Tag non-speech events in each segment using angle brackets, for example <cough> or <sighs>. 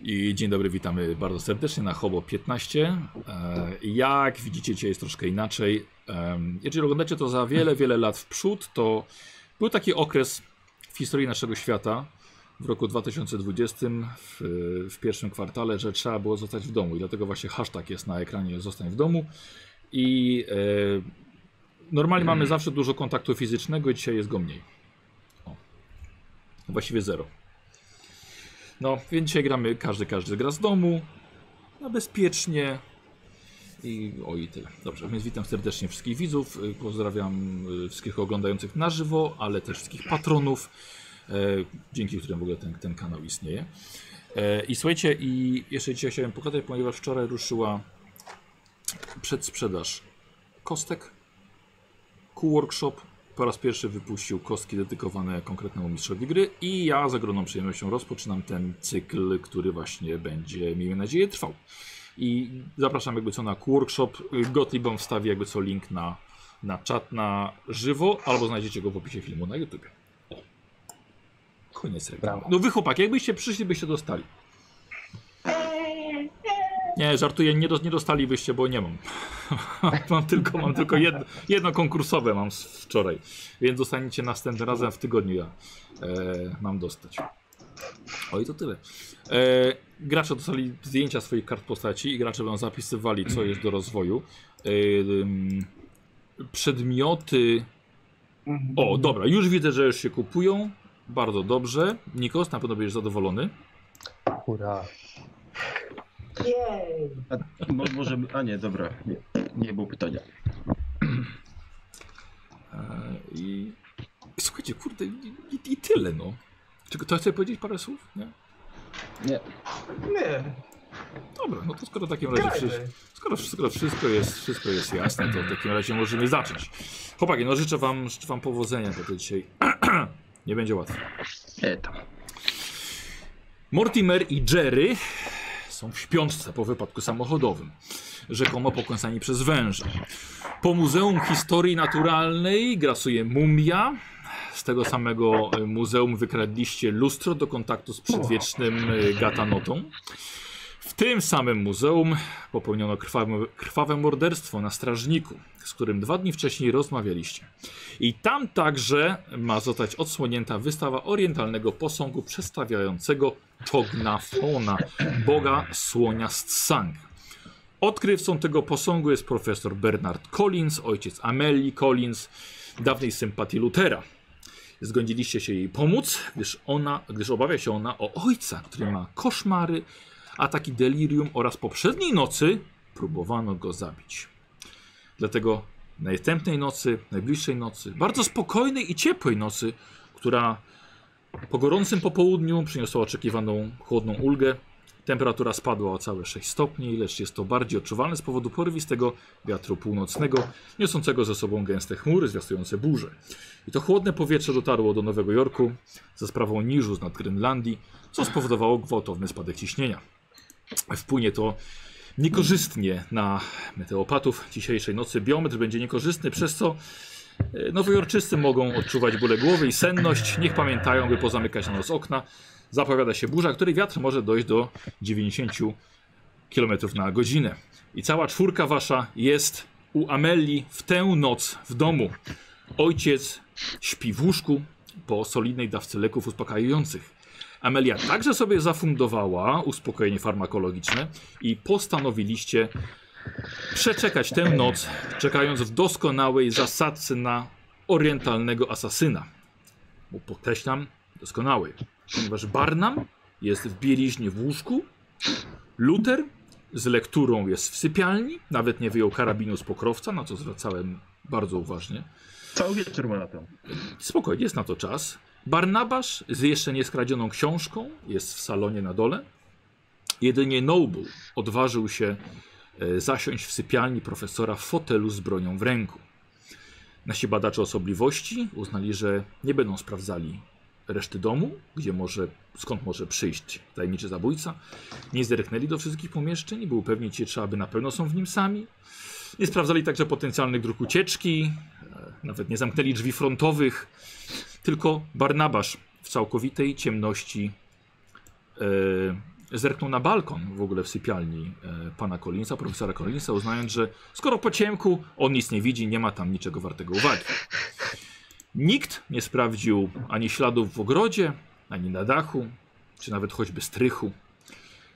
I dzień dobry, witamy bardzo serdecznie na Hobo 15. E, Jak widzicie, dzisiaj jest troszkę inaczej. Em, Jeżeli oglądacie to za wiele, wiele lat w przód, to był taki okres w historii naszego świata w roku 2020, w, w pierwszym kwartale, że trzeba było zostać w domu. I dlatego właśnie hashtag jest na ekranie Zostań w domu. I e, normalnie mamy zawsze dużo kontaktu fizycznego, dzisiaj jest go mniej. O. Właściwie zero. No, więc dzisiaj gramy, każdy, każdy gra z domu, na bezpiecznie i o i tyle. Dobrze, więc witam serdecznie wszystkich widzów, y, pozdrawiam y, wszystkich oglądających na żywo, ale też wszystkich patronów, e, dzięki którym w ogóle ten, ten kanał istnieje. E, I słuchajcie, i jeszcze dzisiaj chciałem pokazać, ponieważ wczoraj ruszyła przedsprzedaż kostek. Cool Workshop po raz pierwszy wypuścił kostki dedykowane konkretnemu mistrzowi gry i ja z ogromną przyjemnością rozpoczynam ten cykl, który właśnie będzie, miejmy nadzieję, trwał. I zapraszam jakby co na Cool Workshop. Gotlibom wstawi jakby co link na, na czat na żywo, albo znajdziecie go w opisie filmu na YouTube. O. Koniec reklamy. Brawo. No wy chłopaki, jakbyście przyszli, byście dostali. Nie, żartuję, nie, do, nie dostalibyście, bo nie mam. <laughs> mam tylko, mam tylko jedno, jedno konkursowe mam z wczoraj, więc dostaniecie następnym razem w tygodniu ja e, mam dostać. O i to tyle. E, gracze dostali zdjęcia swoich kart postaci i gracze będą zapisywali, co jest do rozwoju. E, ym, przedmioty. O, dobra, już widzę, że już się kupują. Bardzo dobrze. Nikos, na pewno będziesz zadowolony. Hura. Jej! A, mo, może, a nie, dobra, nie, nie było pytania. E, I słuchajcie, kurde, i, i, i tyle, no. Czy ktoś chce powiedzieć parę słów? Nie? Nie, Nie, Dobra, no to skoro w takim razie wszystko, grajmy. skoro, skoro wszystko, jest, wszystko jest jasne, to w takim razie możemy zacząć. Chłopaki, no życzę wam, życzę wam powodzenia, bo to dzisiaj <clears throat> nie będzie łatwo. e, tam. Mortimer i Jerry są w śpiączce po wypadku samochodowym, rzekomo pokąsani przez węża. Po Muzeum Historii Naturalnej grasuje mumia. Z tego samego e, muzeum wykradliście lustro do kontaktu z przedwiecznym e, gatanotą. W tym samym muzeum popełniono krwawe, krwawe morderstwo na strażniku, z którym dwa dni wcześniej rozmawialiście. I tam także ma zostać odsłonięta wystawa orientalnego posągu przedstawiającego Tognafona, boga słonia z Tsang. Odkrywcą tego posągu jest profesor Bernard Collins, ojciec Amelii Collins, dawnej sympatii Lutera. Zgodziliście się jej pomóc, gdyż, ona, gdyż obawia się ona o ojca, który ma koszmary, ataki delirium oraz poprzedniej nocy próbowano go zabić. Dlatego następnej nocy, najbliższej nocy, bardzo spokojnej i ciepłej nocy, która po gorącym popołudniu przyniosła oczekiwaną chłodną ulgę, temperatura spadła o całe 6 stopni, lecz jest to bardziej odczuwalne z powodu porywistego wiatru północnego, niosącego ze sobą gęste chmury zwiastujące burze. I to chłodne powietrze dotarło do Nowego Jorku za sprawą niżu z nad Grenlandii, co spowodowało gwałtowny spadek ciśnienia. Wpłynie to niekorzystnie na meteopatów. Dzisiejszej nocy biometr będzie niekorzystny, przez co e, nowojorczycy mogą odczuwać bóle głowy i senność. Niech pamiętają, by pozamykać na nos okna. Zapowiada się burza, której wiatr może dojść do 90 km na godzinę. I cała czwórka wasza jest u Ameli w tę noc w domu. Ojciec śpi w łóżku po solidnej dawce leków uspokajających. Amelia także sobie zafundowała uspokojenie farmakologiczne i postanowiliście przeczekać tę noc, czekając w doskonałej zasadce na orientalnego asasyna. Bo podkreślam, doskonałej, ponieważ Barnum jest w bieliźnie w łóżku, Luther z lekturą jest w sypialni, nawet nie wyjął karabinu z pokrowca, na co zwracałem bardzo uważnie. Cały wieczór ma na to. Spokojnie, jest na to czas. Barnabasz z jeszcze nieskradzioną książką jest w salonie na dole. Jedynie Noble odważył się e, zasiąść w sypialni profesora w fotelu z bronią w ręku. Nasi badacze osobliwości uznali, że nie będą sprawdzali reszty domu, gdzie może, skąd może przyjść tajemniczy zabójca. Nie zerknęli do wszystkich pomieszczeń, by upewnić się, czy aby na pewno są w nim sami. Nie sprawdzali także potencjalnych dróg ucieczki, e, nawet nie zamknęli drzwi frontowych, tylko Barnabasz w całkowitej ciemności e, zerknął na balkon w ogóle w sypialni e, pana Collinsa, profesora Collinsa, uznając, że skoro po ciemku on nic nie widzi, nie ma tam niczego wartego uwagi. Nikt nie sprawdził ani śladów w ogrodzie, ani na dachu, czy nawet choćby strychu.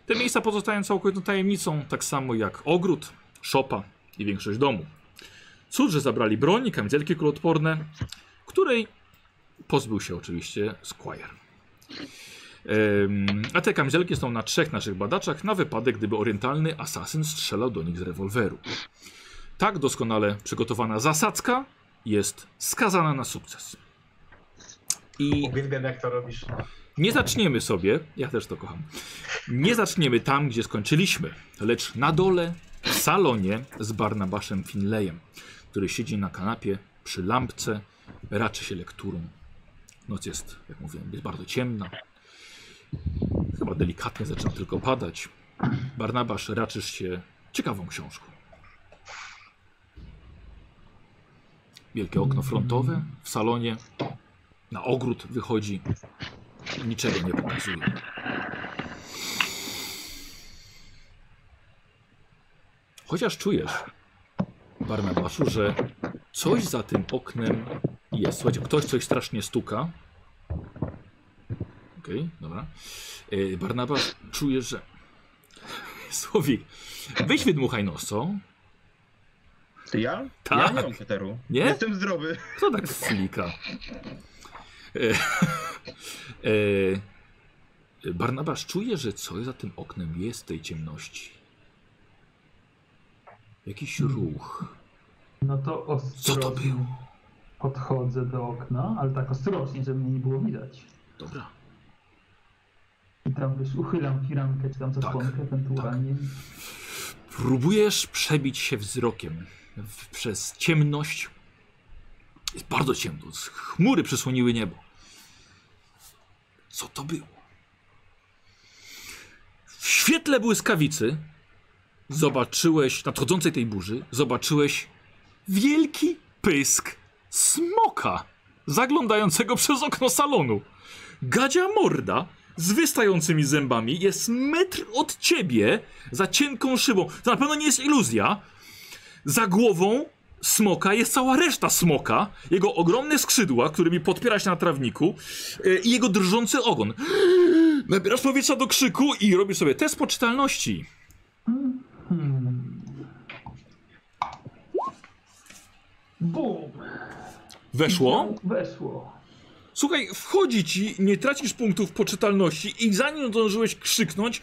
Te miejsca pozostają całkowitą tajemnicą, tak samo jak ogród, szopa i większość domu. Cud, że zabrali broń, i kamizelki kuloodporne, której pozbył się oczywiście Squire. Ym, A te kamizelki są na trzech naszych badaczach na wypadek, gdyby orientalny asasyn strzelał do nich z rewolweru. Tak doskonale przygotowana zasadzka jest skazana na sukces. I Uwielbiam jak to robisz. nie zaczniemy sobie, ja też to kocham, nie zaczniemy tam, gdzie skończyliśmy, lecz na dole w salonie z Barnabaszem Finleyem, który siedzi na kanapie przy lampce, raczy się lekturą. Noc jest, jak mówiłem, jest bardzo ciemna. Chyba delikatnie zaczyna tylko padać. Barnabasz, raczysz się ciekawą książką. Wielkie okno frontowe w salonie. Na ogród wychodzi niczego nie pokazuje. Chociaż czujesz, Barnabaszu, że coś za tym oknem jest. Słuchajcie, ktoś coś strasznie stuka. Okej, dobra. Yy, Barnabasz, czujesz, że... <laughs> Słowik, weź wydmuchaj nosą. Ty ja? Tak. Ja nie mam kateru. Nie? Jestem zdrowy. Kto tak flika? E, e, Barnabasz czuje, że coś za tym oknem jest w tej ciemności. Jakiś ruch. No to ostrożnie. Co to było? Podchodzę do okna, ale tak ostrożnie, żeby mnie nie było widać. Dobra. I tam wiesz, uchylam firankę, czy tam zasłonkę Tak, ewentualnie. Próbujesz przebić się wzrokiem w, przez ciemność. Jest bardzo ciemno. z- Chmury przysłoniły niebo. Co to było? W świetle błyskawicy zobaczyłeś, nadchodzącej tej burzy, zobaczyłeś wielki pysk smoka zaglądającego przez okno salonu. Gadzia morda z wystającymi zębami jest metr od ciebie za cienką szybą. To na pewno nie jest iluzja. Za głową smoka jest cała reszta smoka, jego ogromne skrzydła, którymi podpiera się na trawniku yy, i jego drżący ogon. Nabierasz powietrza do krzyku i robisz sobie test poczytalności. Hmm. Bum! No, Weszło. Weszło. Słuchaj, wchodzi ci, nie tracisz punktów poczytalności i zanim zdążyłeś krzyknąć,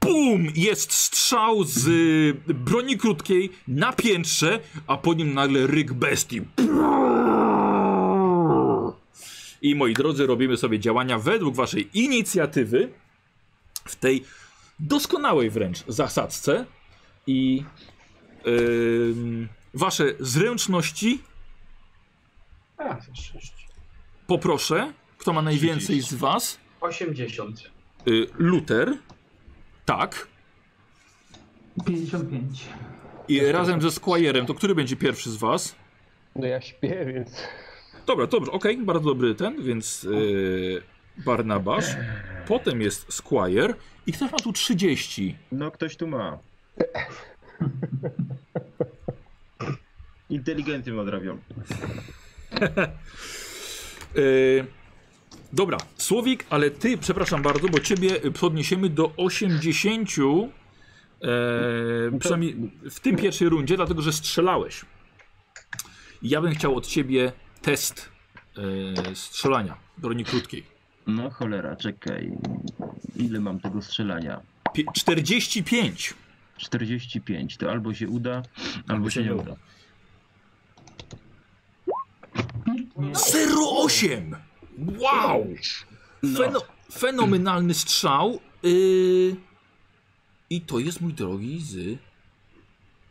BUM! Jest strzał z y, broni krótkiej na piętrze, a po nim nagle ryk bestii. I moi drodzy, robimy sobie działania według waszej inicjatywy w tej doskonałej wręcz zasadzce i ym, wasze zręczności A, 6. poproszę, kto ma najwięcej z was. 80. Y, Luther, tak, 55. i razem ze Squire'em, to który będzie pierwszy z was? No ja śpię, więc. Dobra, dobrze, okej, bardzo dobry ten, więc yy, Barnabasz, potem jest Squire i ktoś ma tu 30. No ktoś tu ma. Inteligentnym odrabiam. Yy, dobra, Słowik, ale ty, przepraszam bardzo, bo ciebie podniesiemy do 80, yy, przynajmniej w tym pierwszej rundzie, dlatego że strzelałeś. Ja bym chciał od ciebie test yy, strzelania, broni krótkiej. No cholera, czekaj. Ile mam tego strzelania? Pie- 45. 45. To albo się uda, albo, się nie uda. 08! Wow! Feno fenomenalny strzał. Yy... I to jest mój drogi z.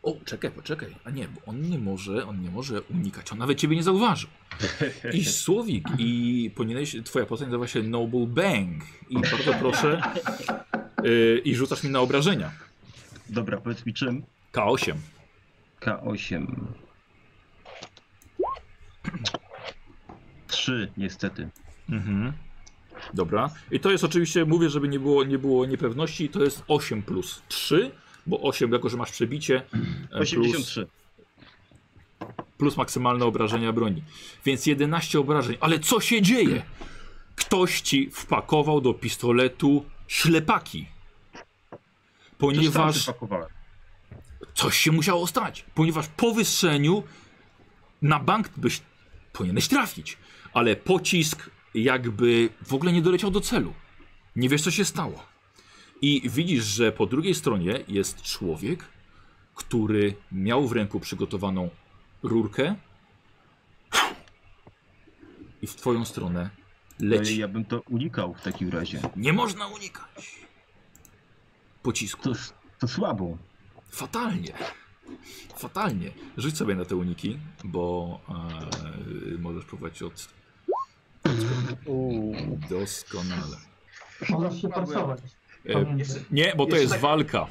O, czekaj, poczekaj. A nie, bo on nie może, on nie może unikać. On nawet ciebie nie zauważył. I słowik, i powinieneś, twoja postać nazywa się Noble Bang. I bardzo proszę. Yy, I rzucasz mi na obrażenia. Dobra, powiedz mi czym? K8. K8. 3 niestety. Mhm. Dobra. I to jest oczywiście, mówię, żeby nie było, nie było niepewności, to jest 8 plus 3, bo 8, jako że masz przebicie, e, plus, 83. plus maksymalne obrażenia broni. Więc 11 obrażeń. Ale co się dzieje? Ktoś ci wpakował do pistoletu ślepaki. Przecież sam Ponieważ przypakowałem. coś się musiało stać, ponieważ po wystrzeleniu na bank byś powinieneś trafić, ale pocisk jakby w ogóle nie doleciał do celu. Nie wiesz, co się stało. I widzisz, że po drugiej stronie jest człowiek, który miał w ręku przygotowaną rurkę i w twoją stronę No i leci. Ja bym to unikał w takim razie. Nie można unikać pocisku. To, s- to słabo. Fatalnie. Fatalnie. Rzuć sobie na te uniki, bo e, możesz próbować od Uuu. doskonale. Możesz się parsować. E, Pamiętaj. nie, bo to Jeszcze jest tak- walka.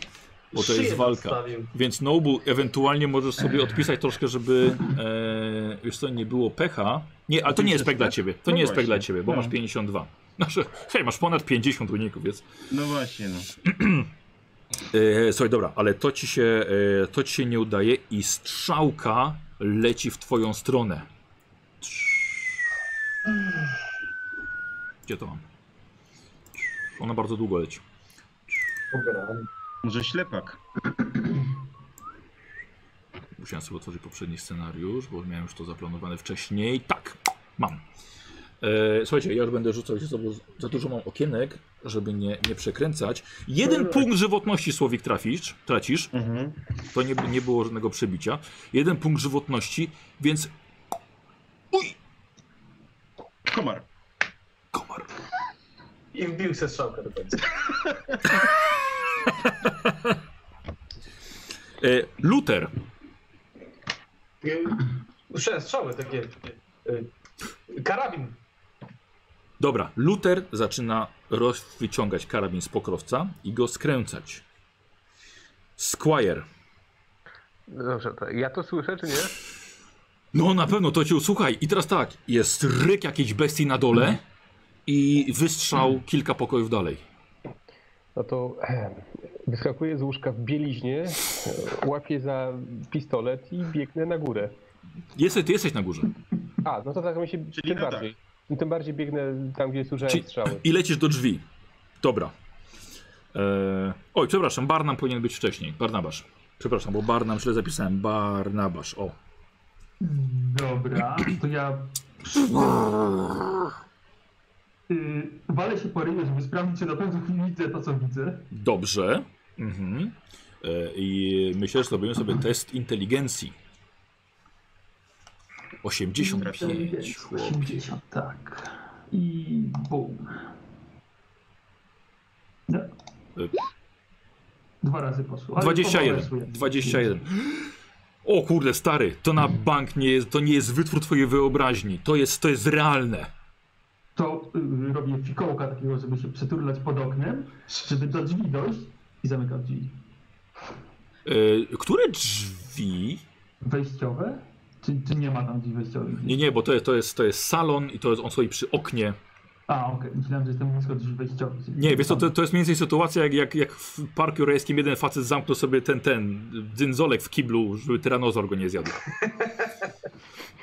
Bo to jest Szyję walka. podstawił. Więc Nobu, ewentualnie możesz sobie odpisać troszkę, żeby e, już to nie było pecha. Nie, ale to nie jest pech dla ciebie. To No nie jest pech dla ciebie, bo masz 52. Znaczy, hej, masz ponad 50 uników, więc No właśnie, no. E, słuchaj, dobra, ale to ci, się, e, to ci się nie udaje i strzałka leci w twoją stronę. Gdzie to mam? Ona bardzo długo leci. Pograłem. Może ślepak. Musiałem sobie otworzyć poprzedni scenariusz, bo miałem już to zaplanowane wcześniej. Tak, mam. E, słuchajcie, ja już będę rzucał się znowu. Za dużo mam okienek, żeby nie, nie przekręcać. Jeden punkt żywotności, Słowik, trafisz, tracisz. Mhm. To nie, nie było żadnego przebicia. Jeden punkt żywotności, więc Komar. komar. I wbił se strzałkę do końca. <laughs> E, Luther, Trzy strzały takie. y, Karabin. dobra, Luther zaczyna roz- wyciągać karabin z pokrowca i go skręcać. Squire, No Dobrze, to ja to słyszę, czy nie? no na pewno to cię usłuchaj. I teraz tak, jest ryk jakiejś bestii na dole i wystrzał kilka pokojów dalej. No to em, wyskakuję z łóżka w bieliźnie, e, łapię za pistolet i biegnę na górę. Jesteś, ty jesteś na górze. A, no to tak mi się tym atak. bardziej. Tym bardziej biegnę tam, gdzie słyszałem Czyli- strzały. I lecisz do drzwi. Dobra. Eee, oj, przepraszam, Barnam powinien być wcześniej. Barnabasz. Przepraszam, bo Barnam źle zapisałem. Barnabasz, o. Dobra, to <clears throat> ja. Yy, walę się po ryju, żeby sprawdzić, czy na pewno widzę to, co widzę. Dobrze. Mhm. E, I myślę, że zrobimy sobie test inteligencji. 85, chłop. 80, tak. I bum. No. Dwa razy poszło. ale 21. pomalesuje. 21. O kurde, stary, to na bank nie jest, to nie jest wytwór twojej wyobraźni. To jest, to jest realne. To yy, robię fikołka takiego, żeby się przeturlać pod oknem, żeby do drzwi dojść i zamykam drzwi. E, które drzwi? Wejściowe? Czy, czy nie ma tam drzwi wejściowych? Nie, nie, bo to jest, to jest, to jest salon i to jest, on stoi przy oknie. A, okej, myślałem, że jestem blisko drzwi wejściowych. Nie, wiesz co, to, to jest mniej więcej sytuacja jak, jak, jak w parku jurajskim jeden facet zamknął sobie ten, ten dzyndzolek w kiblu, żeby tyranozor go nie zjadł.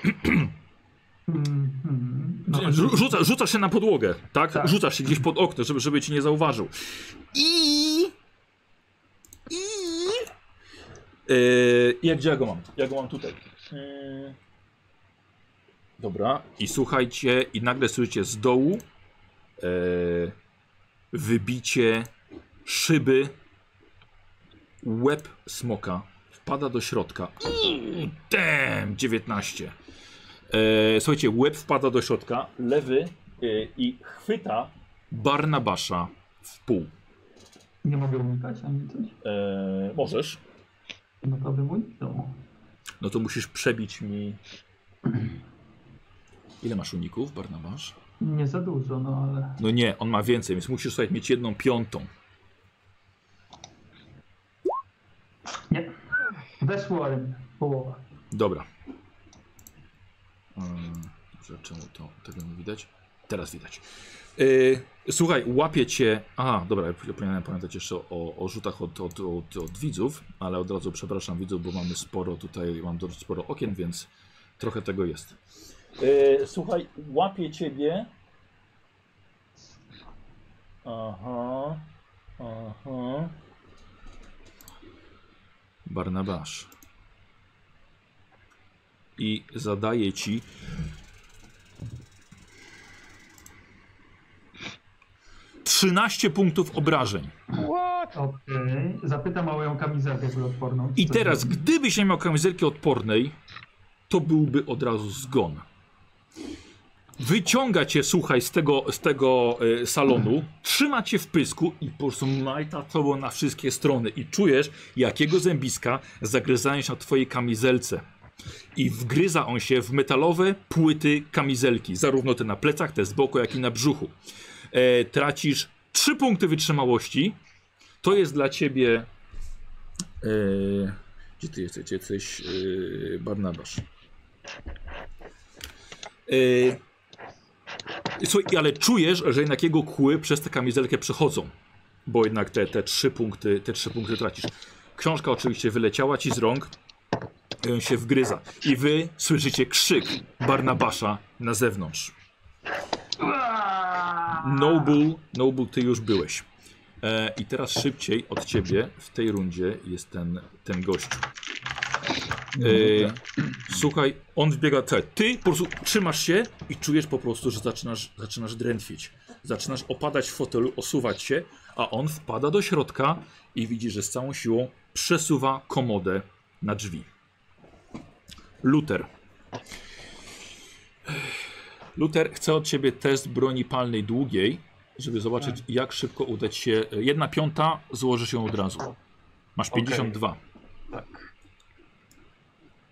Mhm. Mm, No, Rzu- Rzuca, rzucasz się na podłogę, tak? Tak. Rzucasz się gdzieś pod okno, żeby, żeby ci nie zauważył. I... I... Yy, jak gdzie ja go mam? Ja go mam tutaj. Yy. Dobra. I słuchajcie, i nagle słyszycie z dołu yy, wybicie szyby. Łeb smoka wpada do środka. Mm, Damn! 19. E, słuchajcie, łeb wpada do środka, lewy e, i chwyta Barnabasza w pół. nie mogę unikać ani coś. E, możesz? No to bym uniknął. No to musisz przebić mi. <clears throat> Ile masz uników, Barnabasz? Nie za dużo, no ale. No nie, on ma więcej, więc musisz słuchaj, mieć jedną piątą. Nie. Weszło, ale połowa. Dobra. Eee, Dobrze, czemu to tego nie widać? teraz widać. Y, słuchaj, łapie cię. Aha, dobra, ja powinienem pamiętać jeszcze o, o rzutach od, od, od, od widzów, ale od razu przepraszam widzów, bo mamy sporo tutaj, mam dość sporo okien, więc trochę tego jest. Y, słuchaj, łapie ciebie. Aha, aha. Barnabasz. I zadaje ci Trzynaście punktów obrażeń. Okej. Zapytam o moją kamizelkę kuloodporną. I Co teraz, zrobi? gdybyś nie miał kamizelki odpornej, to byłby od razu zgon. Wyciąga cię, słuchaj, z tego, z tego e, salonu, trzyma cię w pysku i po prostu majta tobą na wszystkie strony. I czujesz, jak jego zębiska zagryzają się na twojej kamizelce. I wgryza on się w metalowe płyty kamizelki, zarówno te na plecach, te z boku, jak i na brzuchu. E, tracisz trzy punkty wytrzymałości. To jest dla ciebie Eee, gdzie ty jesteś? Gdzie jesteś eee, Barnabasz. Eee, słuchaj, ale czujesz, że jednak jego kły przez tę kamizelkę przechodzą. Bo jednak te, te, trzy punkty, te trzy punkty tracisz. Książka oczywiście wyleciała ci z rąk. i On się wgryza. I wy słyszycie krzyk Barnabasza na zewnątrz. Noble, Noble, ty już byłeś. E, I teraz szybciej od ciebie w tej rundzie jest ten, ten gościu. E, słuchaj, on wbiega. Te, ty po prostu trzymasz się i czujesz po prostu, że zaczynasz, zaczynasz drętwić. Zaczynasz opadać w fotelu, osuwać się, a on wpada do środka i widzi, że z całą siłą przesuwa komodę na drzwi. Luther. Luther chce od ciebie test broni palnej długiej żeby zobaczyć, Hmm. jak szybko uda ci się. e, Jedna piąta złoży się od razu. Masz 52. Tak.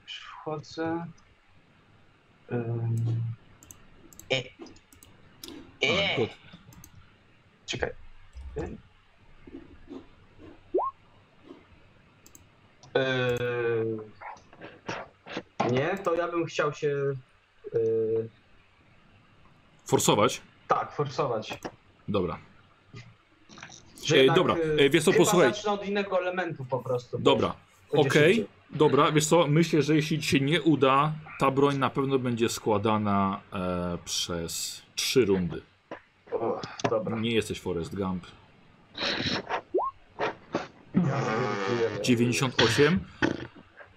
Już wchodzę. Ym... Ale to- Czekaj. Eee, nie, to ja bym chciał się eee, Forsować? tak forsować. Dobra. Że E, jednak, dobra, eee, e, wiesz co, chyba posłuchaj. zacznę od innego elementu po prostu. bo Dobra. będzie Okej. szybciej. Dobra, wiesz co, myślę, że jeśli ci się nie uda, ta broń na pewno będzie składana e, przez trzy rundy. O, Dobra. Nie jesteś Forrest Gump. Ja dziękuję. 98.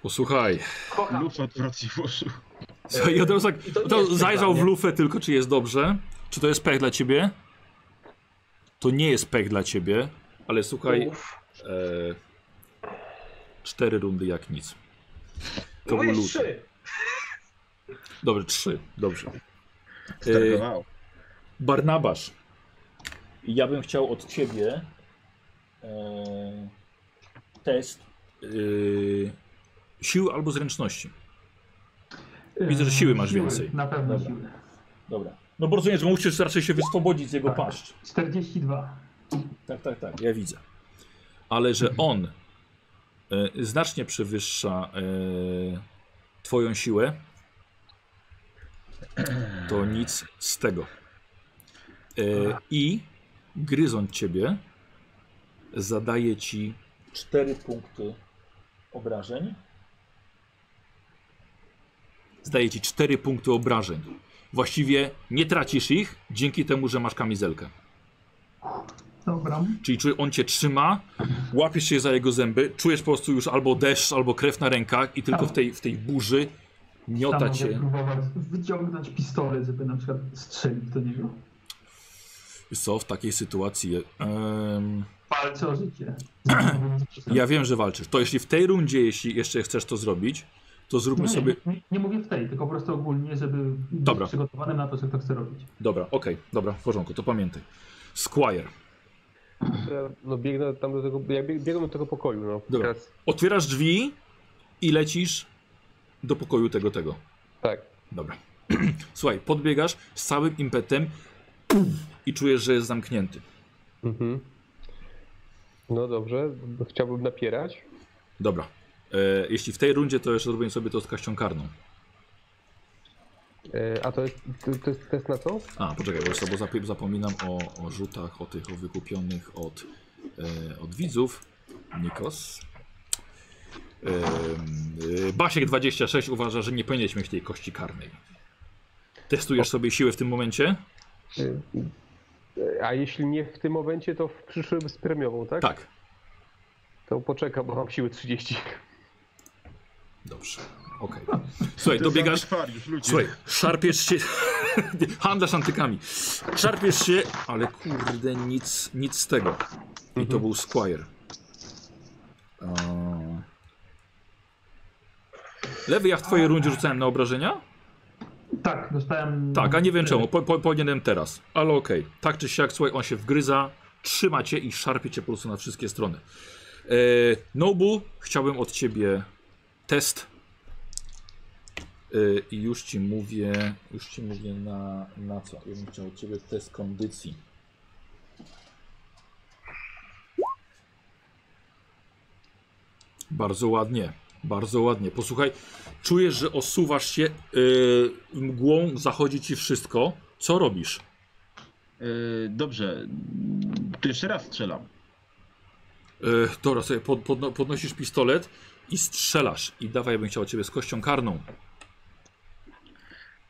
Posłuchaj. Kocham. Luf odwraci włożył. E, Słuchaj, od razu tak, I to nie od razu jest zajrzał pytanie. w lufę tylko, czy jest dobrze. Czy to jest pech dla ciebie? To nie jest pech dla ciebie, ale słuchaj, Uf. E, cztery rundy jak nic. To był Mówiłeś lód. trzy. Dobrze, trzy. Dobrze. E, Stargował. Barnabasz. Ja bym chciał od ciebie e, test e, sił albo zręczności. widzę, że siły E, masz więcej. Na pewno Dobra. siły. Dobra. No bo rozumiem, że musisz raczej się wyswobodzić z jego Tak. paszcz. 42. Tak, tak, tak. Ja widzę. Ale że on e, znacznie przewyższa e, twoją siłę, to nic z tego. E, I gryząc ciebie zadaje ci 4 punkty obrażeń. Zdaje ci 4 punkty obrażeń. Właściwie nie tracisz ich dzięki temu, że masz kamizelkę. Dobra. Czyli czuj- on cię trzyma, łapiesz się za jego zęby, czujesz po prostu już albo deszcz, albo krew na rękach i tylko w tej, w tej burzy miota Tam mogę cię. próbować wyciągnąć pistolet, żeby na przykład strzelić do niego. Wiesz Co w takiej sytuacji? em, Walczę o życie. ja wiem, że walczysz. To jeśli w tej rundzie, jeśli jeszcze chcesz to zrobić, to zróbmy No nie, sobie. nie, nie mówię w tej, tylko po prostu ogólnie, żeby Dobra. być przygotowanym na to, że to chcę robić. Dobra, okej, dobra, w porządku, to pamiętaj. Squire, Ja, no biegnę tam do tego, ja bieg, biegam do tego pokoju, no. Dobra. Teraz, otwierasz drzwi i lecisz do pokoju tego, tego. tak. Dobra. <clears throat> Słuchaj, podbiegasz z całym impetem i czujesz, że jest zamknięty. Mhm. No dobrze, chciałbym napierać. Dobra. E, jeśli w tej rundzie, to jeszcze zrobimy sobie to z kaścią karną. E, A to jest, to, to jest test na co? A, poczekaj, bo, jeszcze- bo zap- zapominam o, o rzutach, o tych o wykupionych od, e, od widzów. Nikos. Em, e, Basiek 26 uważa, że nie powinieneś mieć tej kości karnej. Testujesz sobie siłę w tym momencie? E, A jeśli nie w tym momencie, to w przyszłym z premiową, tak? Tak. To poczekam, bo mam siły 30. Dobrze. Okej. Słuchaj, To znaczy- jest dobiegasz. antykwariusz, ludzie. Słuchaj, szarpiesz się. <laughs> Handlarz antykami. Szarpiesz się, ale kurde, nic, nic z tego. I to był Squire. A... Lewy, ja w twojej rundzie rzucałem na obrażenia? Tak, dostałem... Tak, a nie wiem czemu, po, po, powinienem teraz. Ale okej, tak czy siak, słuchaj, on się wgryza, trzyma cię i szarpie cię po prostu na wszystkie strony. E, Nobu, chciałbym od ciebie test. E, I już ci mówię, już ci mówię na, na co. Ja bym chciał od ciebie test kondycji. Bardzo ładnie, bardzo ładnie. Posłuchaj, czujesz, że osuwasz się yy, mgłą, zachodzi ci wszystko. Co robisz? Yy, dobrze. To jeszcze raz strzelam. Yy, dobra, sobie pod, podno, podnosisz pistolet i strzelasz. I dawaj, ja bym chciał od ciebie z kością karną.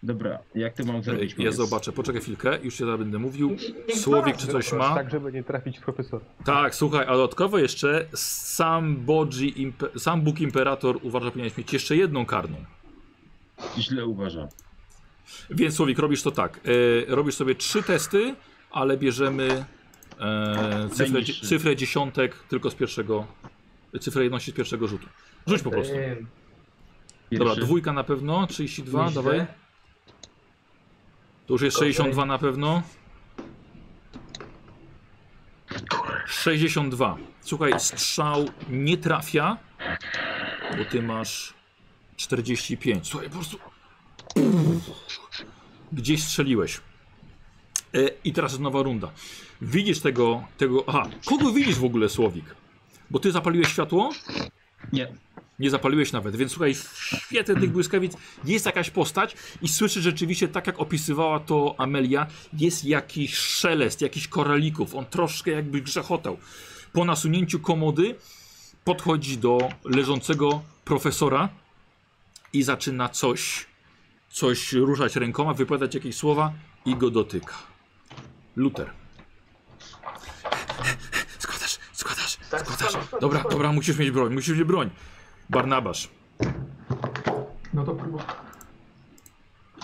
Dobra, jak to mam zrobić? E, ja powiedz? zobaczę, poczekaj chwilkę, już się będę mówił. Słowik czy coś ma? Tak, żeby nie trafić profesora. Tak, słuchaj, a dodatkowo jeszcze sam Bodzi, imp- sam Bóg Imperator uważa, że powinieneś mieć jeszcze jedną karną. Źle uważam. Więc Słowik, robisz to tak. E, robisz sobie trzy testy, ale bierzemy e, cyfrę, Najniższy. cyfrę dziesiątek tylko z pierwszego, cyfrę jedności z pierwszego rzutu. Rzuć Tak, po prostu. Ym, Dobra, Pierwszy. dwójka na pewno, 32, Nieźle. dawaj. To już jest Gorzej. 62 na pewno. 62. Słuchaj, strzał nie trafia, bo ty masz 45. Słuchaj, po prostu... Gdzieś strzeliłeś. E, I teraz jest nowa runda. Widzisz tego, tego... Aha, kogo widzisz w ogóle, Słowik? Bo ty zapaliłeś światło? Nie. Nie zapaliłeś nawet, więc słuchaj, w świetle tych błyskawic jest jakaś postać i słyszysz rzeczywiście, tak jak opisywała to Amelia, jest jakiś szelest, jakiś koralików. On troszkę jakby grzechotał. Po nasunięciu komody podchodzi do leżącego profesora i zaczyna coś, coś ruszać rękoma, wypowiadać jakieś słowa i go dotyka. Luther. Składasz, składasz, Tak, składasz. składam, składam, Dobra, składam. dobra, musisz mieć broń, musisz mieć broń. Barnabasz. No to próbuję...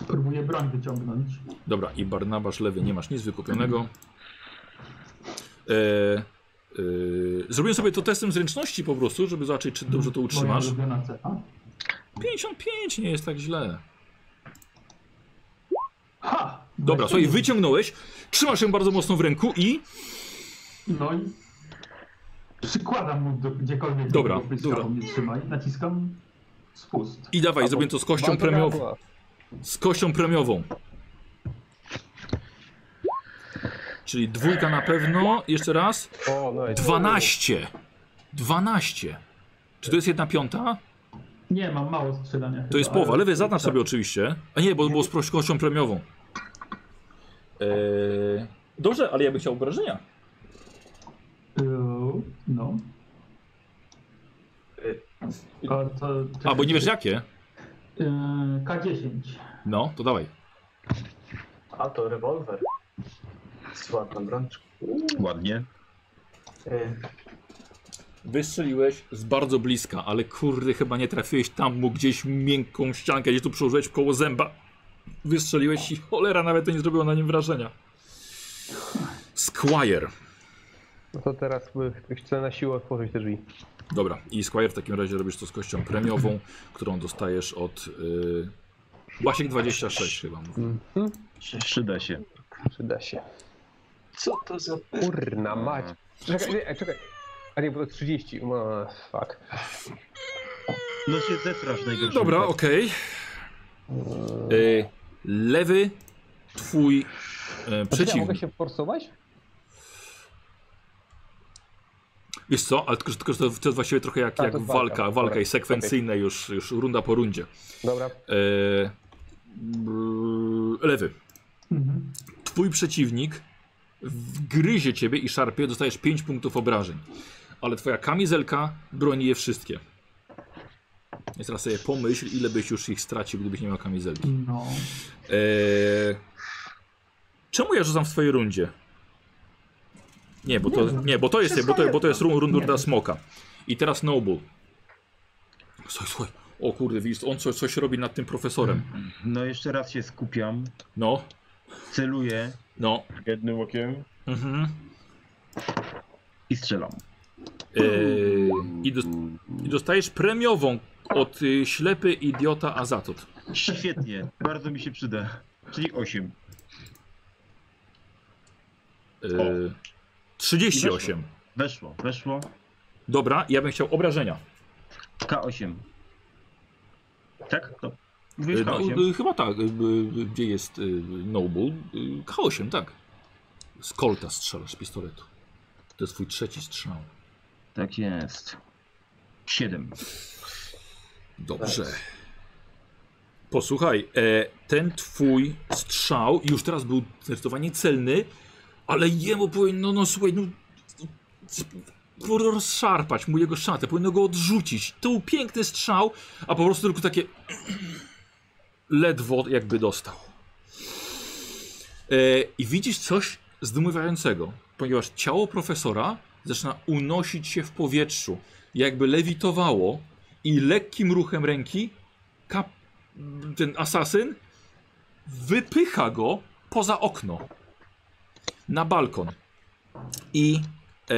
Próbuję broń wyciągnąć. Dobra, i Barnabasz lewy, nie masz nic wykupionego. E, e, zrobiłem sobie to testem zręczności po prostu, żeby zobaczyć, czy dobrze to utrzymasz. Moja ulubiona cecha. 55 nie jest tak źle. Ha! Dobra, słuchaj, wyciągnąłeś, trzymasz ją bardzo mocno w ręku i... No i przykładam mu do, gdziekolwiek Dobra, do tego pyska, dobra. bo mnie trzymaj. Naciskam spust. I dawaj, zrobię to z kością Mam to premiową. gardła. Z kością premiową. Czyli dwójka na pewno, jeszcze raz. O, no i 12. 12. Czy to jest jedna piąta? Nie, mam mało strzelania. To jest połowa. Lewy zaznacz sobie oczywiście. A nie, bo było z prośbą premiową. Eee, dobrze, ale ja bym chciał obrażenia. Yy, No. E, A, to, A, bo nie wiesz jakie? Yy, K10. No, to dawaj. A to rewolwer. Z ładną brączką. Ładnie. Ym, Wystrzeliłeś z bardzo bliska, ale kurde, chyba nie trafiłeś tam mu gdzieś miękką ściankę, gdzie tu przyłożyłeś koło zęba. Wystrzeliłeś i cholera, nawet to nie zrobiło na nim wrażenia. Squire. No to teraz y, chcę na siłę otworzyć te drzwi. Dobra, i Squire w takim razie robisz to z kością premiową, <laughs> którą dostajesz od... Yy... Basiek 26 chyba mówi. Mhm. Przyda się. Przyda się. Co to za... Kurna Mm. mać. Czekaj, nie, czekaj. A nie, bo to 30. No, fuck. No się zetrasz najgorzej. Dobra, Tak. okej. Y, lewy, twój e, Znaczy, ja przeciwnik. mogę się forsować? Wiesz co, ale tylko, że- tylko że to, to jest właściwie trochę jak, A, Tak, to jak jest walka, walka. walka Dobra, jest sekwencyjna już, już runda po rundzie. Dobra, E, Brrr, Lewy. Mhm. Twój przeciwnik wgryzie ciebie i szarpie, dostajesz 5 punktów obrażeń. Ale twoja kamizelka broni je wszystkie. Więc teraz sobie pomyśl, ile byś już ich stracił, gdybyś nie miał kamizelki. No. Eee, czemu ja rzucam w swojej rundzie? Nie, bo to, Nie, no, nie, bo to jest, bo to, bo to jest run- run- Nie. runda smoka. I teraz Noble. Słuchaj, słuchaj. O kurde, widzisz, on coś, coś robi nad tym profesorem. No jeszcze raz się skupiam, No, celuję no. jednym okiem Mhm. i strzelam. Eee, i, dos- I dostajesz premiową od y, ślepy idiota Azatot. Świetnie, bardzo mi się przyda. Czyli 8. Eee, O. 38. Weszło, weszło. Dobra, ja bym chciał obrażenia. K8. Tak? To. Eee, Mówiłeś no, K8. y, chyba tak, y, y, gdzie jest y, Noble? Y, K8, tak. Z kolta strzelasz z pistoletu. To jest twój trzeci strzał. Tak jest. 7. Dobrze. Posłuchaj, e, ten twój strzał już teraz był zdecydowanie celny, ale jemu powinno, no słuchaj, no, z- powinno rozszarpać mu jego szatę, powinno go odrzucić. To był piękny strzał, a po prostu tylko takie <clears throat> ledwo jakby dostał. E, I widzisz coś zdumiewającego, ponieważ ciało profesora zaczyna unosić się w powietrzu, jakby lewitowało i lekkim ruchem ręki kap, ten asasyn wypycha go poza okno na balkon. I e,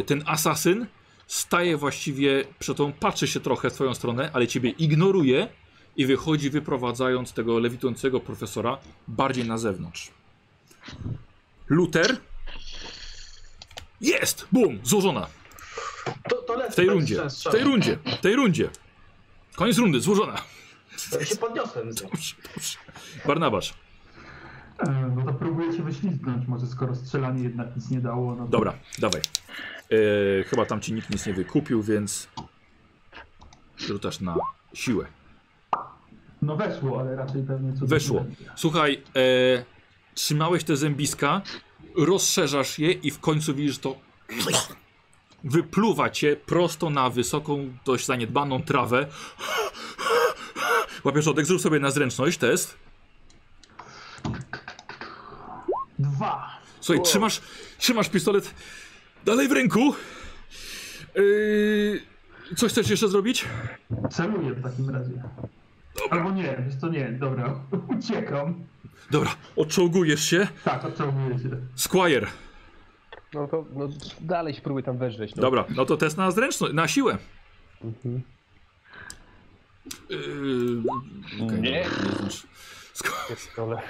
e, ten asasyn staje właściwie przed tą, patrzy się trochę w twoją stronę, ale ciebie ignoruje i wychodzi wyprowadzając tego lewitującego profesora bardziej na zewnątrz. Luther jest! Bum! Złożona! To, to lecę. tak W tej bez rundzie. sensu W tej rundzie. W tej rundzie. Koniec rundy, złożona. Ja Tak się podniosłem z nim. Dobrze, dobrze. Barnabasz. E, No to próbuję się wyślizgnąć, może skoro strzelanie jednak nic nie dało. No to- Dobra, dawaj. Yy, chyba tam ci nikt nic nie wykupił, więc rzucasz na siłę. No weszło, ale raczej pewnie co Weszło. Słuchaj, e, trzymałeś te zębiska, rozszerzasz je i w końcu widzisz to. Wypluwa cię prosto na wysoką, dość zaniedbaną trawę. Łapiesz oddech, zrób sobie na zręczność test. Dwa. Słuchaj, trzymasz, trzymasz pistolet dalej w ręku. Yy, coś chcesz jeszcze zrobić? Celuję w takim razie. Albo nie, wiesz to nie, dobra, <laughs> uciekam. Dobra, odczołgujesz się. Tak, odciągnę się. Squire. No to no, dalej spróbuj tam wedrzeć. No. Dobra, no to test na zręczność, na siłę. Mhm. Yy, okej, Nie. dobra, nie znaczy. znasz. Squ- Pierdolę.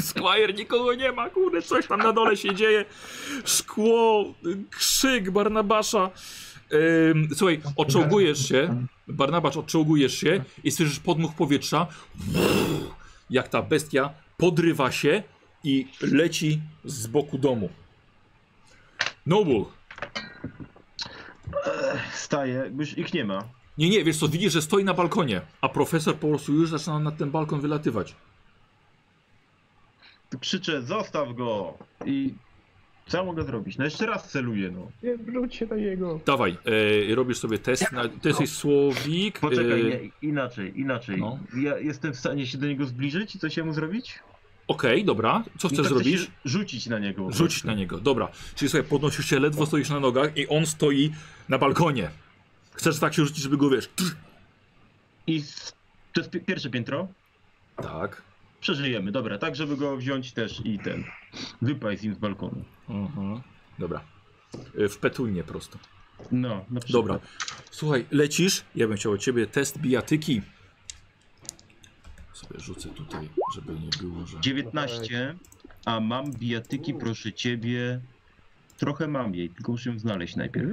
Squire, nikogo nie ma, kurde, coś tam na dole się dzieje. Szkło, y, krzyk Barnabasza. Yy, słuchaj, odczołgujesz się. Barnabacz, odczołgujesz się i słyszysz podmuch powietrza, jak ta bestia podrywa się i leci z boku domu. Noble. Staję, bo już ich nie ma. Nie, nie, wiesz co, widzisz, że stoi na balkonie, a profesor po prostu już zaczyna na ten balkon wylatywać. Tu Krzyczę, zostaw go! I co ja mogę zrobić? No jeszcze raz celuję, no. Nie, wróć się na jego. Dawaj, e, robisz sobie test, na, ty jesteś słowik. Poczekaj, e, nie, inaczej, inaczej. no. Ja jestem w stanie się do niego zbliżyć i coś jemu zrobić? Okej, dobra, co No chcesz to chcę zrobić? się Rzucić na niego. po Rzuć prostu. na niego, dobra. Czyli sobie podnosisz się, ledwo stoisz na nogach i on stoi na balkonie. Chcesz tak się rzucić, żeby go, wiesz... I s- to jest pi- pierwsze piętro? Tak. Przeżyjemy, dobra, tak żeby go wziąć też i ten. Wypaść z nim z balkonu. Mhm. Dobra. Y, W petulnie prosto. No, na przykład. Dobra. Słuchaj, lecisz. Ja bym chciał od ciebie test bijatyki. Sobie rzucę tutaj, żeby nie było, że. 19, a mam bijatyki, proszę ciebie. Trochę mam jej, tylko muszę ją znaleźć najpierw.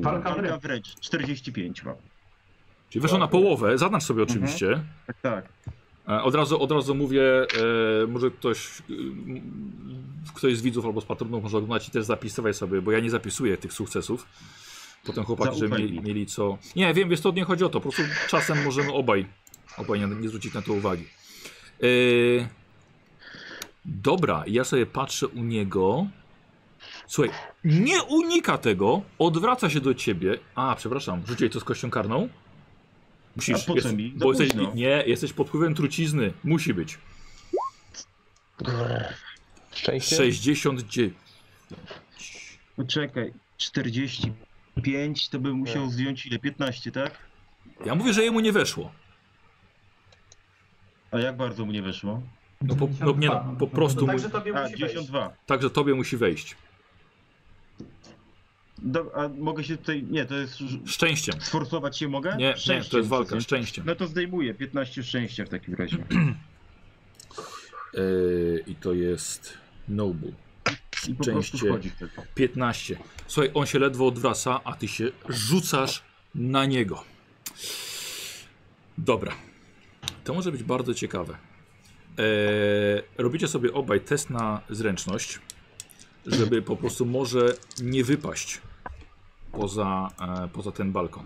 Walka w Walka ręce. wręcz, 45 mam. Czyli weszło na połowę, zaznacz sobie oczywiście. Tak, tak. E, Od razu, od razu mówię, e, może ktoś, y, m, ktoś z widzów albo z patronów może oglądać i też zapisywać sobie, bo ja nie zapisuję tych sukcesów. Potem chłopaki, żeby Zaufaj mieli, mi. mieli co... Nie, wiem, wiesz, to nie chodzi o to. Po prostu czasem możemy obaj, obaj nie, nie zwrócić na to uwagi. Yy... Dobra, ja sobie patrzę u niego. Słuchaj, nie unika tego, odwraca się do ciebie. A, przepraszam, rzuciłeś to z kością karną? Musisz, A po co jest- mi? Za Bo jesteś, późno. nie, jesteś pod wpływem trucizny. Musi być. Szczęście. 69. Poczekaj, 45 to bym musiał zdjąć ile? 15, tak? Ja mówię, że jemu nie weszło. A jak bardzo mu nie weszło? No po, no, nie, no, po prostu. mu- Także tobie A, musi wejść. 92. Także tobie musi wejść. Do, a mogę się tutaj. Nie, to jest. Szczęściem. Sforsować się mogę? Nie, nie, Szczęściem to jest walka. przecież. Szczęściem. No to zdejmuję 15 szczęścia w takim razie. Yy, I to jest Nobu. I po prostu Szczęście. wchodzi wtedy. 15. Słuchaj, on się ledwo odwraca, a ty się rzucasz na niego. Dobra. To może być bardzo ciekawe. Eee, robicie sobie obaj test na zręczność, żeby po prostu może nie wypaść poza, e, poza ten balkon.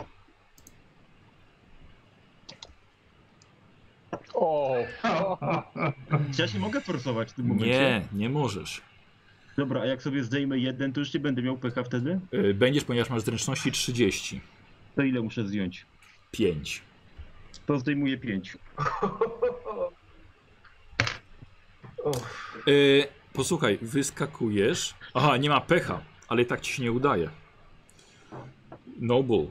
O, Czy ja się mogę forsować w tym momencie? Nie, nie możesz. Dobra, a jak sobie zdejmę jeden, to już nie będę miał pecha wtedy? E, będziesz, ponieważ masz zręczności 35. To ile muszę zdjąć? To zdejmuję 5. Uff, E, posłuchaj, wyskakujesz. Aha, nie ma pecha, ale i tak ci się nie udaje. Noble,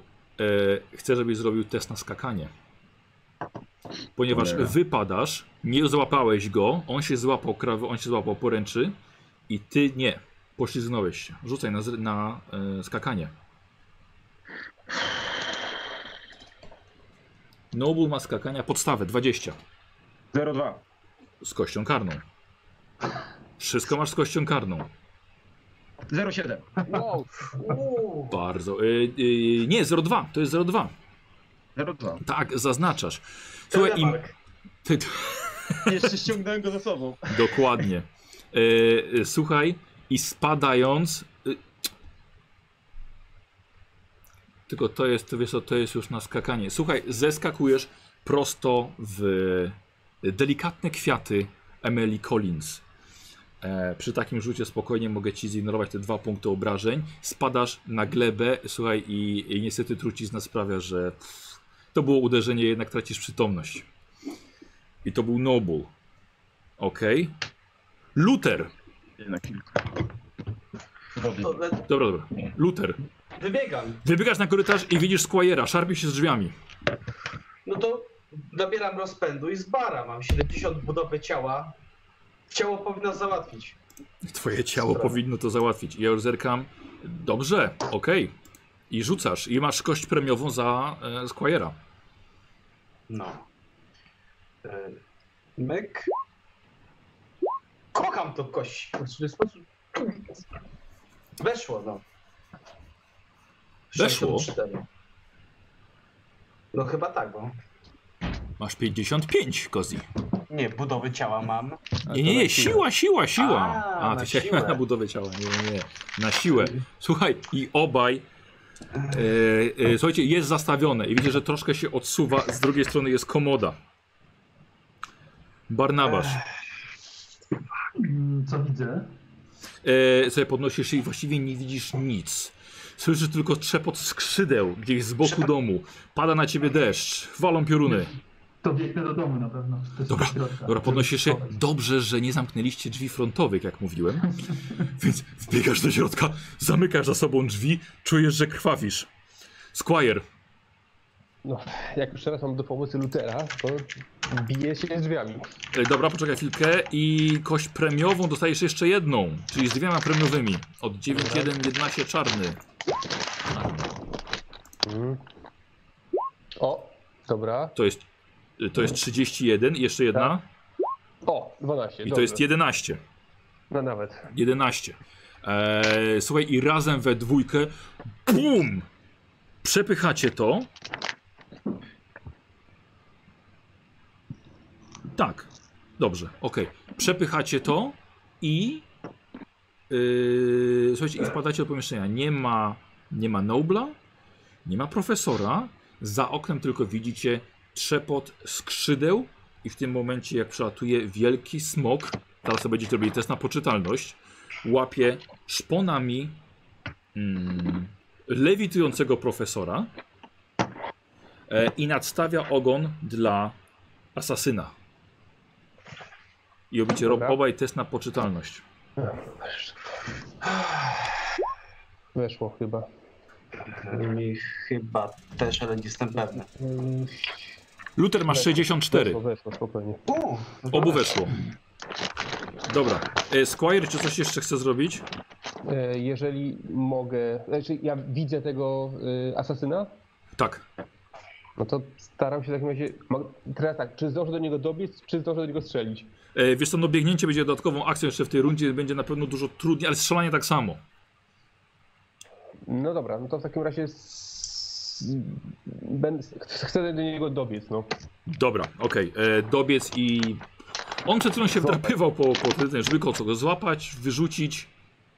e, chcę, żebyś zrobił test na skakanie. Ponieważ Cholera. wypadasz, nie złapałeś go, on się złapał krawy, on się złapał poręczy i ty nie. Poślizgnąłeś się. Rzucaj na, zr- na e, skakanie. Noble ma skakania podstawę 20 0,2. z kością karną. Wszystko masz z kością karną. 0,7. wow, uuu. Bardzo. Y, y, nie, 02, to jest 02. 0,2. Tak, zaznaczasz. Słuchaj, im, Telemark. ty, ty, Jeszcze ściągnąłem go za sobą. dokładnie. Y, y, słuchaj, i spadając. y, tylko to jest, to, wiesz, co, to jest już na skakanie. Słuchaj, zeskakujesz prosto w e, delikatne kwiaty Emily Collins. E, przy takim rzucie spokojnie mogę ci zignorować te dwa punkty obrażeń. Spadasz na glebę, słuchaj, i, i niestety trucizna sprawia, że pff, to było uderzenie, jednak tracisz przytomność. I to był Noble. Ok. Luther. Na kilka. Wody. To le- Dobra, dobra. Luther. Wybiegam. Wybiegasz na korytarz i widzisz Squire'a, szarpie się z drzwiami. No to nabieram rozpędu i zbara. Mam 70 budowy ciała. Ciało powinno załatwić. Twoje ciało Sprawę. powinno to załatwić. Ja już zerkam. Dobrze, okej. I rzucasz. I masz kość premiową za e, Squire'a. No. E, Myk. Kocham to kość. W ten sposób. Weszło, no. Weszło? 64. No chyba tak, bo. Masz 55, Kozi. Nie, budowy ciała mam. Nie, nie, nie, siła, siła, siła. A, A, na ty się siłę. <laughs> na budowę ciała. Nie, nie, nie. Na siłę. Słuchaj, i obaj. E, e, słuchajcie, jest zastawione i widzicie, że troszkę się odsuwa. Z drugiej strony jest komoda. Barnabasz. <laughs> Mm, Co widzę? E, sobie podnosisz się i właściwie nie widzisz nic. Słyszysz tylko trzepot skrzydeł gdzieś z boku Trzepot- domu. Pada na ciebie deszcz, walą pioruny. To biegnę do domu na pewno. To jest Dobra, środka, Dobra, podnosisz się. Tak, żeby schować. Dobrze, że nie zamknęliście drzwi frontowych, jak <laughs> mówiłem. Więc wbiegasz do środka, zamykasz za sobą drzwi, czujesz, że krwawisz. Squire, no, jak już teraz mam do pomocy Lutera, to bije się drzwiami. e, dobra, poczekaj chwilkę i kość premiową dostajesz jeszcze jedną, czyli z dwiema premiowymi. Od 9-1, 11 czarny. Mhm. O, dobra. To jest, e, to jest 31, jeszcze jedna Tak. O, 12. i to dobrze. jest 11. No nawet. 11. Eee, słuchaj, i razem we dwójkę. BUM! Przepychacie to. Tak. Dobrze, okej. Przepychacie to i. Yy, słuchajcie, i wpadacie do pomieszczenia. Nie ma, nie ma Nobla, Nie ma profesora. Za oknem tylko widzicie trzepot skrzydeł i w tym momencie jak przelatuje wielki smok, teraz sobie będziecie robili test na poczytalność, łapie szponami mm, lewitującego profesora e, i nadstawia ogon dla asasyna. I robicie rob, Dobra. obaj test na poczytalność. Weszło chyba. Mi chyba też, ale nie jestem pewny. Mm, Luther ma Weszło. 64. Weszło, weszło, no, spokojnie. U, Obu weszło. Dobra. E, Squire, czy coś jeszcze chce zrobić? E, Jeżeli mogę, znaczy ja widzę tego y, asasyna, Tak. no to staram się w takim razie, mo- teraz tak, czy zdążę do niego dobiec, czy zdążę do niego strzelić? E, Wiesz co, no biegnięcie będzie dodatkową akcją jeszcze w tej rundzie, będzie na pewno dużo trudniej, ale strzelanie tak samo. No dobra, no to w takim razie s... ben... chcę do niego dobiec, no. Dobra, okej. E, Dobiec i... On przed chwilą się Złapać. wdrapywał po, po tym, żeby go co, go złapać, wyrzucić.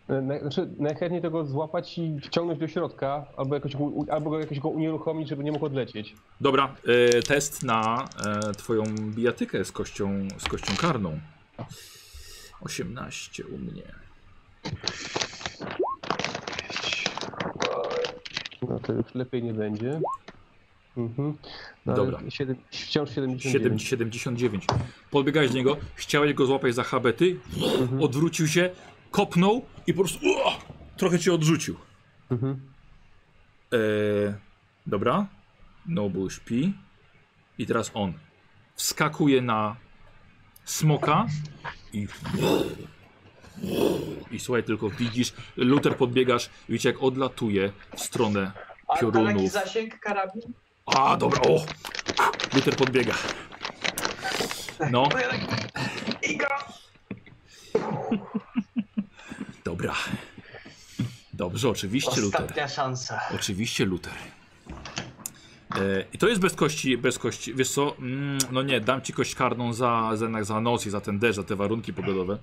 E, na- Znaczy, najchętniej tego złapać i wciągnąć do środka, albo jakoś, u- u- albo go jakoś go unieruchomić, żeby nie mógł odlecieć. Dobra, e, test na e, twoją bijatykę z kością, z kością karną. 18 u mnie. No to już lepiej nie będzie. Mhm. No, Dobra. ale Siedem, wciąż 7, 79. 79. Podbiegałeś do niego, chciałeś go złapać za habety, odwrócił się, kopnął i po prostu uah, trochę cię odrzucił. Mhm. E, dobra. Noble śpi. I teraz on wskakuje na smoka i. I słuchaj, tylko widzisz, Luther podbiegasz, widzicie jak odlatuje w stronę a, a taki piorunów. zasięg karabin? A, dobra, o! Luther podbiega. No, No ja tak... I go! dobra. Dobrze, oczywiście, Luther. Ostatnia szansa. Oczywiście Luther. E, I to jest bez kości, bez kości. Wiesz co, mm, no nie, dam ci kość karną za, za, jednak za noc i za ten deszcz, za te warunki pogodowe.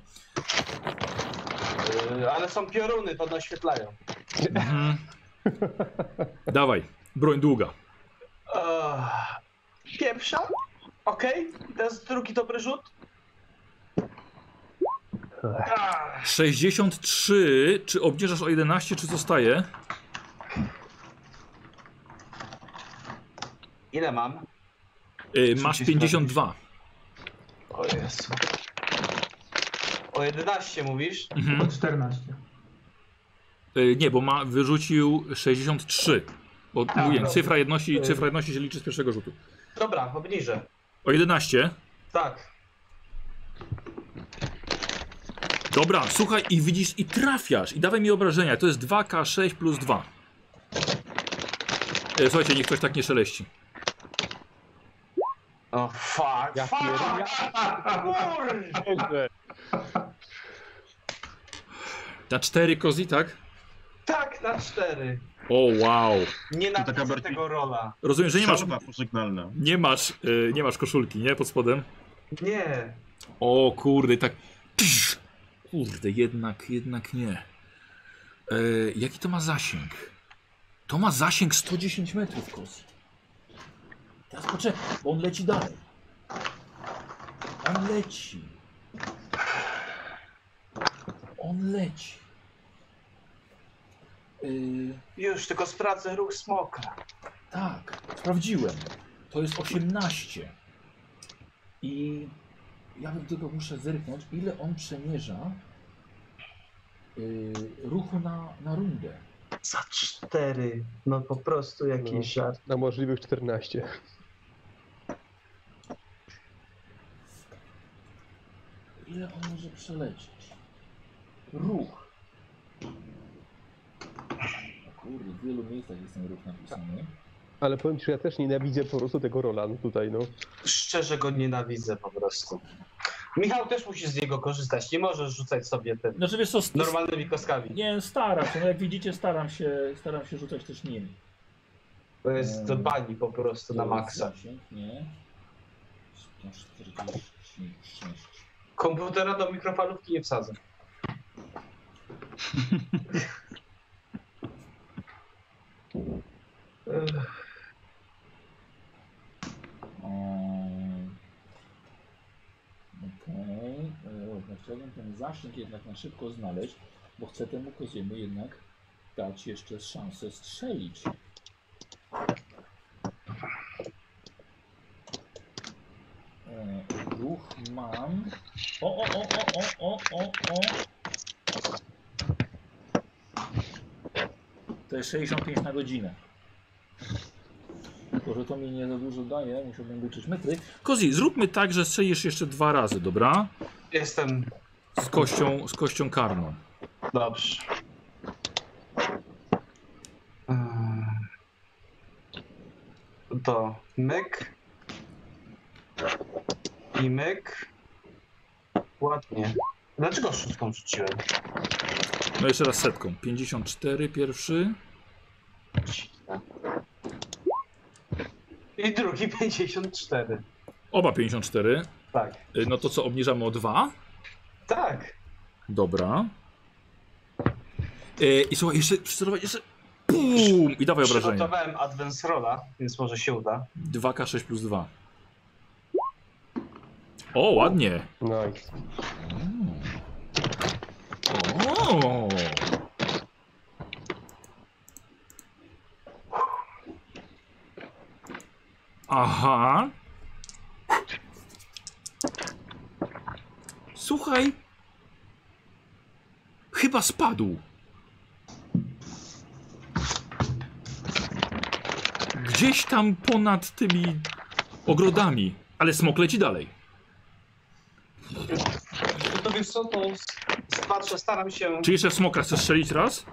Yy, ale są pioruny, to naświetlają. Mhm. Dawaj, broń długa. Ach, Pierwsza? Okej, teraz drugi dobry rzut. Ach, 63, czy obniżasz o 11, czy zostaje? E, Ile mam? E, masz 52. O Jezu. O 11 mówisz? Mhm. O <laughs> 14. E, nie, bo ma, wyrzucił 63. Bo mówię, dobra. cyfra jedności, cyfra jedności się liczy z pierwszego rzutu. Dobra, obniżę. O 11. Tak. Dobra, słuchaj i widzisz i trafiasz i dawaj mi obrażenia. To jest 2K6 plus 2. E, słuchajcie, niech ktoś tak nie szeleści. O oh, fuck, Ja fuck, pierdolę. kurde. Na 4 kozi, tak? Tak, na cztery. O wow. Nienawidzę taka bardziej- tego rola. Rozumiem, że nie masz, Szalba pożegnalna. nie masz, e, nie masz koszulki, nie? Pod spodem? Nie. O kurde, i tak. Psz! Kurde, jednak, jednak nie. E, jaki to ma zasięg? To ma zasięg 110 metrów, Kozi. Teraz poczekaj, bo on leci dalej. On leci. On leci. Yy, Już, tylko sprawdzę ruch smoka. tak, sprawdziłem. To jest 18. I ja bym tylko muszę zerknąć, ile on przemierza yy, ruchu na, na rundę. Za cztery. No po prostu No, jakiś na, żart. na możliwych 14. Ile on może przelecieć? Ruch. O Kurde, w wielu miejscach jest ten ruch napisany. Ale powiem ci, że ja też nienawidzę po prostu tego Roland tutaj, no. Szczerze go nienawidzę po prostu. Michał też musi z niego korzystać. Nie możesz rzucać sobie ten Znaczy wiesz co, st- normalnymi kostkami. nie, staram się, no jak widzicie staram się, staram się rzucać też nimi. To jest do bani po prostu na To jest maksa. zasięg, Nie. 146. Komputera do mikrofalówki nie wsadzę. Eee, Eee, strażnik jednak na szybko znaleźć, bo chcę temu koziemu jednak dać jeszcze szansę strzelić. E, Ruch mam. O, o, o, o, o, o, o, o. To jest 65 na godzinę. Tylko, że to mi nie za dużo daje, musiałbym liczyć metry. Kozi, zróbmy tak, że strzelisz jeszcze dwa razy, dobra? Jestem. Z kością, z kością karną. Dobrze. Eee, To myk. I myk. Ładnie. Dlaczego szóstką rzuciłem? No jeszcze raz setką. 54 pierwszy. I drugi <laughs> 54. Oba 54. Tak. Y, No to co, obniżamy o dwa? Tak. Dobra. Y, I słuchaj, jeszcze przycelować, jeszcze... Pum! I dawaj obrażenia. Przygotowałem Advance Rolla, więc może się uda. 2K6 plus 2. O, ładnie. Nice. O! Aha. Słuchaj. Chyba spadł. Gdzieś tam ponad tymi ogrodami. Ale smok leci dalej. No to wiesz co, to patrzę, staram się. Czy jeszcze w smoka chcesz strzelić raz?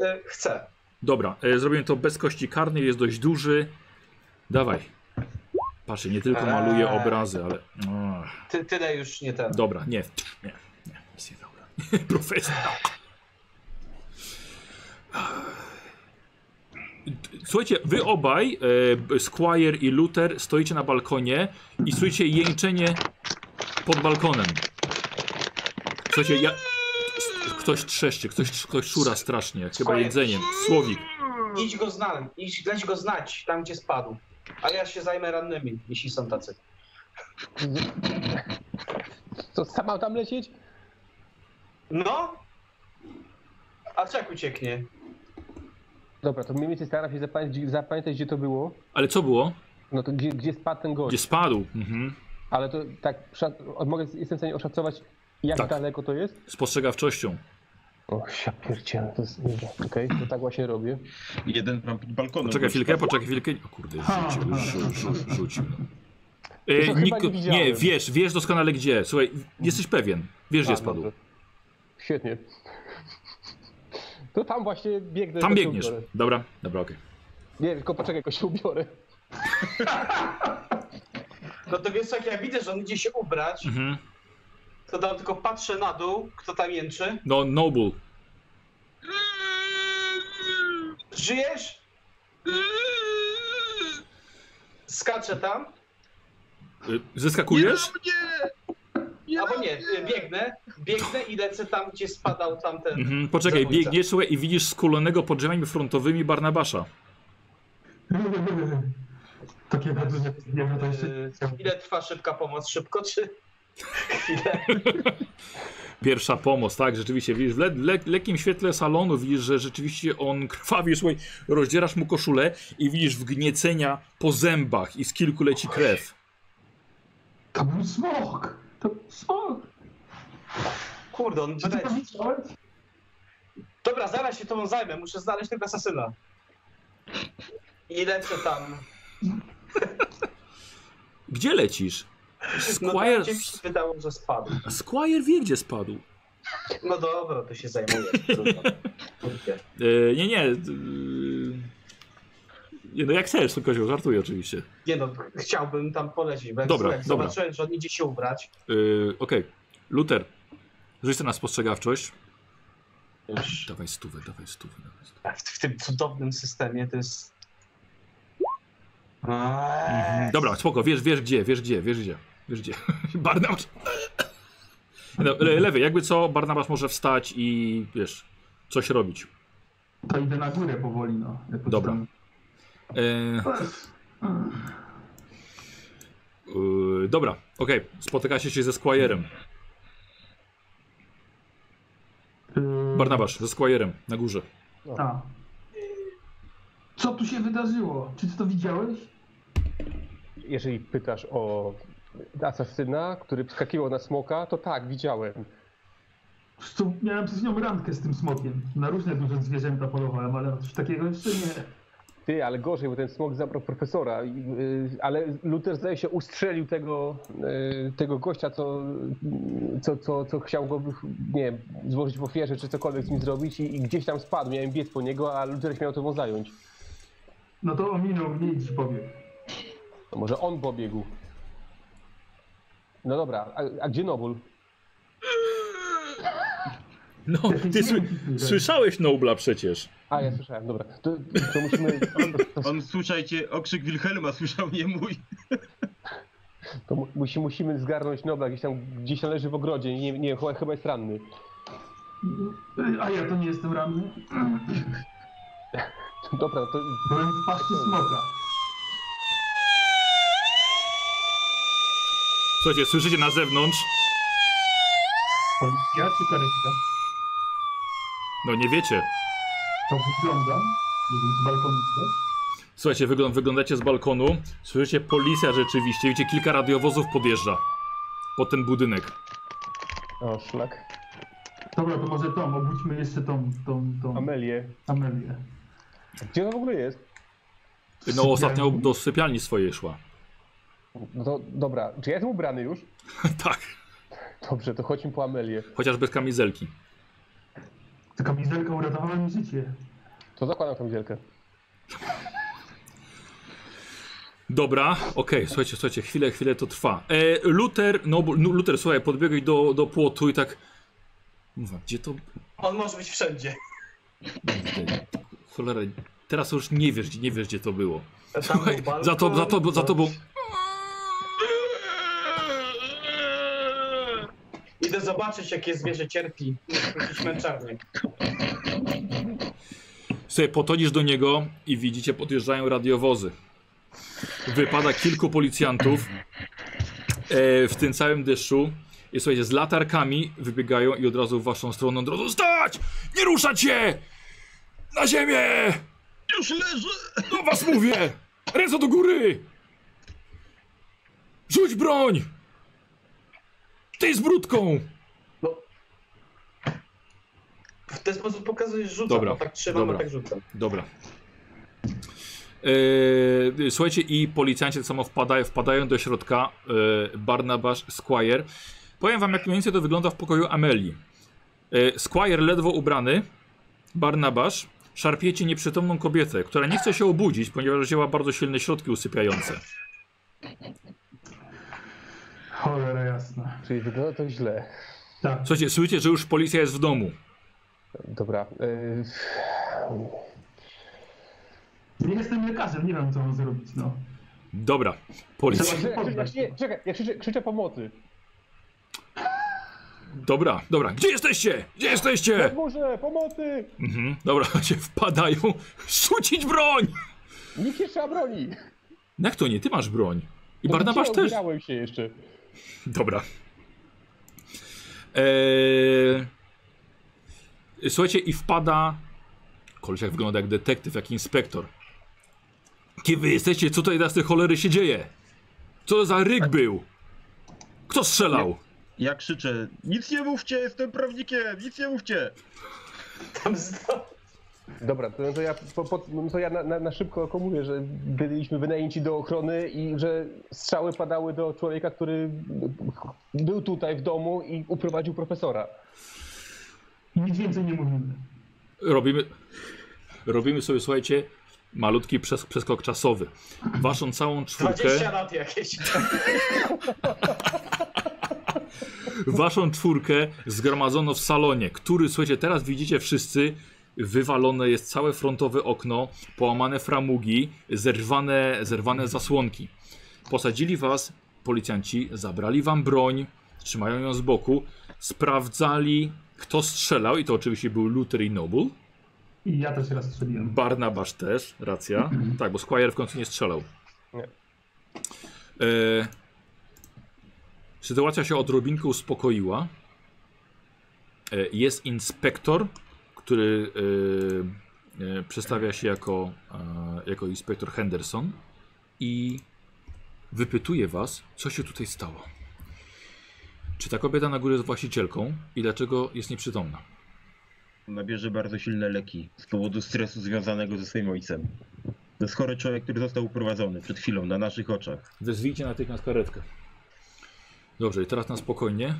E, chcę. Dobra, e, zrobiłem to bez kości karnej, jest dość duży. Dawaj. Patrzę, nie tylko maluję Eee. obrazy, ale. Ach, Ty, tyle już nie ten. Dobra, nie. Nie, nie, nic nie dobra. <laughs> Profesor. Słuchajcie, wy obaj, e, b- Squire i Luther, stoicie na balkonie i słyszycie jęczenie pod balkonem. Słuchajcie, ja... ktoś trzeszczy, ktoś, ktoś szura strasznie, chyba Squire. jedzeniem. Słowik. Idź go znaleźć, idź, dać go znać tam, gdzie spadł. A ja się zajmę rannymi, jeśli są tacy. Co, sam mam tam lecieć? No? A czek ucieknie. Dobra, to mniej więcej staram się zapamiętać, zapamiętać gdzie to było. Ale co było? No to gdzie, gdzie spadł ten gość. Gdzie spadł. Mhm. Ale to tak, przed- mogę, jestem w stanie oszacować, jak Tak. daleko to jest? Spostrzegawczością. O, ja pierdzielę, to jest nieźle. Okej, to tak właśnie robię. Jeden tam pod balkonem. Poczekaj chwilkę, poczekaj chwilkę. O kurde, rzucił, już rzu- rzu- rzucił. E, chyba nie Niko, nie, widziałem. wiesz, wiesz doskonale gdzie. Słuchaj, jesteś pewien. Wiesz, gdzie A, spadł. dobrze. Świetnie. To tam właśnie biegnę. Tam tylko się biegniesz. ubiorę. Dobra, dobra, okej. Nie, tylko poczekaj, tylko się ubiorę. No to wiesz, co, jak ja widzę, że on idzie się ubrać, Mhm. to tam tylko patrzę na dół, kto tam jęczy. No, Noble. Żyjesz? Skaczę tam, Y, Zeskakujesz? albo nie, y, biegnę, biegnę i lecę tam, gdzie spadał tamten. Mhm. Poczekaj, Zabójca. biegniesz słuchaj, i widzisz skulonego pod drzwiami frontowymi Barnabasza. Takie radośnie, nie wiem, to jeszcze... Y, Ile trwa szybka pomoc? Szybko czy chwilę? Pierwsza pomoc, tak, rzeczywiście, widzisz, w le le lekkim świetle salonu widzisz, że rzeczywiście on krwawi, słuchaj, rozdzierasz mu koszulę i widzisz wgniecenia po zębach i z kilku leci krew. To był smok! To był smok! Kurde, on Czy ty to wyleci. widziałeś? Dobra, zaraz się tobą zajmę, muszę znaleźć tego asasyna. I lecę tam. Gdzie lecisz? No Squire, tam, gdzie mi się wydało, że spadł. Squire wie, gdzie spadł. No dobra, to się zajmuję. Trudno. Kurde. E, nie, nie. e, nie, no jak chcesz, to kozioł, żartuję oczywiście. Nie no, chciałbym tam polecieć, bo jak, Dobra, jak dobra. zobaczyłem, że on idzie się ubrać, E, Okej, Luther, rzuć sobie na spostrzegawczość. już Dawaj stówę, dawaj stówę. Dawaj stówę. w, w tym cudownym systemie to jest... Eee, Dobra, spoko, wiesz, wiesz gdzie, wiesz gdzie, wiesz gdzie. Wiesz gdzie. <laughs> Barnabasz. No, le, lewy, jakby co, Barnabasz może wstać i wiesz, coś robić. To idę na górę powoli, no. Jakoś Dobra. tam- E, Mm. Yy, dobra, okej. Spotykacie się ze Squire'em. Barnabasz, ze Squire'em na górze. Eee, A. Co tu się wydarzyło? Czy ty to widziałeś? Jeżeli pytasz o asasyna, który wskakiwał na smoka, to tak, widziałem. Zresztą miałem przez nią randkę z tym smokiem. Na różne duże zwierzęta polowałem, ale coś takiego jeszcze nie. Ty, ale gorzej, bo ten smok zabrał profesora. i, y, Ale Luther zdaje się ustrzelił tego, y, tego gościa, co, co, co, co chciał go, nie wiem, złożyć w ofierze, czy cokolwiek z nim zrobić i, i gdzieś tam spadł. Miałem biec po niego, a Luther się miał tobą zająć. No to ominął mnie i ci powiem. To może on pobiegł. No dobra, a, a gdzie Nobul? No, ty sły... słyszałeś Nobla przecież. A, ja słyszałem, dobra. To, to musimy... On, słyszajcie, okrzyk Wilhelma słyszał, nie mój. To mu- musi, musimy zgarnąć Nobla, gdzieś tam, gdzieś tam leży w ogrodzie, nie, nie chyba, chyba jest ranny. <laughs> A ja to nie jestem ranny? Dobra, to Byłem w paszczy smoka. Słuchajcie, słyszycie na zewnątrz? Policja czy karetka? No nie wiecie. To wyglądam. Nie wiem, z balkonika. Słuchajcie, wyglą- wyglądacie z balkonu. Słyszycie policja rzeczywiście. Widzicie, kilka radiowozów podjeżdża pod ten budynek. o, szlak. Dobra, to może Tom, obudźmy jeszcze tą, tą, tą Amelię. Amelię. Gdzie ona w ogóle jest? No ostatnio do sypialni swojej szła. No to, dobra, czy ja jestem ubrany już? tak, Dobrze, to chodźmy po Amelię. chociaż bez kamizelki. Ta kamizelka uratowała mi życie. To zakładam kamizelkę. Dobra, okej, słuchajcie, słuchajcie, chwilę, chwilę to trwa. E, Luther, no, bo- no Luther, słuchaj, podbiegaj do, do płotu i tak... Mówię, gdzie to... On może być wszędzie. Cholera, teraz już nie wiesz, gdzie- nie wiesz gdzie to było. Tam Słuchaj, był balkon, za to, za to, za to był... Idę zobaczyć, jakie zwierzę cierpi. Jakiś męczarnik. Słuchaj, podchodzisz do niego i widzicie, podjeżdżają radiowozy. Wypada kilku policjantów e, w tym całym deszczu. I słuchajcie, z latarkami wybiegają i od razu w waszą stronę od razu stać! Nie ruszać się! Na ziemię! Już leży! Do was mówię! Ręce do góry! Rzuć broń! Ty z brudką! W ten sposób pokazujesz, rzucam, Dobra, a tak trzymam, dobra. a tak rzucam. Dobra. Eee, słuchajcie, i policjanci tak samo wpadają, wpadają do środka. Eee, Barnabasz Squire. Powiem wam, jak mniej więcej to wygląda w pokoju Amelii. Eee, Squire ledwo ubrany, Barnabasz szarpiecie nieprzytomną kobietę, która nie chce się obudzić, ponieważ wzięła bardzo silne środki usypiające. Cholera jasna. Czyli wygląda to źle. Tak. Słuchajcie, słyszycie, że już policja jest w domu. Dobra. y, Nie jestem lekarzem, nie wiem co mam zrobić, no. Dobra, policja. <laughs> Trzeba się poddać. Czekaj, czekaj, ja krzyczę, krzyczę pomocy. Dobra, dobra. Gdzie jesteście? Gdzie jesteście? Może pomocy! Mhm, dobra, <laughs> się wpadają. Rzucić broń! Nikt jeszcze ma broni! No Jak to nie? Ty masz broń. I Barnabasz też. Ubierałem się jeszcze. Dobra. Eee... Słuchajcie, i wpada. Koleś jak wygląda jak detektyw, jak inspektor. Kim wy jesteście? Co tutaj teraz tej cholery się dzieje? Co za ryk był? Kto strzelał? Ja krzyczę, nic nie mówcie, jestem prawnikiem, nic nie mówcie! Tam znowu. Dobra, to, to ja, po, po, no to ja na, na, na szybko komuję, że byliśmy wynajęci do ochrony i że strzały padały do człowieka, który był tutaj w domu i uprowadził profesora. I nic więcej nie mówimy. Robimy, robimy sobie, słuchajcie, malutki przes przeskok czasowy. Waszą całą 20 czwórkę. lat jakieś. Waszą czwórkę zgromadzono w salonie, który, słuchajcie, teraz widzicie wszyscy, wywalone jest całe frontowe okno, połamane framugi, zerwane, zerwane zasłonki. Posadzili was, policjanci zabrali wam broń, trzymają ją z boku, sprawdzali, kto strzelał i to oczywiście był Luther i Noble. I ja też raz strzeliłem. Barnabasz też, racja. Tak, bo Squire w końcu nie strzelał. Nie. E, sytuacja się odrobinkę uspokoiła. E, jest inspektor, który e, e, przedstawia się jako, e, jako inspektor Henderson i wypytuje was, co się tutaj stało. Czy ta kobieta na górze jest właścicielką i dlaczego jest nieprzytomna? Ona bierze bardzo silne leki z powodu stresu związanego ze swoim ojcem. To jest chory człowiek, który został uprowadzony przed chwilą na naszych oczach. Wezwijcie natychmiast karetkę. Dobrze, i teraz na spokojnie.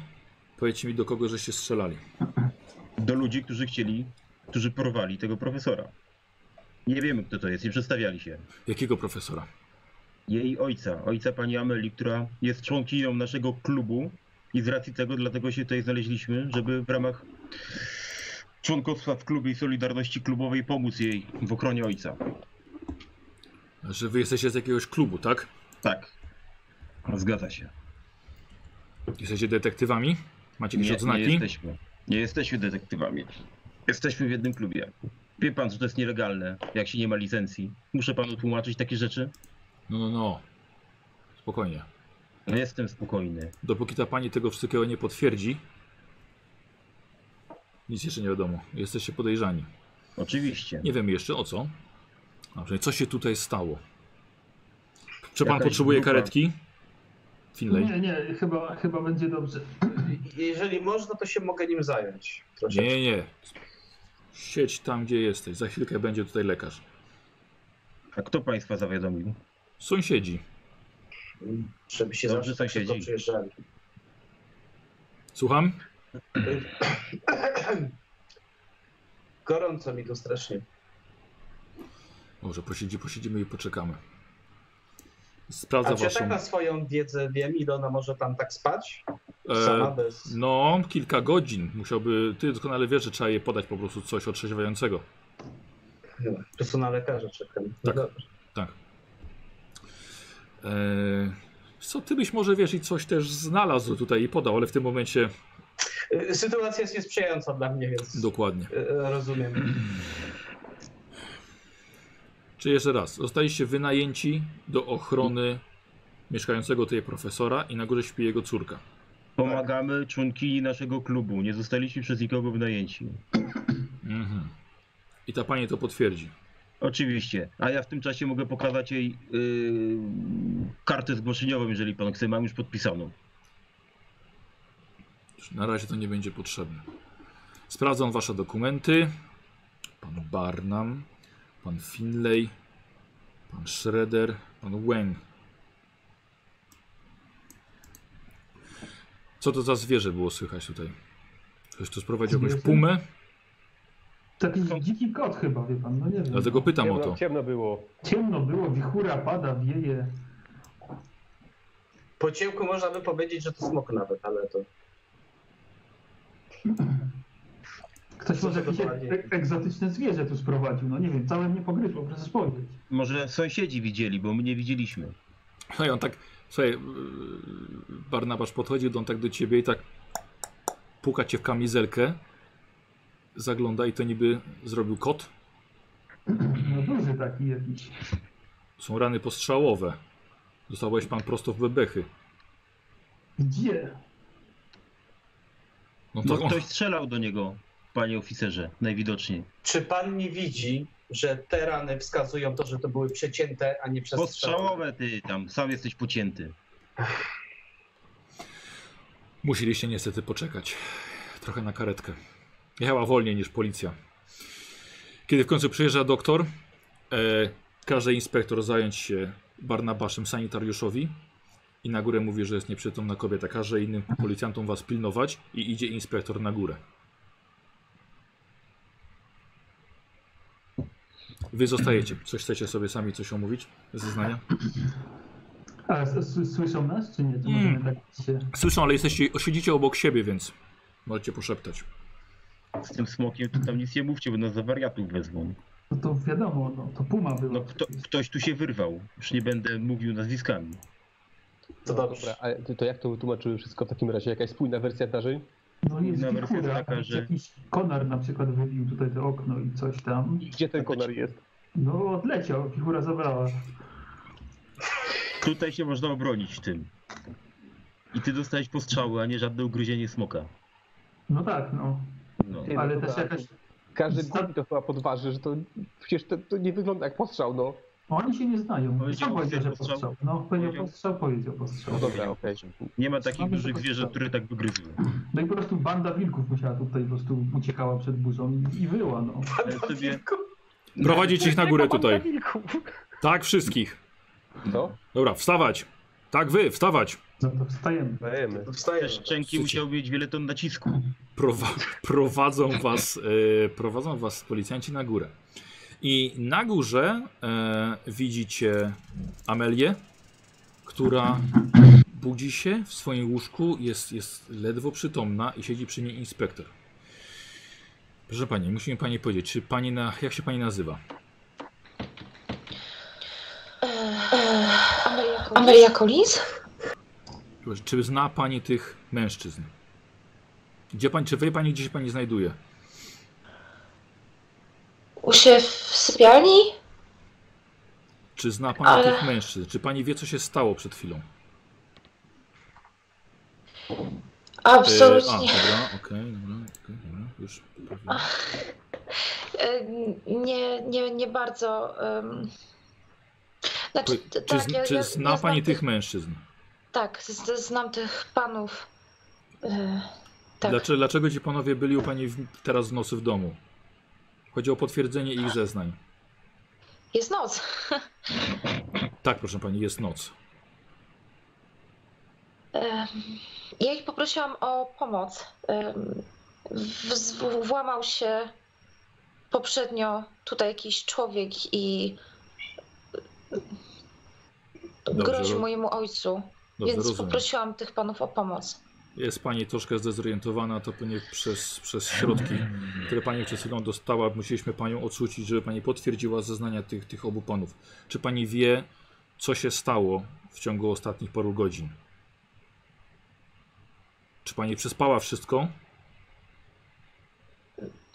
Powiedzcie mi, do kogo żeście strzelali. Do ludzi, którzy chcieli, którzy porwali tego profesora. Nie wiemy, kto to jest, nie przedstawiali się. Jakiego profesora? Jej ojca, ojca pani Ameli, która jest członkinią naszego klubu i z racji tego dlatego się tutaj znaleźliśmy, żeby w ramach członkostwa w klubie i Solidarności Klubowej pomóc jej w ochronie ojca. Że wy jesteście z jakiegoś klubu, tak? Tak. Zgadza się. Jesteście detektywami? Macie jakieś Nie, nie odznaki? jesteśmy. Nie jesteśmy detektywami. Jesteśmy w jednym klubie. Wie pan, że to jest nielegalne, jak się nie ma licencji. Muszę panu tłumaczyć takie rzeczy? No, no, no. Spokojnie. No jestem spokojny. Dopóki ta pani tego wszystkiego nie potwierdzi, nic jeszcze nie wiadomo. Jesteście podejrzani. Oczywiście. Nie wiemy jeszcze o co. A przynajmniej co się tutaj stało. Czy pan Jakaś potrzebuje grupa. karetki? Finlay. Nie, nie, chyba, chyba będzie dobrze. <laughs> Jeżeli można, to się mogę nim zająć. Troszeczkę. Nie, nie. Siedź tam, gdzie jesteś. Za chwilkę będzie tutaj lekarz. A kto państwa zawiadomił? Sąsiedzi. Żeby się Dobrze, zawsze tak sąsiedzi. szybko przyjeżdżali. Słucham? Gorąco mi tu strasznie. Może posiedzi, posiedzimy i poczekamy. A Sprawdza czy ja tak waszą. na swoją wiedzę wiem, ile ona może tam tak spać? Sama E, bez... no, kilka godzin. Musiałby. Ty doskonale wiesz, że trzeba jej podać po prostu coś otrzeźwiającego. Chyba. To są na lekarza czekam. Tak. No, Tak. E, co ty byś może wiesz i coś też znalazł tutaj i podał, ale w tym momencie y, Sytuacja jest niesprzyjająca dla mnie, więc dokładnie. y, y, rozumiem. Czy jeszcze raz, zostaliście wynajęci do ochrony mieszkającego tutaj profesora i na górze śpi jego córka. Pomagamy członkini naszego klubu. Nie zostaliśmy przez nikogo wynajęci. Mhm. I ta pani to potwierdzi. Oczywiście. A ja w tym czasie mogę pokazać jej yy, kartę zgłoszeniową, jeżeli pan chce. Mam już podpisaną. Na razie to nie będzie potrzebne. Sprawdzą wasze dokumenty. Pan Barnum, pan Finlay, pan Schroeder, pan Wang. Co to za zwierzę było słychać tutaj? Ktoś tu sprowadził jakąś Zwierzę? pumę? Taki dziki kot chyba, wie pan, no nie wiem. Dlatego pytam o Ciemno, to. ciemno było. Ciemno było, wichura pada, wieje. Po ciemku można by powiedzieć, że to smok nawet, ale to... Ktoś Co może to jakieś dokładnie? ek- egzotyczne zwierzę tu sprowadził, no nie wiem, całe mnie pogryzło, proszę spojrzeć. Może sąsiedzi widzieli, bo my nie widzieliśmy. No i on tak, słuchaj, yy, Barnabasz podchodzi, on tak do ciebie i tak puka cię w kamizelkę, zagląda i to niby zrobił kot. No duży taki jakiś. Są rany postrzałowe. Dostałeś pan prosto w bebechy. Gdzie? No to No, on, ktoś strzelał do niego, panie oficerze, najwidoczniej. Czy pan nie widzi, że te rany wskazują to, że to były przecięte, a nie przestrzałe? Postrzałowe ty tam, sam jesteś pocięty. musieliście niestety poczekać. Trochę na karetkę. Jechała wolniej niż policja. Kiedy w końcu przyjeżdża doktor, e, każe inspektor zająć się Barnabaszem sanitariuszowi i na górę mówi, że jest nieprzytomna kobieta. Każe innym policjantom was pilnować i idzie inspektor na górę. Wy zostajecie. Coś chcecie sobie sami coś omówić? Zeznania? A s- s- słyszą nas, czy nie? To Mm. możemy tak się... Słyszą, ale jesteście, siedzicie obok siebie, więc możecie poszeptać. Z tym smokiem to tam nic nie mówcie, bo nas za wariatów wezmą. No to wiadomo, no, to puma była. No kto, ktoś tu się wyrwał, już nie będę mówił nazwiskami. To Dobra, dobrze. a ty- to jak to wytłumaczyły wszystko w takim razie? Jakaś spójna wersja zdarzeń? No jest Nawet jest wichura, taka, że- jakiś konar na przykład wybił tutaj to okno i coś tam. I gdzie ten konar jest? No odleciał, wichura zabrała. Tutaj się można obronić tym. I ty dostałeś postrzały, a nie żadne ugryzienie smoka. No tak, no. No. Ty, no Ale to też tak. jakaś Każdy głupi to chyba podważy, że to przecież to, to nie wygląda jak postrzał, no. Oni się nie znają. Powiedział Kto powiedział, że postrzał? postrzał? No, powiedział Powiedział- postrzał, powiedział postrzał. No dobra, okej. Nie ma takich Słaby dużych tylko zwierząt, strzał. które tak wygryzły. No i po prostu banda wilków musiała tutaj po prostu uciekała przed burzą i, i wyła, no. Ja sobie... Prowadzić ich na górę Tylko banda tutaj. wilków. Tak, wszystkich. Co? Dobra, wstawać. Tak, wy, wstawać. No to wstajemy. Dajemy. Te Wstajemy. szczęki musiały mieć wiele ton nacisku. Prowa <laughs> prowadzą, was, e, prowadzą was policjanci na górę. I na górze e, widzicie Amelię, która budzi się w swoim łóżku, jest, jest ledwo przytomna i siedzi przy niej inspektor. Proszę pani, musi mi pani powiedzieć, czy pani na, jak się pani nazywa? Amelia Collins? Czy zna pani tych mężczyzn? Gdzie pani, czy wie pani, gdzie się pani znajduje? U się w sypialni? Czy zna pani Ale- tych mężczyzn? Czy pani wie, co się stało przed chwilą? E, a, Absolutnie. dobra, okej, dobra, okej, dobra, już poprawiłem. E, Nie, nie, nie bardzo. em. Znaczy, Powie- tak, Czy, zn- ja- czy ja- zna ja znam pani tych tych- mężczyzn? Tak, z, z- znam tych panów. E, tak. Dlaczego, dlaczego ci panowie byli u pani w, teraz w nocy w domu? Chodzi o potwierdzenie ich zeznań. Jest noc. Tak, proszę pani, jest noc. Em, Ja ich poprosiłam o pomoc. Em, w- z- Włamał się poprzednio tutaj jakiś człowiek i groził ro- mojemu ojcu, Dobrze, więc rozumiem. poprosiłam tych panów o pomoc. Jest pani troszkę zdezorientowana, to pewnie przez, przez środki, które pani przed chwilą dostała, musieliśmy panią odrzucić, żeby pani potwierdziła zeznania tych, tych obu panów. Czy pani wie, co się stało w ciągu ostatnich paru godzin? Czy pani przespała wszystko?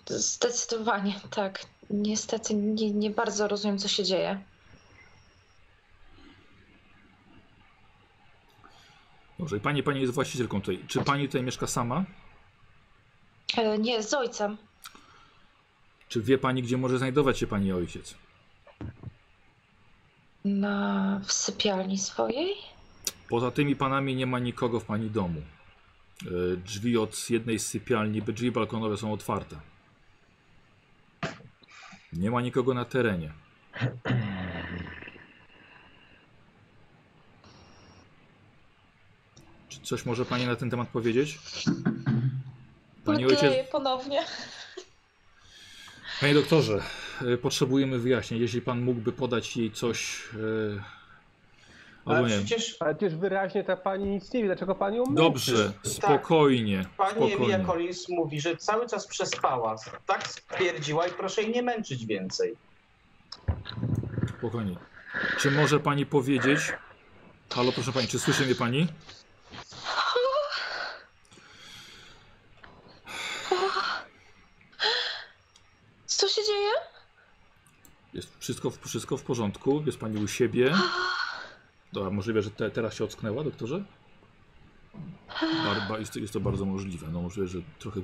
Zdecydowanie tak. Niestety nie, nie bardzo rozumiem, co się dzieje. Dobrze, i pani, pani jest właścicielką tutaj. Czy pani tutaj mieszka sama? E, Nie, z ojcem. Czy wie pani, gdzie może znajdować się pani ojciec? Na, w sypialni swojej? Poza tymi panami nie ma nikogo w pani domu. E, Drzwi od jednej z sypialni, by drzwi balkonowe są otwarte. Nie ma nikogo na terenie. Czy coś może pani na ten temat powiedzieć? Pani ojciec, Pleje ponownie. Panie doktorze, y, potrzebujemy wyjaśnień. Jeśli pan mógłby podać jej coś. y, Ale Albo nie. przecież Ale przecież wyraźnie ta pani nic nie wie, dlaczego pani ją męczy? Dobrze, spokojnie. pani Emilia spokojnie. Collins mówi, że cały czas przespała. Tak stwierdziła i proszę jej nie męczyć więcej. spokojnie. Czy może pani powiedzieć. Halo, proszę pani, czy słyszy mnie pani? Co się dzieje? Jest wszystko, w- wszystko w porządku? Jest pani u siebie? Dobra, możliwe, że te, teraz się ocknęła, doktorze? Barba, jest, jest to bardzo możliwe. No, możliwe, że trochę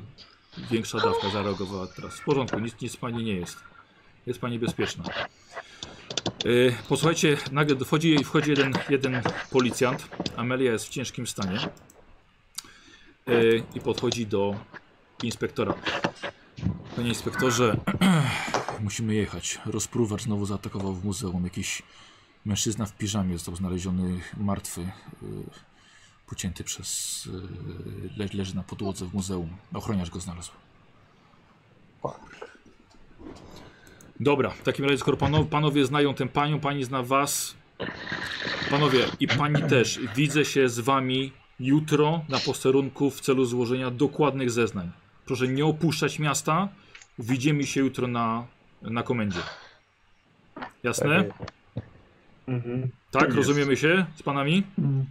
większa dawka zareagowała teraz. W porządku, nic, nic pani nie jest. Jest pani bezpieczna. Yy, posłuchajcie, nagle wchodzi, wchodzi jeden, jeden policjant. Amelia jest w ciężkim stanie. Yy, I podchodzi do inspektora. Panie inspektorze, musimy jechać. Rozpruwacz znowu zaatakował w muzeum. Jakiś mężczyzna w piżamie został znaleziony martwy, y, pocięty przez. y, Le, leży na podłodze w muzeum. Ochroniarz go znalazł. Dobra, w takim razie, skoro panowie, panowie znają tę panią, pani zna was. Panowie i pani też, widzę się z wami jutro na posterunku w celu złożenia dokładnych zeznań. Proszę nie opuszczać miasta. Widzimy się jutro na, na komendzie. Jasne? Tak, Mhm. Tak jest. rozumiemy się z panami? Mm.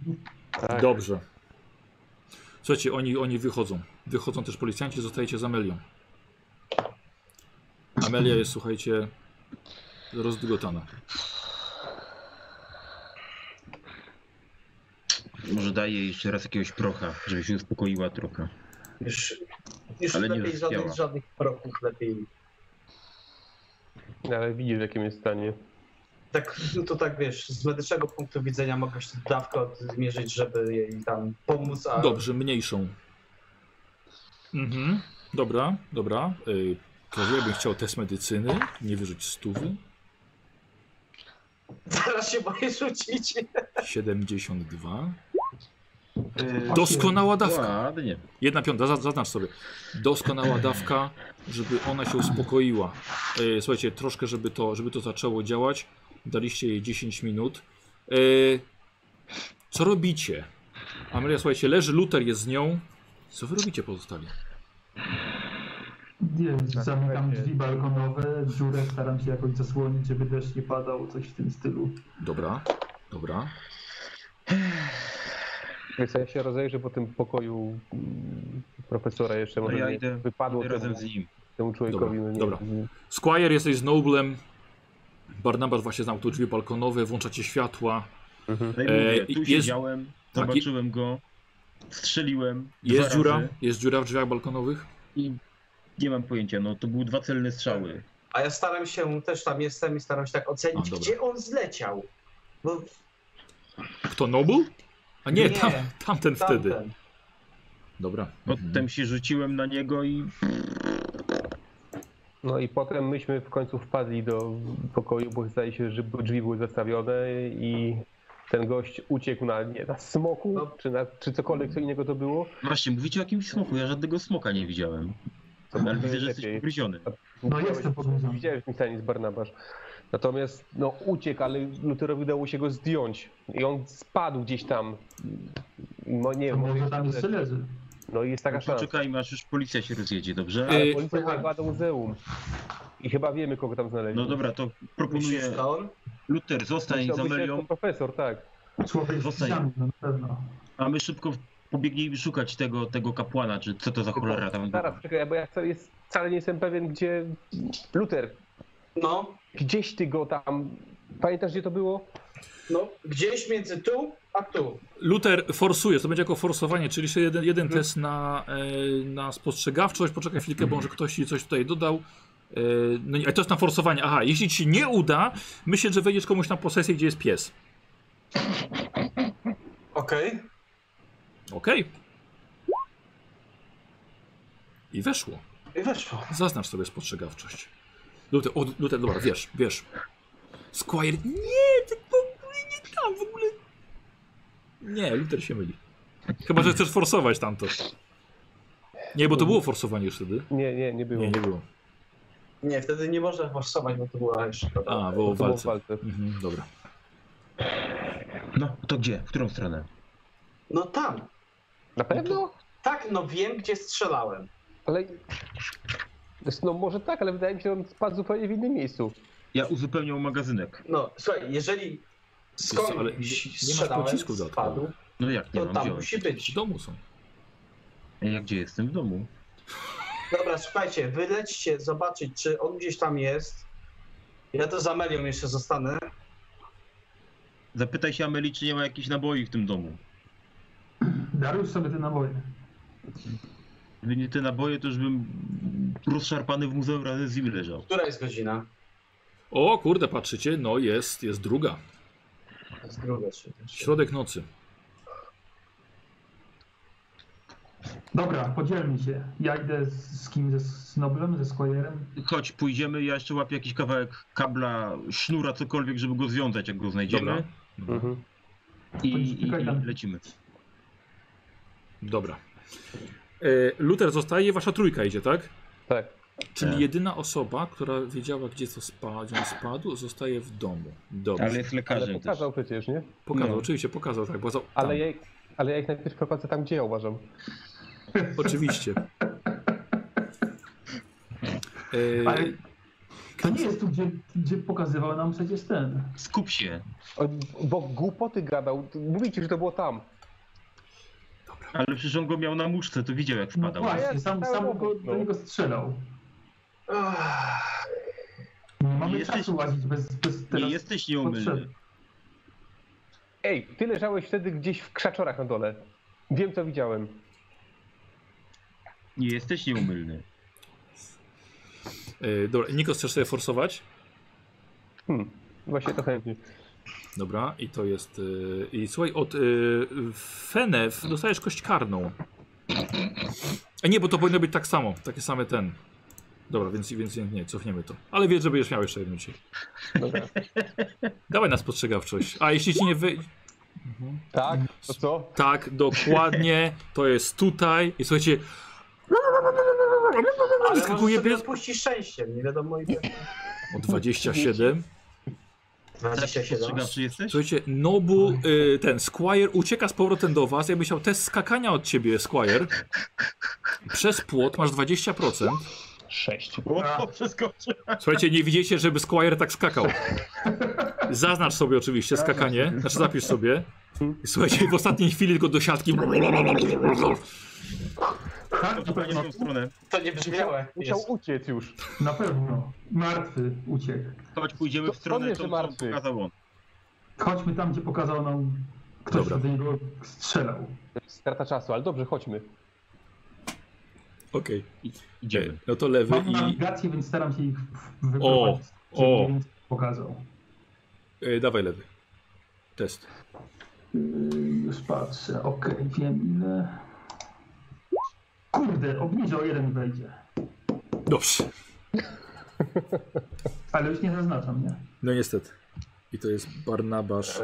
Tak. Dobrze. Słuchajcie, oni, oni wychodzą. Wychodzą też policjanci, zostajecie z Amelią. Amelia jest, słuchajcie, rozdygotana. Może daję jej jeszcze raz jakiegoś procha, żeby się uspokoiła trochę. Już, już Ale nie lepiej zaśpiewała. żadnych, żadnych prochów lepiej Ale widzisz, w jakim jest stanie. Tak, no to tak wiesz, z medycznego punktu widzenia mogłeś tę dawkę odmierzyć, żeby jej tam pomóc, a <laughs> Dobrze, mniejszą. Mhm. Dobra, dobra. Y, Kozioł bym chciał test medycyny, nie wyrzuć stówy. zaraz się boję rzucić. 72. Yy, Doskonała dawka. Ładnie. Jedna piąta, za- zaznacz sobie. Doskonała dawka, żeby ona się uspokoiła. Y, Słuchajcie, troszkę, żeby to, żeby to zaczęło działać. Daliście jej 10 minut. Y, Co robicie? Amelia, słuchajcie, leży, Luther jest z nią. Co wy robicie pozostali? Nie wiem, zamykam Słuchajcie. drzwi balkonowe, dziurę staram się jakoś zasłonić, żeby deszcz nie padał, coś w tym stylu. Dobra, dobra. Wiesz, co, ja się rozejrzę po tym pokoju mm, profesora jeszcze, No może ja nie idę wypadło idę razem temu, z nim. temu człowiekowi. Dobra, no nie- dobra. nie- Squire, jesteś z Noblem. Barnabas właśnie zamknął drzwi balkonowe, włączacie światła. Mhm. No i mówię, E, tu jest- siedziałem, tak, zobaczyłem go, strzeliłem. dwa Jest razy. dziura? Jest dziura w drzwiach balkonowych? Nie mam pojęcia, no to były dwa celne strzały. A ja staram się, też tam jestem i staram się tak ocenić, A, dobra. gdzie on zleciał. Bo Kto, Noble? A nie, Nie, tam, tamten tamten. wtedy. Dobra. Potem się rzuciłem na niego i No i potem myśmy w końcu wpadli do pokoju, bo zdaje się, że drzwi były zastawione i ten gość uciekł na, nie, na smoku, No. czy, na, czy cokolwiek co innego to było. właśnie mówicie o jakimś smoku, ja żadnego smoka nie widziałem. To może Ale widzę, że lepiej. jesteś pogryziony. No jestem podróżny. Widziałeś w stanie z Barnabasz. Natomiast no, uciekł, ale Luterowi udało się go zdjąć. I on spadł gdzieś tam. No nie To wiem, może tam jeszcze jeszcze- leży. No i jest taka szansa. Poczekajmy, aż już policja się rozjedzie, dobrze? E, Ale policja pojechała do muzeum. I chyba wiemy, kogo tam znaleźli. No dobra, to proponuję... Myślisz, że on? Luther, zostań z Musiał być Amelią, jako profesor, tak. Człowiek z Zostań. ścianą, no na pewno. a my szybko pobiegnijmy szukać tego, tego kapłana, czy co to za cholera tam była. Zaraz, czekaj, bo ja wcale, jest, wcale nie jestem pewien, gdzie... Luter, No, gdzieś ty go tam... Pamiętasz, gdzie to było? no, gdzieś między tu a tu. Luther forsuje, to będzie jako forsowanie, czyli jeszcze jeden, jeden test na, e, na spostrzegawczość. Poczekaj chwilkę, bo może ktoś ci coś tutaj dodał. E, no nie, ale to jest na forsowanie. Aha, jeśli ci nie uda, myślę, że wejdziesz komuś na posesję, gdzie jest pies. Okej. Okej. I weszło. I weszło. Zaznacz sobie spostrzegawczość. Luther, o, Luther, dobra, wiesz, wiesz. Squire, nie, ty w ogóle nie tam, w ogóle. Nie, Luther się myli. Chyba, że chcesz forsować tamto. Nie, bo to było forsowanie już wtedy. Nie, nie, nie było. Nie, nie było. Nie, wtedy nie można forsować, bo to była jeszcze. A, było To w było w walce. walce. Mhm, dobra. No, to gdzie? W którą stronę? No tam. Na pewno? Tak, no wiem, gdzie strzelałem. Ale... No może tak, ale wydaje mi się, że on spadł zupełnie w innym miejscu. Ja uzupełniam magazynek. No, słuchaj, jeżeli skąd ale nie- nie masz pocisków dodatkowych. spadł, No jak nie to mam tam wziąłem? musi być. W domu są. Ja gdzie jestem? W domu. Dobra, słuchajcie, wylećcie, zobaczyć, czy on gdzieś tam jest. Ja to z Amelią jeszcze zostanę. Zapytaj się Ameli, czy nie ma jakichś naboi w tym domu. Dariusz sobie te naboje. Gdyby nie te naboje, to już bym rozszarpany w muzeum razem z nim leżał. Która jest godzina? O kurde, patrzycie, no jest, jest druga. To jest druga, czy czy- Środek nocy. Dobra, podzielmy się. Ja idę z, z kim? Ze Snoblem, ze Squirem? Chodź, pójdziemy, ja jeszcze łapię jakiś kawałek kabla, sznura, cokolwiek, żeby go związać, jak go znajdziemy. Dobra. Mhm. I, i, Czekaj tam. I lecimy. Dobra. E, Luther zostaje, wasza trójka idzie, tak? Tak. Czyli Tak. jedyna osoba, która wiedziała, gdzie to spadł, gdzie on spadł, zostaje w domu. Dobrze. Ale jest Ale lekarzem też. pokazał przecież, nie? Pokazał, no. oczywiście pokazał, tak. Bo za... Ale tam. ja, ich- ale ja ich najpierw prowadzę tam, gdzie ja uważam. Oczywiście. E, Ale to nie jest tu, gdzie, gdzie pokazywał nam przecież ten. Skup się, On- Bo głupoty gadał. Mówi ci, że to było tam. ale przecież on go miał na muszce, to widział jak No spadał. właśnie, Ja sam, czytałem sam go, obok, no. do niego strzelał. Ach, Nie mamy Jesteś- czasu łazić bez, bez nie teraz. jesteś nieomylny. Potrzebny. Ej, ty leżałeś wtedy gdzieś w krzaczorach na dole. Wiem, co widziałem. Nie jesteś nieomylny. e, dobra, Niko, chcesz sobie forsować? Hmm, właśnie to chętnie. Dobra, i to jest. y, I słuchaj, od y, Fenew dostajesz kość karną. A nie, bo to powinno być tak samo, takie same ten. Dobra, więc, więc nie, cofniemy to. Ale wiedz, że będziesz miał jeszcze jedną dzisiaj. Dobra. Dawaj na spostrzegawczość. A jeśli ci nie wy... Tak, to co? Tak, dokładnie, to jest tutaj. I słuchajcie... Ale Wyskakuje może sobie pies... Tak, odpuścić szczęściem, nie wiadomo ile. O 27. 27. Spostrzegawczy jesteś? Słuchajcie, Nobu, y, ten Squire ucieka z powrotem do was. Ja bym chciał test skakania od ciebie, Squire. Przez płot masz 20%. Sześć. O, przeskoczy. Słuchajcie, nie widzicie, żeby Squire tak skakał. Zaznacz sobie oczywiście skakanie, znaczy zapisz sobie. I słuchajcie, w ostatniej chwili tylko do siatki. Tak, To panie w na pewno. tą stronę. To nie brzmiałe. Musiał Jest. uciec już. Na pewno. Martwy uciekł. Chodź, pójdziemy w To- stronę, powiesz, tą, że którą martwy. pokazał on. Chodźmy tam, gdzie pokazał nam ktoś, Dobra. kto do niego strzelał. To jest Strata czasu, ale dobrze, chodźmy. Okej, Idziemy. no to lewy Mam i... nawigację, więc staram się ich w- wyprowadzić. O, żeby o. mniej więcej Pokazał. E, dawaj lewy. Test. Yy, już patrzę, okej, wiem ile. Kurde, obniżę o jeden wejdzie. Dobrze. Ale już nie zaznaczam, nie? No niestety. I to jest Barnabasz.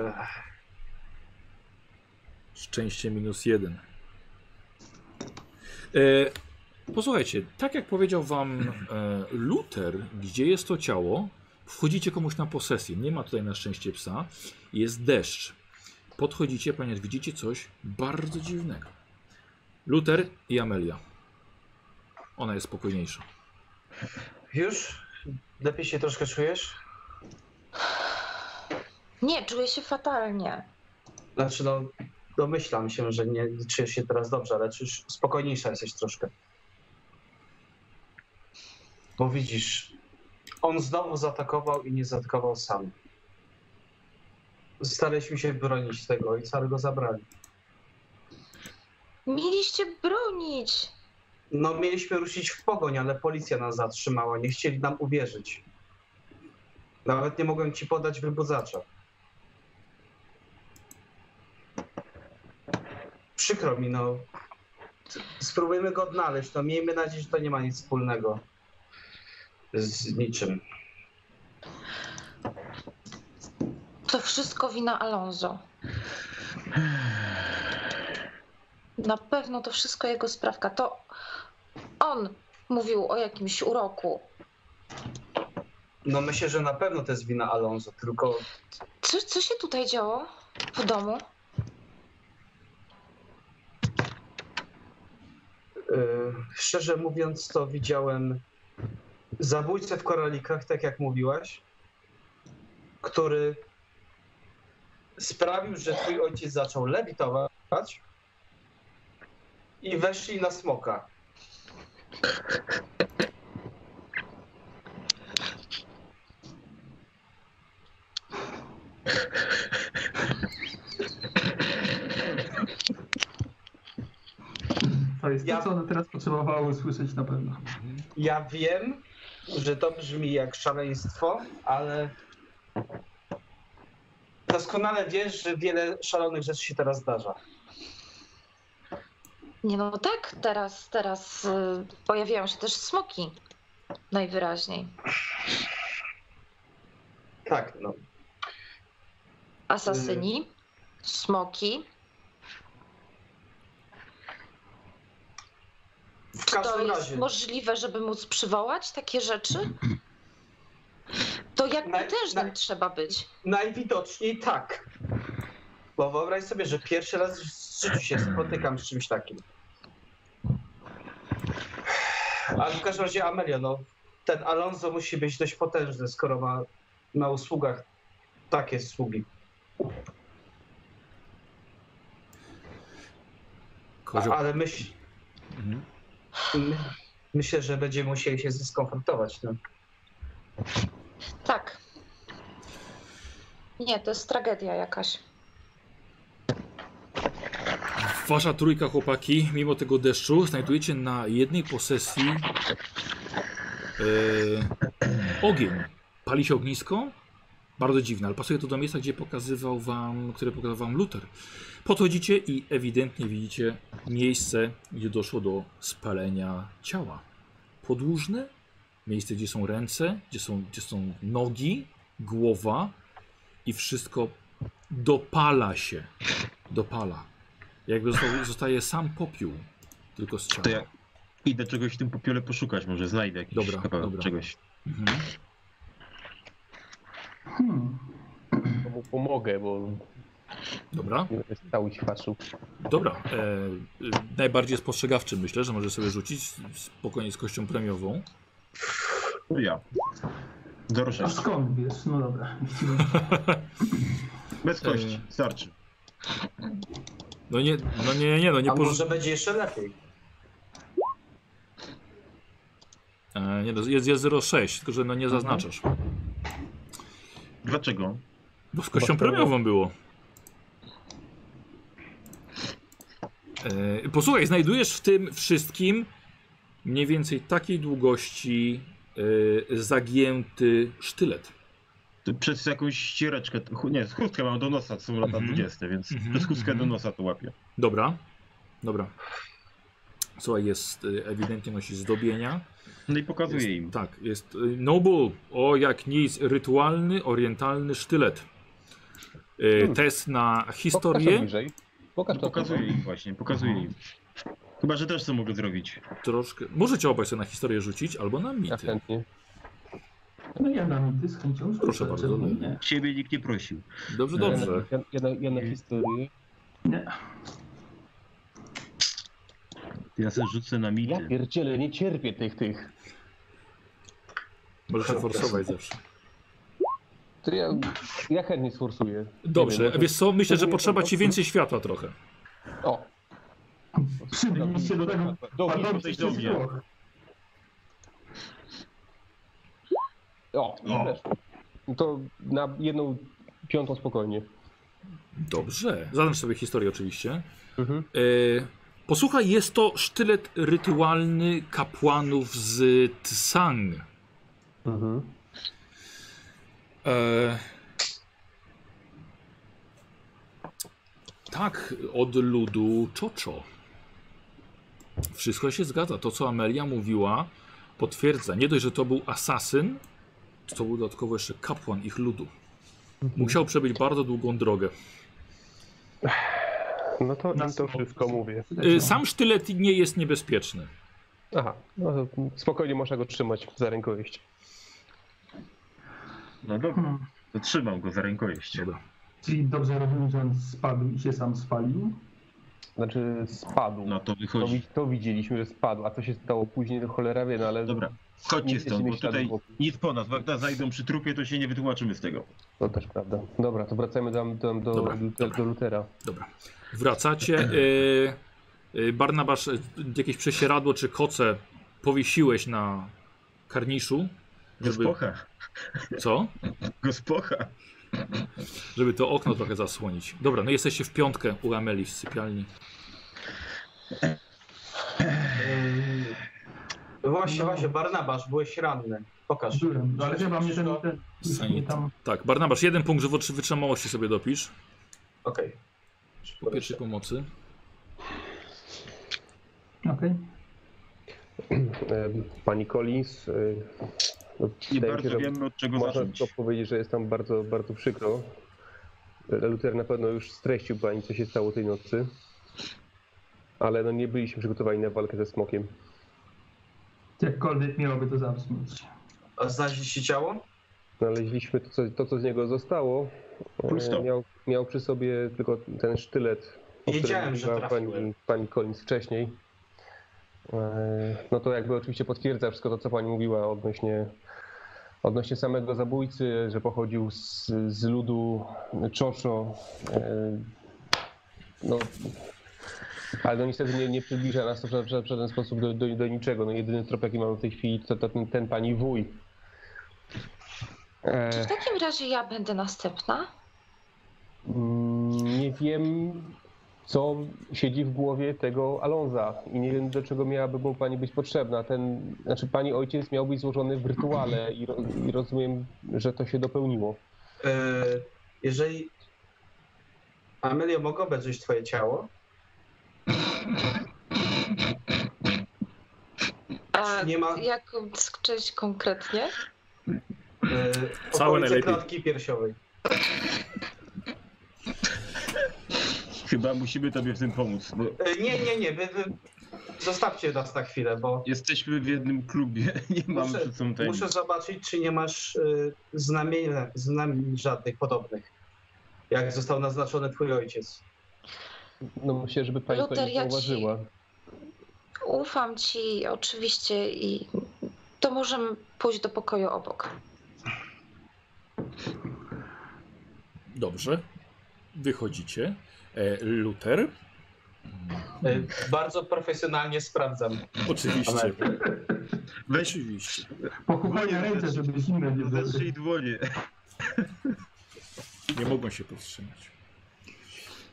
Szczęście minus jeden. E, posłuchajcie, tak jak powiedział wam e, Luther, gdzie jest to ciało, wchodzicie komuś na posesję. Nie ma tutaj na szczęście psa. Jest deszcz. Podchodzicie, ponieważ widzicie coś bardzo dziwnego. Luther i Amelia. Ona jest spokojniejsza. Już? Lepiej się troszkę czujesz? Nie, czuję się fatalnie. Znaczy no, domyślam się, że nie czujesz się teraz dobrze, ale czy już spokojniejsza jesteś troszkę. Bo widzisz, on znowu zaatakował i nie zaatakował sam. Staraliśmy się bronić tego ojca, ale go zabrali. Mieliście bronić. No mieliśmy ruszyć w pogoń, ale policja nas zatrzymała, nie chcieli nam uwierzyć. Nawet nie mogłem ci podać wybudzacza. Przykro mi, no. Spróbujmy go odnaleźć, no miejmy nadzieję, że to nie ma nic wspólnego z niczym. To wszystko wina Alonso. Na pewno to wszystko jego sprawka. To on mówił o jakimś uroku. No myślę, że na pewno to jest wina Alonso, tylko Co, co się tutaj działo w domu? Yy, szczerze mówiąc, to widziałem zabójcę w koralikach, tak jak mówiłaś, który sprawił, że twój ojciec zaczął lewitować i weszli na smoka. To jest Ja- to, co one teraz potrzebowały usłyszeć na pewno. Ja wiem, że to brzmi jak szaleństwo, ale doskonale wiesz, że wiele szalonych rzeczy się teraz zdarza. Nie no tak, teraz, teraz y, pojawiają się też smoki. Najwyraźniej. Tak, no. Asasyni, smoki. W Czy to każdym jest razie. możliwe, żeby móc przywołać takie rzeczy? To jak Na- potężnym na- trzeba być? Najwidoczniej tak. Bo wyobraź sobie, że pierwszy raz w życiu się spotykam z czymś takim. Ale w każdym razie Amelia, no ten Alonso musi być dość potężny, skoro ma na usługach takie sługi. A, Kozioł. ale myśl, Mhm. my, myślę, że będziemy musieli się skonfrontować. No. Tak. Nie, to jest tragedia jakaś. Wasza trójka chłopaki, mimo tego deszczu, znajdujecie na jednej posesji e, ogień. Pali się ognisko, Bardzo dziwne, ale pasuje to do miejsca, gdzie pokazywał wam, które pokazał wam Luther. Podchodzicie i ewidentnie widzicie miejsce, gdzie doszło do spalenia ciała. Podłużne, miejsce, gdzie są ręce, gdzie są, gdzie są nogi, głowa i wszystko dopala się. Dopala. Jakby został, zostaje sam popiół, tylko z ciała. To ja idę czegoś w tym popiele poszukać, może znajdę jakiś Dobra, kawałek dobra. czegoś. Mhm. Hmm. To mu pomogę, bo Dobra. nie będę stał i ćwaczył. Dobra, e, y, najbardziej spostrzegawczy myślę, że może sobie rzucić spokojnie z kością premiową. To ja. A Dorsza. skąd wiesz? No dobra. E, Bez kości. Starczy. No nie, no nie, nie, no nie A porzu- może będzie jeszcze lepiej. e, nie, no jest, jest 0,6, tylko że no nie Mhm. zaznaczasz. Dlaczego? Bo z kością premiową było. E, posłuchaj, znajdujesz w tym wszystkim mniej więcej takiej długości e, zagięty sztylet. To Przez jakąś ściereczkę, to chu- nie, z chustkę mam do nosa, to są lata Mhm. 20, więc Mhm, przez chustkę do mhm. nosa to łapię. Dobra, dobra. Słuchaj, jest e, ewidentnie nosi zdobienia. No i pokazuję Jest- im. Tak, jest y, Noble, o jak nic, rytualny, orientalny sztylet. Y, Hmm. Test na Pokaż to historię. bliżej. Pokaż to No Pokazuję im właśnie, pokazuję Mhm. im. Chyba, że też co mogę zrobić. Troszkę. Możecie obaj sobie na historię rzucić albo na Ja mity. chętnie. No ja dam ty z chęcią. Proszę rzucę, bardzo. czemu no. nie? Ciebie nikt nie prosił. Dobrze, Nie. dobrze. Ja, ja, na, ja na historię. Nie. Ja sobie rzucę na mity. Ja pierdzielę, nie cierpię tych, tych. Możesz się forsować zawsze. To ja, ja chętnie sforsuję. Nie Dobrze, wiem, wiesz co, myślę, że Próbuję potrzeba to- ci więcej światła trochę. może- O! Przybyliście do tego Dogi. Padącej padących dobie. zgłoch. O, O. weszło. To na jedną piątą spokojnie. Dobrze. Zadam sobie historię oczywiście. Mhm. Y, Posłuchaj, jest to sztylet rytualny kapłanów z Tsang. Mhm. E... Tak, od ludu Czoczo. Wszystko się zgadza. To, co Amelia mówiła, potwierdza. Nie dość, że to był asasyn, to był dodatkowo jeszcze kapłan ich ludu. Musiał przebyć bardzo długą drogę. E, No to Na im to smok. wszystko mówię. Y, Sam sztylet nie jest niebezpieczny. Aha, no to spokojnie można go trzymać za rękojeść. No dobra, Hmm. to trzymam go za rękojeść. Dobra. Czyli dobrze rozumiem, że on spadł i się sam spalił. Znaczy spadł. No to to, wychodzi. wi- to widzieliśmy, że spadł, a co się stało później, to cholera wie, no ale... Dobra, chodźcie Nigdy się stąd, nie bo tutaj śladu nic po nas. Jak nas znajdą przy trupie, to się nie wytłumaczymy z tego. To też prawda. Dobra, to wracajmy do, do, do, Dobra, do, dobra. do Lutera. Dobra. Wracacie. Y, y, Barnabasz, y, jakieś przesieradło czy koce powiesiłeś na karniszu, Żeby- Gospocha, co? gospocha. Żeby to okno trochę zasłonić. Dobra, no jesteście w piątkę u Ameli w sypialni. Właśnie, No. właśnie, Barnabasz, byłeś ranny. Pokaż. Byłem, No, ale chyba mnie ten, Okej. ten już mnie tam... Tak, Barnabasz, jeden punkt żywotny wytrzymałości sobie dopisz. Po pierwszej pomocy. Okej. Em, Pani Collins, e, no, Nie wydaje mi się, bardzo że wiemy od czego można zacząć. to powiedzieć, że jest tam bardzo, bardzo przykro. E, Luter na pewno już streścił pani, co się stało tej nocy. Ale no nie byliśmy przygotowani na walkę ze smokiem. Jakkolwiek miałoby to zabrzmieć. A Znaleźliście ciało? Znaleźliśmy to, co, to, co z niego zostało. E, Plus to. Miał, miał przy sobie tylko ten sztylet, o którym Wiedziałem, że mówiła trafiłem. pani, pani Collins wcześniej. E, No to jakby oczywiście potwierdza wszystko to, co pani mówiła odnośnie, odnośnie samego zabójcy, że pochodził z, z ludu Czoszo. E, No, ale no niestety nie, nie przybliża nas to w żaden- w żaden sposób do, do, do niczego. No jedyny trop, jaki mamy w tej chwili, to, to ten, ten pani wuj. E, Czy w takim razie ja będę następna? Mm, Nie wiem, co siedzi w głowie tego Alonza i nie wiem, do czego miałaby mu pani być potrzebna. Ten, znaczy, pani ojciec miał być złożony w rytuale i, ro, i rozumiem, że to się dopełniło. E, jeżeli... Amelio, mogę obejrzeć twoje ciało? A Nie ma... jak część konkretnie? E, Całe okolice najlepiej. klatki piersiowej. Chyba musimy tobie w tym pomóc, bo E, nie, nie, nie, wy, wy... Zostawcie nas na chwilę, bo jesteśmy w jednym klubie, <laughs> nie mamy Muszę- przed sobą tajemnic. muszę zobaczyć, czy nie masz y, znamienia, znamień żadnych podobnych, jak został naznaczony twój ojciec. No myślę, żeby pani to Luter, nie ja ci- zauważyła. Ufam ci oczywiście i to możemy pójść do pokoju obok. Dobrze. Wychodzicie. E, Luther. Y, bardzo profesjonalnie sprawdzam. Oczywiście. Ale- Weź Oczywiście. Pochowuję No, ręce, żeby zimne nie było. wyżej dłonie. Nie mogą się powstrzymać.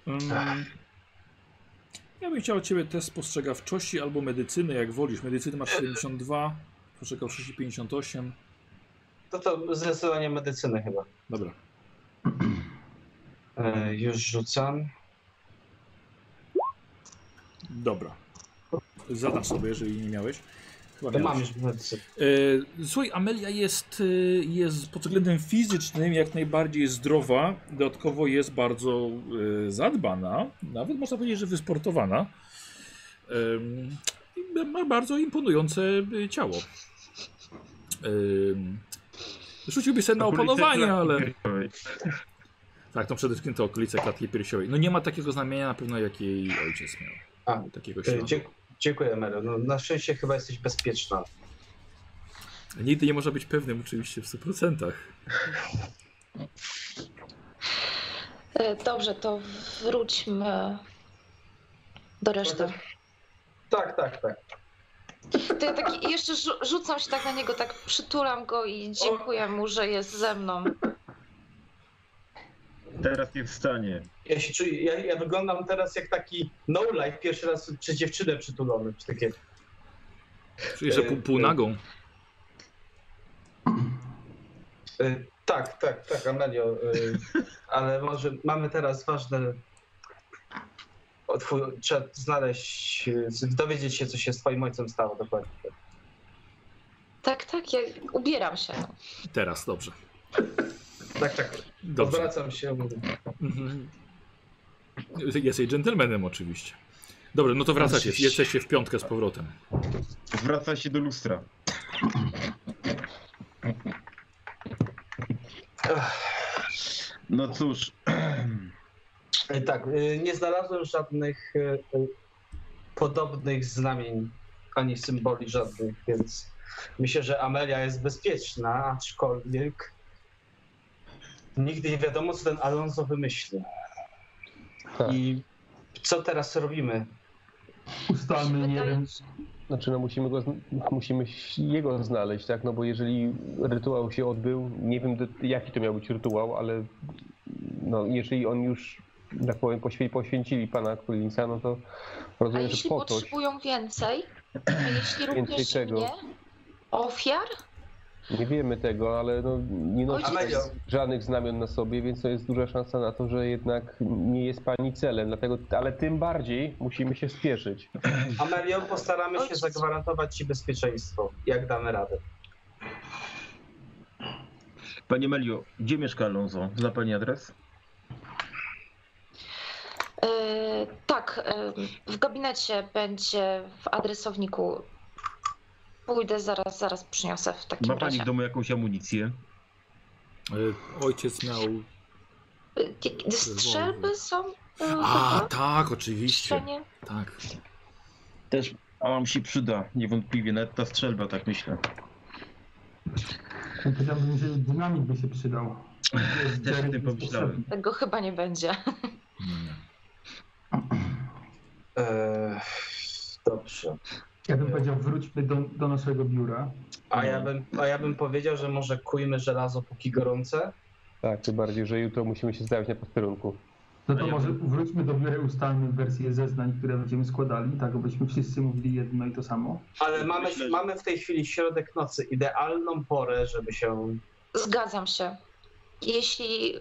Mm. Ja bym chciał od ciebie test spostrzegawczości albo medycyny, jak wolisz. Medycyny masz 72, spostrzegawczości 58. To to zdecydowanie medycyny chyba. Dobra. Y, już rzucam. Dobra. Zadasz sobie, jeżeli nie miałeś. Chyba To miałeś. mam już medycynę. E, Słuchaj, Amelia jest, e, jest pod względem fizycznym jak najbardziej zdrowa, dodatkowo jest bardzo e, zadbana, nawet można powiedzieć, że wysportowana. Em, i Ma bardzo imponujące e, ciało. Em, Rzuciłby sobie na opanowanie, ale... Tak, to przede wszystkim te okolice klatki piersiowej. No nie ma takiego znamienia na pewno, jak jej ojciec miał. A, Takiego Y, śladu. dzie- dziękuję, Mero. No, na szczęście chyba jesteś bezpieczna. Nigdy nie można być pewnym oczywiście w 100%. E, Dobrze, to wróćmy do reszty. Tak, tak, tak. To ja tak jeszcze rzu- rzucam się tak na niego, tak przytulam go i dziękuję mu, że jest ze mną. Teraz nie wstanie. Ja się czuję, ja, ja wyglądam teraz jak taki no life, pierwszy raz przez dziewczynę przytulony, czy takie Czyli, że pół, półnagą. Y, Tak, tak, tak, Amelio, <laughs> y, ale może mamy teraz ważne. o, twój- Trzeba znaleźć, y, dowiedzieć się, co się z twoim ojcem stało dokładnie. Tak, tak, ja ubieram się. No. Teraz, dobrze. Tak, tak, Dobrze. odwracam się. Mhm. Jesteś dżentelmenem oczywiście. Dobrze, no to wracacie. Oczywiście. Jesteście w piątkę z powrotem. Wraca się do lustra. No cóż, Y, Tak, y, nie znalazłem żadnych y, y, podobnych znamień, ani symboli żadnych, więc myślę, że Amelia jest bezpieczna, aczkolwiek nigdy nie wiadomo, co ten Alonso wymyśli. Tak. I co teraz robimy? Ustalmy, nie wiem. Znaczy, no musimy, go, zn- musimy ś- jego znaleźć, tak? No bo jeżeli rytuał się odbył, nie wiem do, jaki to miał być rytuał, ale no jeżeli on już, tak powiem, poświę, poświęcili pana Kulinca, no to A rozumiem, że jeśli po coś. potrzebują więcej, a jeśli również czego? mnie, ofiar, Nie wiemy tego, ale no, nie nosi Amelio, żadnych znamion na sobie, więc to jest duża szansa na to, że jednak nie jest pani celem, dlatego, ale tym bardziej musimy się spieszyć. Amelio, postaramy się Ojciec. zagwarantować Ci bezpieczeństwo, jak damy radę. panie Melio, gdzie mieszka Alonso? Zna pani adres? e, tak, e, w gabinecie będzie w adresowniku. Pójdę zaraz, zaraz przyniosę w takim Ma razie. pani w domu jakąś amunicję? E, Ojciec miał. Y, jakie- Strzelby są? y, A, w tak, oczywiście. stanie? Tak. Też. A nam się przyda, niewątpliwie, nawet ta strzelba, tak myślę. Powiedziałbym, że dynamit by się przydał. <laughs> Też o tym pomyślałem. Tego chyba nie będzie. Nie. Eee, dobrze. Ja bym powiedział, wróćmy do, do naszego biura. A ja, bym, a ja bym powiedział, że może kujmy żelazo póki gorące. Tak, tym bardziej, że jutro musimy się zdawać na posterunku. No A to ja może wróćmy do biura i ustalmy wersję zeznań, które będziemy składali, tak abyśmy wszyscy mówili jedno i to samo. Ale mamy, Myślę, że- mamy w tej chwili środek nocy, idealną porę, żeby się... Zgadzam się. jeśli,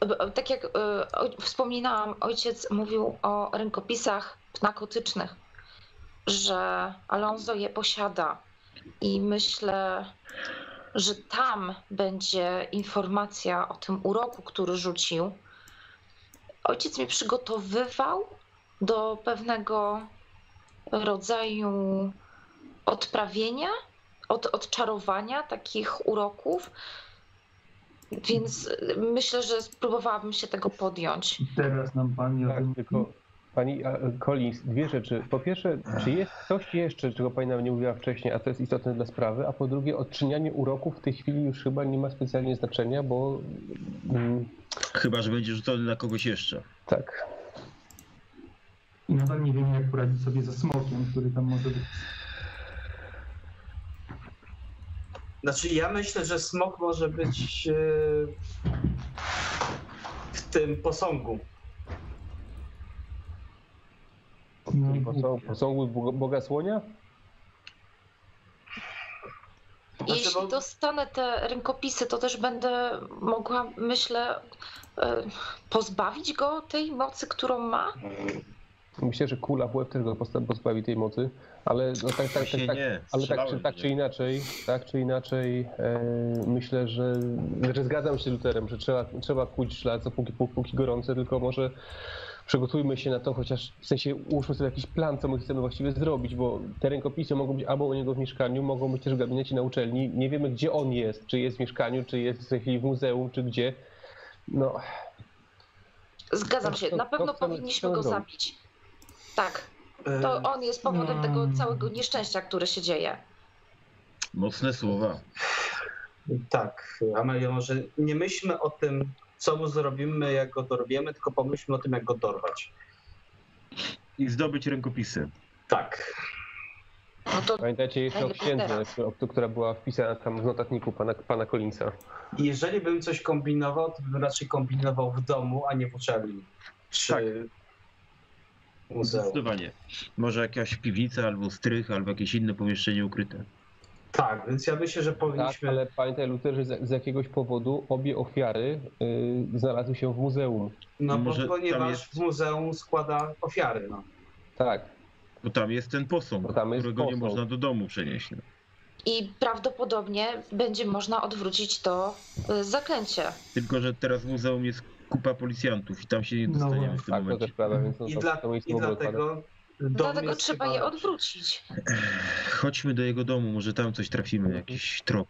b- tak jak y, oj- wspominałam, ojciec mówił o rękopisach pnakotycznych, że Alonso je posiada i myślę, że tam będzie informacja o tym uroku, który rzucił. Ojciec mnie przygotowywał do pewnego rodzaju odprawienia, od, odczarowania takich uroków. Więc y, myślę, że spróbowałabym się tego podjąć. I teraz nam pani o Tak, tym... tylko pani a, Collins, dwie rzeczy. Po pierwsze, czy jest coś jeszcze, czego pani nam nie mówiła wcześniej, a to jest istotne dla sprawy, a po drugie, odczynianie uroków w tej chwili już chyba nie ma specjalnie znaczenia, bo mm, Chyba, że będzie rzucony na kogoś jeszcze. tak. I nadal nie wiemy, jak poradzić sobie ze smokiem, który tam może być. Znaczy, ja myślę, że smok może być e, w tym posągu. No, Posą- Posągu Bo- Boga Słonia? Znaczy, Jeśli bo- dostanę te rękopisy, to też będę mogła, myślę, y, pozbawić go tej mocy, którą ma. Myślę, że kula w łeb też go posta- pozbawi tej mocy, ale no tak, tak, tak, Właśnie tak, nie. Ale tak czy, strzelałem tak w czy niego. inaczej, tak czy inaczej, e, myślę, że, że zgadzam się z Luterem, że trzeba, trzeba kłuć szlak, póki, pó- póki gorące, tylko może przygotujmy się na to, chociaż w sensie ułóżmy sobie jakiś plan, co my chcemy właściwie zrobić, bo te rękopisy mogą być albo u niego w mieszkaniu, mogą być też w gabinecie na uczelni. Nie wiemy, gdzie on jest, czy jest w mieszkaniu, czy jest w tej chwili w muzeum, czy gdzie. No, Zgadzam To- się, to- na to pewno chcemy- powinniśmy chcemy go zrobić. zabić. Tak, E, to on jest powodem tego Mm. całego nieszczęścia, które się dzieje. Mocne słowa. Tak, Amelia, może nie myślmy o tym, co mu zrobimy, jak go dorwiemy, tylko pomyślmy o tym, jak go dorwać. I zdobyć rękopisy. Tak. No to pamiętajcie jeszcze o Najlepiej księdze, teraz. o- która była wpisana tam w notatniku pana, pana Collinsa. Tak, Jeżeli bym coś kombinował, to bym raczej kombinował w domu, a nie w uczelni. Czy Tak. muzeum. Zdecydowanie. Może jakaś piwnica, albo strych, albo jakieś inne pomieszczenie ukryte. Tak, więc ja myślę, że Tak, powinniśmy. ale pamiętaj Luther, że z, z jakiegoś powodu obie ofiary y, znalazły się w muzeum. No bo Może tam ponieważ jest- w muzeum składa ofiary. No. Tak, Bo tam jest ten posąg, Bo tam jest którego nie posąg. można do domu przenieść. no. I prawdopodobnie będzie można odwrócić to y, zaklęcie. Tylko, że teraz w muzeum jest kupa policjantów i tam się nie No dostaniemy w tym tak, to momencie. też prawda, więc no, I, to, dla, to miejsce i w ogóle odpada. dlatego. dom No Dlatego jest trzeba chyba je lepszy. odwrócić. Chodźmy do jego domu, może tam coś trafimy, Mhm. jakiś trop.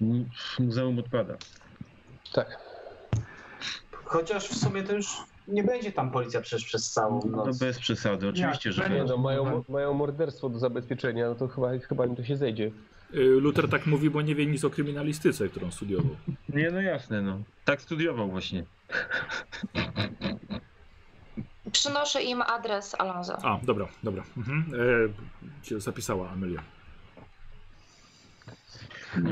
M- Muzeum odpada. Tak, Chociaż w sumie to już nie będzie tam policja przecież przez całą No noc. bez przesady, oczywiście, że nie nie. no, mają, mają morderstwo do zabezpieczenia, no to chyba, chyba im to się zejdzie. Y, Luther tak mówi, bo nie wie nic o kryminalistyce, którą studiował. Nie, no jasne, no. Tak studiował właśnie. Przynoszę im adres Alonso. A, dobra, dobra. Mhm. E, się zapisała Amelia.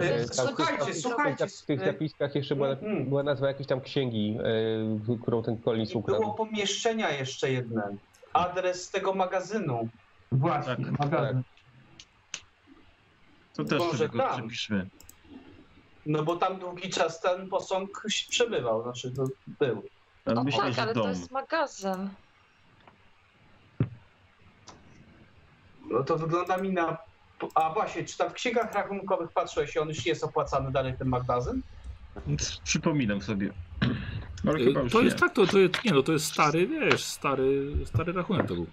E, Y, słuchajcie, w tych- słuchajcie, W tych y, zapiskach jeszcze była, mm. była nazwa jakiejś tam księgi, y, którą ten Collins I było ukradł. pomieszczenia jeszcze jedne. Adres tego magazynu. Właśnie, no Tak, magazyn. To też Boże, sobie go tam. przypiszmy. No bo tam długi czas ten posąg się przebywał, znaczy to był. A No O E, myślę, tak, że ale to dom. jest magazyn. No to wygląda mi na. A właśnie, czy tam w księgach rachunkowych patrzyłeś, on już jest opłacany dalej ten magazyn? Więc Przypominam sobie. <clears throat> Ale Y, No chyba już to nie. jest tak, to, to jest, nie no, to jest stary, wiesz, stary, stary rachunek to był.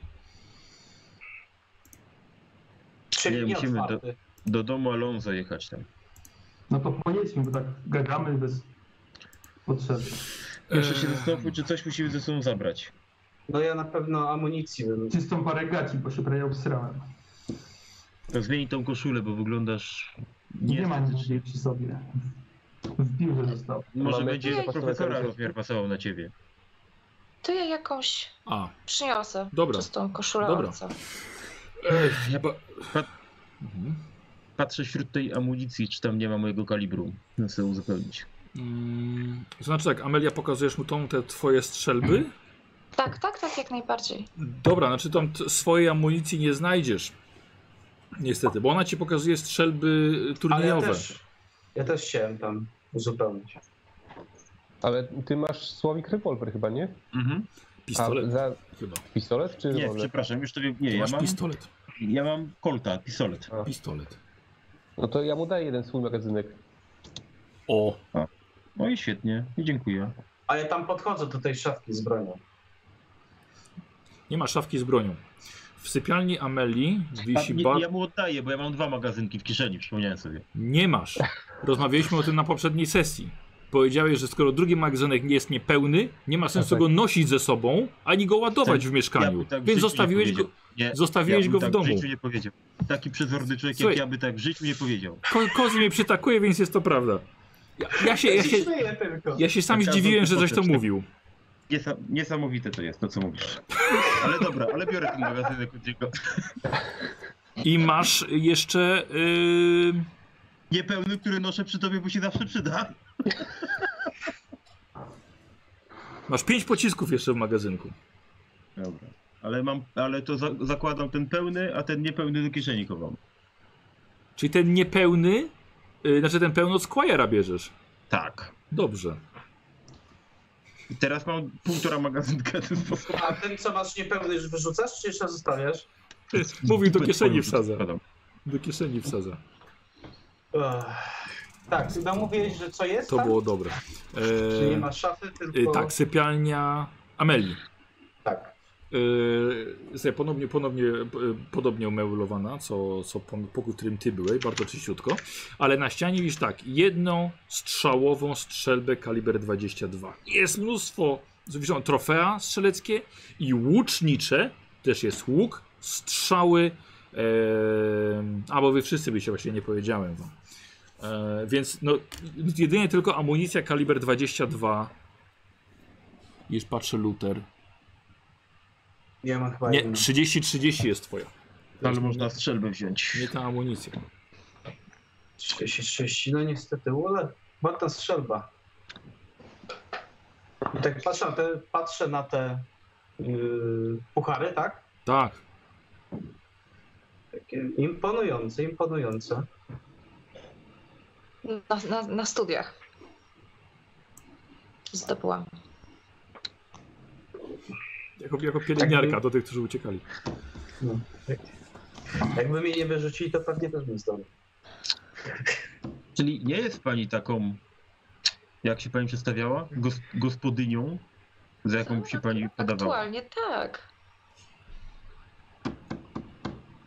Czyli Nie, nie, musimy do- otwarty. Do domu Alonso jechać tam. No to pojedźmy, bo tak gadamy bez potrzeby. Jeszcze E, Eee. się zastanówmy, czy coś musimy ze sobą zabrać. No ja na pewno amunicji bym. Czystą parę gaci, bo się prawie obsrałem. To zmieni tą koszulę, bo wyglądasz Nie, mam nieestetycznie. jej przy sobie. W biurze został. Może Mamy będzie jakieś profesora zastosowanie. rozmiar pasował na ciebie. To ja jakąś A, przyniosę. Dobra. Czystą koszulę Dobra. ojca. ja ba... pa- Mhm. Patrzę wśród tej amunicji, czy tam nie ma mojego kalibru. Chcę uzupełnić. Mm, to znaczy tak, Amelia, pokazujesz mu tą, te twoje strzelby? Tak, tak, tak, jak najbardziej. Dobra, znaczy tam t- swojej amunicji nie znajdziesz. Niestety, bo ona ci pokazuje strzelby Ale ja turniejowe. też, ja też chciałem tam. uzupełnić. Ale ty masz słowik rewolwer chyba, nie? Mhm. A Pistolet za chyba. pistolet czy Nie, rewolwer? przepraszam, już tobie. Nie, Ty ja masz mam, pistolet. ja mam kolta, pistolet. Pistolet. No to ja mu daję jeden swój magazynek. O, No i świetnie, i dziękuję. A ja tam podchodzę do tej szafki z bronią. nie ma szafki z bronią. W sypialni Ameli A, wisi nie, bar... ja mu oddaję, bo ja mam dwa magazynki w kieszeni, przypomniałem sobie. Nie masz. Rozmawialiśmy o tym na poprzedniej sesji. Powiedziałeś, że skoro drugi magazynek nie jest niepełny, nie ma sensu Tak, tak. go nosić ze sobą, ani go ładować w Ja mieszkaniu. bym tak w Więc życiu nie zostawiłeś go, powiedział. Nie, zostawiłeś ja go bym w tak domu. W życiu nie powiedział. Taki przezorny człowiek Słuchaj. jak ja by tak w życiu nie powiedział. Ko kozy mnie przytakuje, więc jest to prawda. Ja, ja, się, ja, się, śmieję tylko. ja się sam Taka zdziwiłem, że coś to potoczna. mówił. Niesa niesamowite to jest, to co mówisz. Ale dobra, ale biorę ten magazynek od niego. I masz jeszcze. Yy, Niepełny, który noszę przy tobie, bo się zawsze przyda. masz pięć pocisków jeszcze w magazynku. Dobra. Ale mam, ale to za zakładam ten pełny, a ten niepełny do kieszeni chowam. Czyli ten niepełny, yy, znaczy ten pełno od Squire'a bierzesz. Tak. Dobrze. I teraz mam półtora magazynka tym sposobem. A ten, co masz niepełny, już wyrzucasz, czy jeszcze zostawiasz? Mówił do kieszeni wsadza. Składam. Do kieszeni wsadza. Ech. Tak, no mówiłeś, że co jest To tam? było dobre. Czy nie Eee, Tak? ma szafy, y, tylko... tak, sypialnia Ameli. tak. Yy, sobie ponownie, ponownie, y, podobnie umeulowana, co, co pon- pokój, w którym ty byłeś, bardzo czyściutko. Ale na ścianie widzisz tak, jedną strzałową strzelbę kaliber 22. Jest mnóstwo, wiszą trofea strzeleckie i łucznicze, też jest łuk, strzały, yy, a bo wy wszyscy byście, właśnie nie powiedziałem wam. E, więc no, jedynie tylko amunicja kaliber 22. Już patrzę, Luther. Ja mam chyba Nie, jedną. 30-30 jest twoja. Ale można strzelbę wziąć. Nie ta amunicja. 36, no niestety, ule, ładna strzelba. I tak patrzę na te, patrzę na te yy, puchary, tak? Tak. Takie imponujące, imponujące. Na, na, na studiach. Zdobyłam. Jako, jako pielęgniarka Tak. do tych, którzy uciekali. Jakby mnie nie wyrzucili, to pewnie też bym zdobył. Czyli nie jest pani taką, jak się pani przedstawiała, Gos gospodynią, za jaką się pani podawała. Aktualnie tak.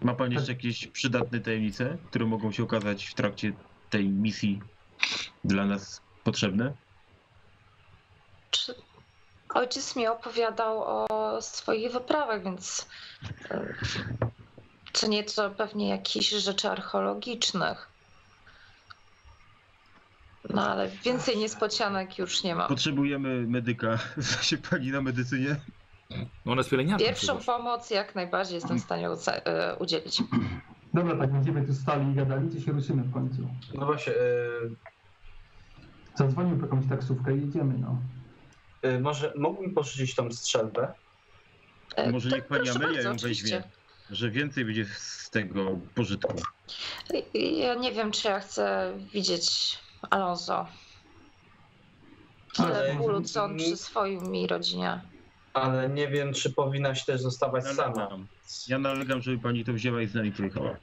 Ma pani jeszcze jakieś przydatne tajemnice, które mogą się okazać w trakcie tej misji dla nas potrzebne? Czy... Ojciec mi opowiadał o swoich wyprawach, więc e, czy nie to pewnie jakichś rzeczy archeologicznych. No ale więcej niespodzianek już nie ma. Potrzebujemy medyka. <laughs> Zna się pani na medycynie? No ona jest pielęgniarką. Pierwszą przecież. pomoc jak najbardziej jestem w stanie uca- e, udzielić. Dobra, tak będziemy tu stali i gadali, czy się ruszymy w końcu. No właśnie, yy, Zadzwonimy po jakąś taksówkę i jedziemy, no. yy, może mógłbym pożyczyć tą strzelbę? E, Może tak, niech pani proszę Amelia bardzo, ją oczywiście. weźmie, że więcej będzie z tego pożytku. Ja nie wiem, czy ja chcę widzieć Alonso. Ale- Ale bólu, co on przyswoił mi rodzinie. Ale nie wiem, czy powinnaś też No, zostawać sama. Nalegam. Ja nalegam, żeby pani to wzięła i z nami pojechała.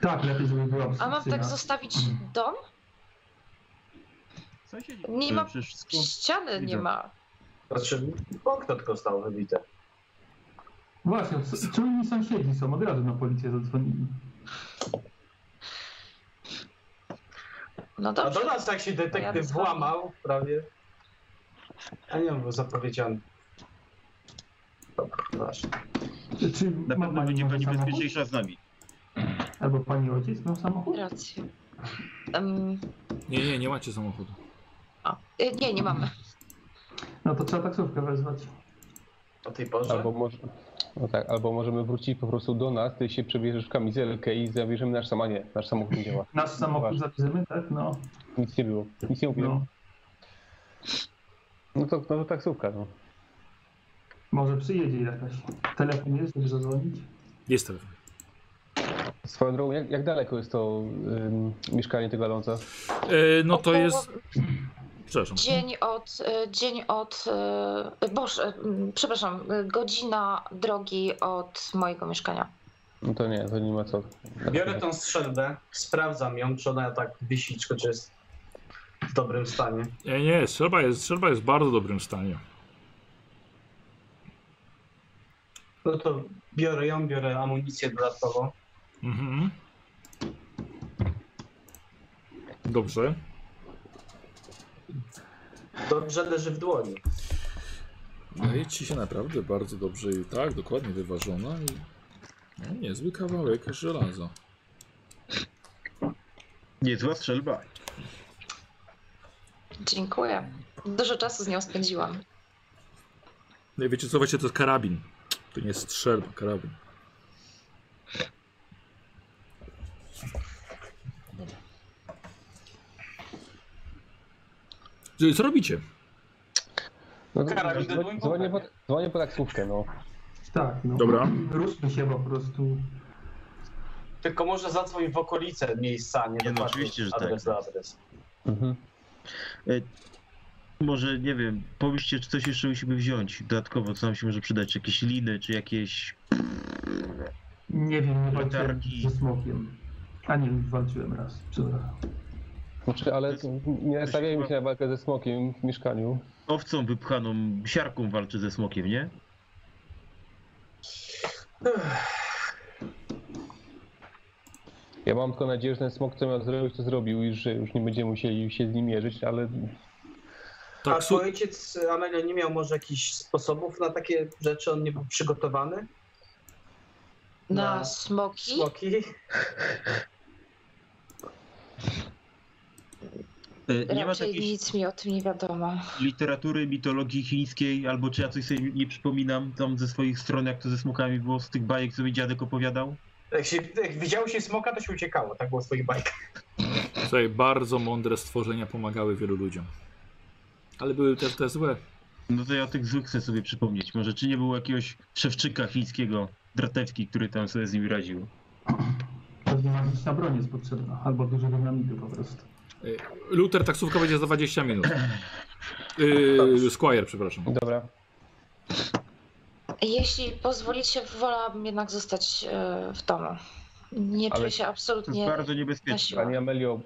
Tak, lepiej, żeby była A mam psyna. tak zostawić Mhm. dom? Co się dzieje? Nie ma- Przecież wszystko... Ściany nie Widzę. ma. Znaczy, okno tylko zostało wybite. Właśnie, s- czujni sąsiedzi są, od razu na policję zadzwonili. No A do dobrze. nas tak się Ja detektyw bym spadła. włamał prawie. A nie, on był zapowiedziany. Dobra, proszę. Czy Na ma pewno będzie może pani samochód? bezpieczniejsza z nami. Albo pani ojciec miał samochód? Rację. Em, Nie, nie, nie macie samochodu. a, e, nie, nie mamy. No to trzeba taksówkę wezwać. O tej porze? Albo, może, no tak, albo możemy wrócić po prostu do nas, ty się przebierzesz w kamizelkę i zabierzemy nasz samochód. Nie, nasz samochód nie działa. Nasz samochód Uważaj. zabierzemy, tak? No. Nic nie było. Nic nie mówiłem. no. No, to, no to taksówka. No. Może przyjedzie jakaś. Telefon jest, żeby zadzwonić? Jest telefon. Swoją drogą, jak, jak daleko jest to ym, mieszkanie tego Alonza? E, no to Około jest. Przepraszam. Dzień od, y, dzień od, y, boże, y, przepraszam, y, godzina drogi od mojego mieszkania. No to nie, to nie ma co. Biorę tą strzelbę, sprawdzam ją, czy ona tak wisi, czy czy jest w dobrym stanie. Nie, E, nie, strzelba jest, strzelba jest w bardzo dobrym stanie. No to biorę ją, biorę amunicję dodatkowo. Mhm. Dobrze. Dobrze leży w dłoni. Mhm. No i ci się naprawdę bardzo dobrze i tak, dokładnie wyważona i no, niezły kawałek żelaza. Niezła strzelba. Dziękuję. Dużo czasu z nią spędziłam. No i wiecie co, właśnie to jest karabin. To nie jest strzelba, karabin. Dobra. Co- Co robicie? No, Karabin do dwójką. dzwonię, po, dzwonię po taksówkę, no. Tak, no. Dobra. Ruszmy się po prostu. Tylko może zadzwoń w okolice miejsca, nie, no, dokładnie oczywiście, że adres tak. do adres. Mhm. Może, nie wiem, pomyślcie, czy coś jeszcze musimy wziąć. Dodatkowo, co nam się może przydać? Czy Jakieś liny, czy jakieś... Nie wiem, nie walczyłem Latarki. ze smokiem. A nie, walczyłem raz. Dobra. Znaczy, ale To nie nastawiajmy się na walkę ze smokiem w mieszkaniu. Owcą wypchaną siarką walczy ze smokiem, nie? Ja mam tylko nadzieję, że ten smok, co miał zrobić, to zrobił i że już nie będziemy musieli się z nim mierzyć, ale A Taksu... twój ojciec, Amelio, nie miał może jakichś sposobów na takie rzeczy? On nie był przygotowany? Na Na smoki? Smoki? E, Nie ma Raczej takiej nic mi o tym nie wiadomo. literatury, mitologii chińskiej, albo czy ja coś sobie nie przypominam tam ze swoich stron, jak to ze smokami było, z tych bajek, co mi dziadek opowiadał? Jak, się, jak widziało się smoka, to się uciekało. Tak było w swoich bajkach. Słuchaj, bardzo mądre stworzenia pomagały wielu ludziom. Ale były też te złe. No to ja o tych złych chcę sobie przypomnieć. Może czy nie było jakiegoś szewczyka chińskiego, dratewki, który tam sobie z nim radził? Pewnie magiczna broń jest potrzebna. Albo dużo dynamitu po prostu. Luther, taksówka będzie za 20 minut. Yy, Squire, przepraszam. dobra. Jeśli pozwolicie, wolałabym jednak zostać e, w domu. Nie Ale czuję się To jest absolutnie bardzo niebezpieczne. na siłę. Pani Amelio,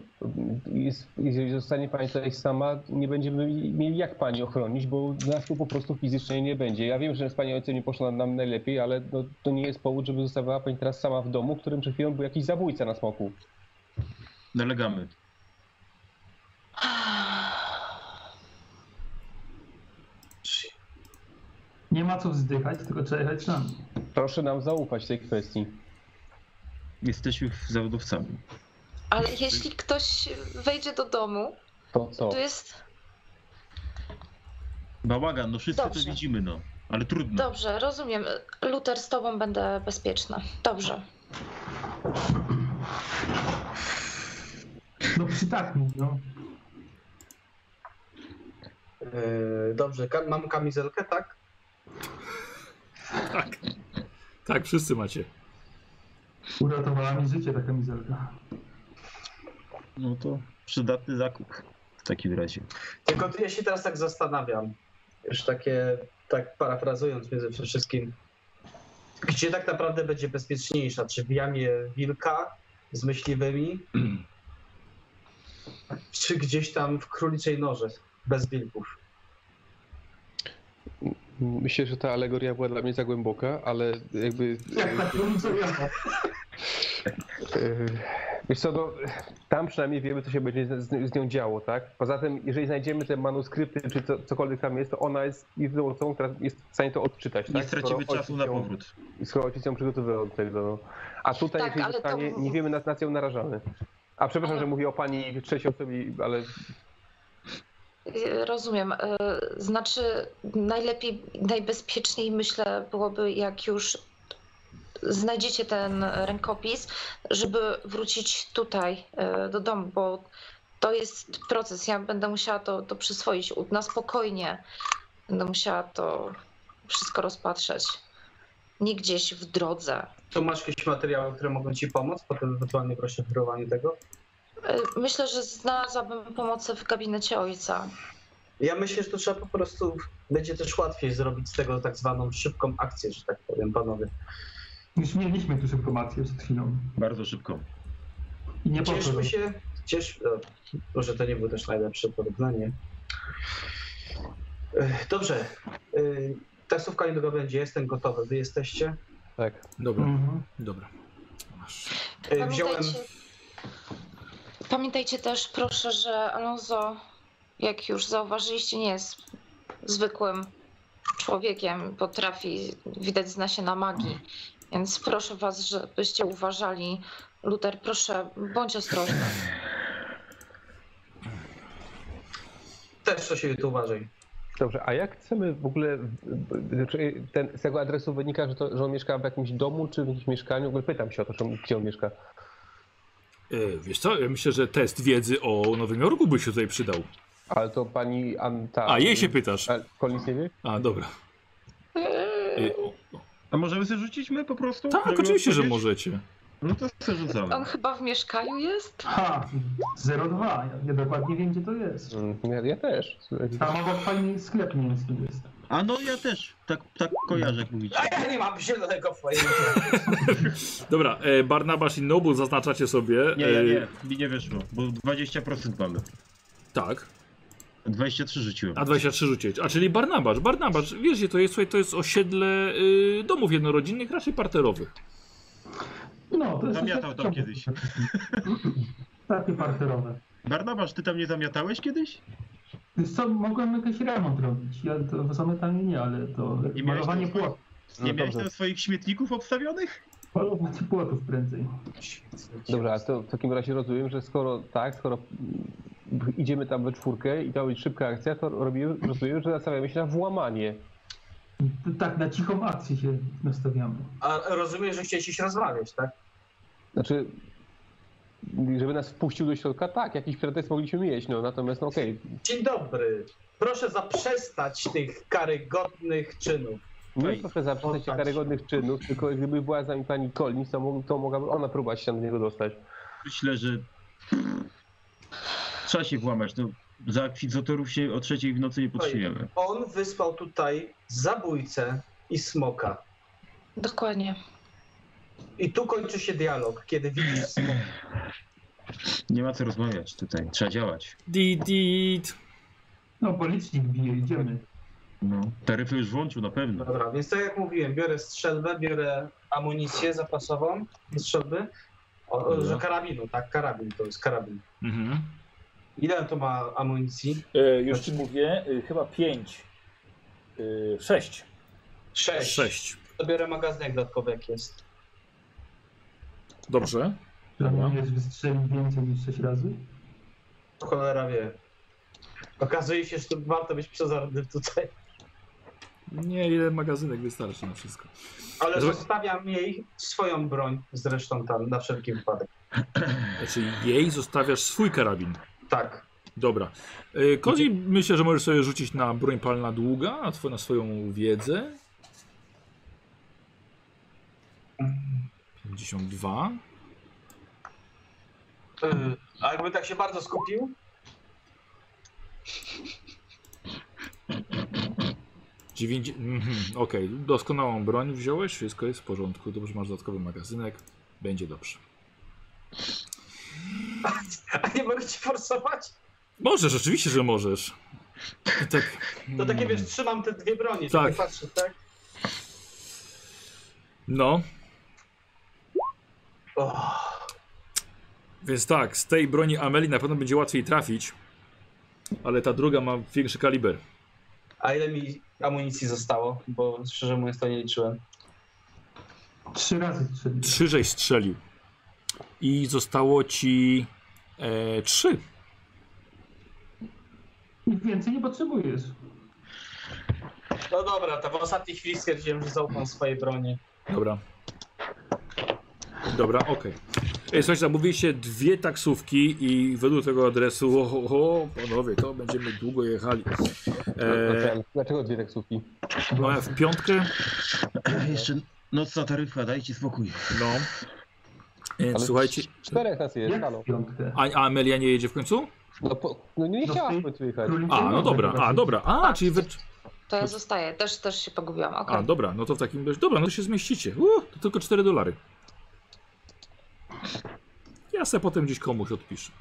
jest, jeżeli zostanie pani tutaj sama, nie będziemy mieli jak pani ochronić, bo nas tu po prostu fizycznie nie będzie. Ja wiem, że z pani ojcem nie poszło nam najlepiej, ale no, to nie jest powód, żeby zostawała pani teraz sama w domu, w którym przed chwilą był jakiś zabójca na smoku. Nalegamy. Nie ma co wzdychać, tylko trzeba jechać na mnie. Proszę nam zaufać w tej kwestii. Jesteśmy zawodowcami. <sighs> Ale jeśli ktoś wejdzie do domu, To co? to jest Bałagan, no wszyscy Dobrze. to widzimy, no. Ale trudno. dobrze, rozumiem. Luter, z tobą będę bezpieczna. Dobrze. No przytaknij, no. Yy, dobrze, ka- mam kamizelkę, tak? Tak. Tak, wszyscy macie. Uratowała mi życie ta kamizelka. No to przydatny zakup w takim razie. Tylko ja się teraz tak zastanawiam. Już takie, tak parafrazując między wszystkim. Gdzie tak naprawdę będzie bezpieczniejsza? Czy w jamie wilka z myśliwymi? <clears throat> czy gdzieś tam w króliczej noże bez wilków? Myślę, że ta alegoria była dla mnie za głęboka, ale jakby... Jak tak robi, co ja. Yy, Wiesz co, no, tam przynajmniej wiemy, co się będzie z, z nią działo, tak? Poza tym, jeżeli znajdziemy te manuskrypty, czy co, cokolwiek tam jest, to ona jest jedyną osobą, która jest w stanie to odczytać, Nie tak? stracimy Skoro czasu na ojciec ją- powrót. Skoro ojciec ją przygotowywał do tego. no. A tutaj, Tak, jeżeli ale to- zostanie, nie wiemy, na, na co ją narażamy. A przepraszam, że mówię o pani trzeciej osobie, ale Y, Rozumiem. Y, Znaczy, najlepiej, najbezpieczniej myślę byłoby, jak już znajdziecie ten rękopis, żeby wrócić tutaj y, do domu, bo to jest proces. Ja będę musiała to, to przyswoić u- na spokojnie. Będę musiała to wszystko rozpatrzeć. nie gdzieś w drodze. To masz jakieś materiały, które mogą ci pomóc? Potem ewentualnie proszę o kierowanie tego. E, Myślę, że znalazłabym pomoc w gabinecie ojca. Ja myślę, że to trzeba po prostu, będzie też łatwiej zrobić z tego tak zwaną szybką akcję, że tak powiem, panowie. Już mieliśmy tu szybką akcję przed chwilą. Bardzo szybko. I nie poszło. Cieszmy się, ciesz... o, Może to nie było też najlepsze porównanie. Ech, Dobrze, Yy, taksówka niedługo będzie, jestem gotowy, wy jesteście. E, Tak. Dobra, Mhm. dobra. Masz. Yy, Wziąłem, pamiętajcie też, proszę, że Alonso, jak już zauważyliście, nie jest zwykłym człowiekiem. Potrafi, widać, zna się na magii. Więc proszę was, żebyście uważali. Luther, proszę, bądź ostrożny. też co się tu uważaj. Dobrze, a jak chcemy w ogóle, czy ten, z tego adresu wynika, że, to, że on mieszka w jakimś domu, czy w jakimś mieszkaniu? W ogóle pytam się o to, czy on, gdzie on mieszka. E, wiesz co, ja myślę, że test wiedzy o Nowym Jorku by się tutaj przydał. Ale to pani Anta... A, jej się pytasz. A, e, Collins nie wie? A, dobra. E, o, A możemy sobie rzucić my po prostu? tak, Żeby oczywiście, że odpowiedzieć? możecie. No to sobie rzucamy. On chyba w mieszkaniu jest? Ha, 02. Ja, ja dokładnie wiem, gdzie to jest. Mm, Ja, ja też. Tam obok pani sklep mięski jest. A no ja też, tak, tak kojarzę jak mówicie. A ja nie mam zielonego pojęcia. Dobra, e, Barnabasz i Noble zaznaczacie sobie. Nie, ja e, nie, mi nie wyszło, bo 20% mamy. Tak. 23 rzuciłem. A 23 rzucić. A czyli Barnabasz, Barnabasz, wiesz, gdzie to jest, słuchaj, to jest osiedle y, domów jednorodzinnych, raczej parterowych. No, to jest... Zamiatał tam kiedyś. Takie parterowe. Barnabasz, ty tam nie zamiatałeś kiedyś? Wiesz co, mogłem jakiś remont robić, ja to zamykanie nie, ale to I miałeś malowanie tam- płotów, Nie miałeś tam swoich śmietników obstawionych? malowanie płotów prędzej. Dobrze, a to w takim razie rozumiem, że skoro tak, skoro mm, idziemy tam we czwórkę i to ma być szybka akcja, to robimy, rozumiem, że nastawiamy się na włamanie. To Tak, na cichą akcję się nastawiamy. A rozumiem, że chcieliście się rozmawiać, tak? Znaczy, żeby nas wpuścił do środka, tak, jakiś pretekst mogliśmy mieć, no natomiast no, okej, Dzień dobry. Proszę zaprzestać tych karygodnych czynów. Nie Oj. proszę zaprzestać się Oddać. karygodnych czynów, tylko gdyby była z nami pani Collins, to, mógł, to mogłaby ona próbować się do niego dostać. Myślę, że... Trzeba się włamać, no. Za akwizotorów się o trzeciej w nocy nie podszyjemy. On wysłał tutaj zabójcę i smoka. Dokładnie. I tu kończy się dialog, kiedy widzisz smoka. Nie ma co rozmawiać tutaj, trzeba działać. Did, did. No, policznik bije, idziemy. No. Taryfy już włączył na pewno. Dobra, więc tak jak mówiłem, biorę strzelbę, biorę amunicję zapasową do strzelby. O, o, że karabinu, tak, karabin to jest karabin. Mhm. Ile to ma amunicji? E, już ci mówię, e, chyba 5. E, 6. Sześć. Sześć. To biorę magazynek dodatkowy, jak jest. Dobrze. Planujesz wystrzelić więcej niż 6 razy? Cholera wie. Okazuje się, że to warto być przezornym tutaj. Nie, jeden magazynek wystarczy na wszystko. Ale Zobacz- zostawiam jej swoją broń zresztą tam na wszelki wypadek. Znaczy jej zostawiasz swój karabin. Tak. Dobra. E, Kozi, myślę, że możesz sobie rzucić na broń palna długa, na, two, na swoją wiedzę. 52. Yy, A jakby tak się bardzo skupił? <laughs> Dziewięć... Mhm, Okej, doskonałą broń wziąłeś, wszystko jest w porządku. Dobrze, masz dodatkowy magazynek, będzie dobrze. A nie mogę ci forsować? Możesz, oczywiście, że możesz. I tak. <laughs> To takie mm, wiesz, trzymam te dwie bronie, Tak. Hmm. tak. nie patrzę, tak? No, O, więc tak, z tej broni Ameli na pewno będzie łatwiej trafić, ale ta druga ma większy kaliber. a ile mi amunicji zostało? Bo szczerze mówiąc to nie liczyłem. Trzy razy strzelił. Trzy żeś strzelił. I zostało ci. E, trzy. I więcej nie potrzebujesz. No dobra, to w ostatniej chwili stwierdziłem, że zaufam swojej broni. Dobra. Dobra, okej. Ej, Słuchajcie, zamówiliście dwie taksówki i według tego adresu, o, o, o panowie, to będziemy długo jechali. E, No, Dlaczego dwie taksówki? no, a w piątkę, Jeszcze Nocna taryfa, dajcie spokój. No. Więc Ale słuchajcie. Czterech nas jest, Jak halo. w piątkę? A, a Amelia nie jedzie w końcu? No, po, no nie No chciałaś ty- po ciebie jechać. Królicy A, no Nowe dobra, chyba a się- dobra. A, czyli wy. To ja zostaję, też, też się pogubiłam. A, Okay. dobra, no to w takim razie. Dobra, no to się zmieścicie. U, to tylko 4 dolary. Ja se potem gdzieś komuś odpiszę.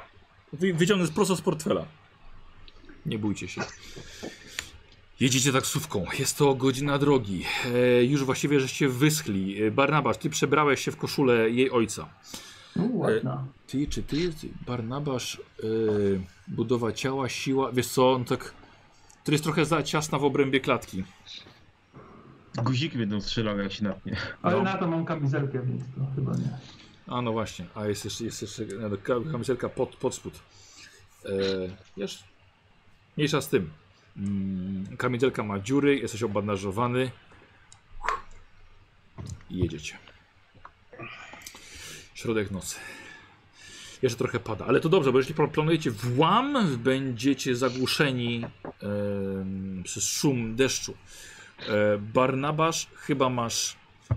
Wy, wyciągnę z- prosto z portfela. Nie bójcie się. Jedziecie taksówką. Jest to godzina drogi. E, już właściwie żeście wyschli. E, Barnabasz, ty przebrałeś się w koszulę jej ojca. No E, ładna. Ty, czy ty jest Barnabasz yy, budowa ciała, siła, wiesz co, on tak, to jest trochę za ciasna w obrębie klatki. Guziki będą strzelały jak się napnie. Ale No. na to mam kamizelkę, więc to chyba nie. A no właśnie, a jest jeszcze, jest jeszcze nawet ka- kamizelka pod, pod spód. Yy, wiesz, mniejsza z tym. Mm, kamizelka ma dziury, jesteś obandażowany. I jedziecie. Środek nocy. Jeszcze trochę pada, ale to dobrze, bo jeśli pl- planujecie włam, będziecie zagłuszeni em, przez szum deszczu. E, Barnabasz, chyba masz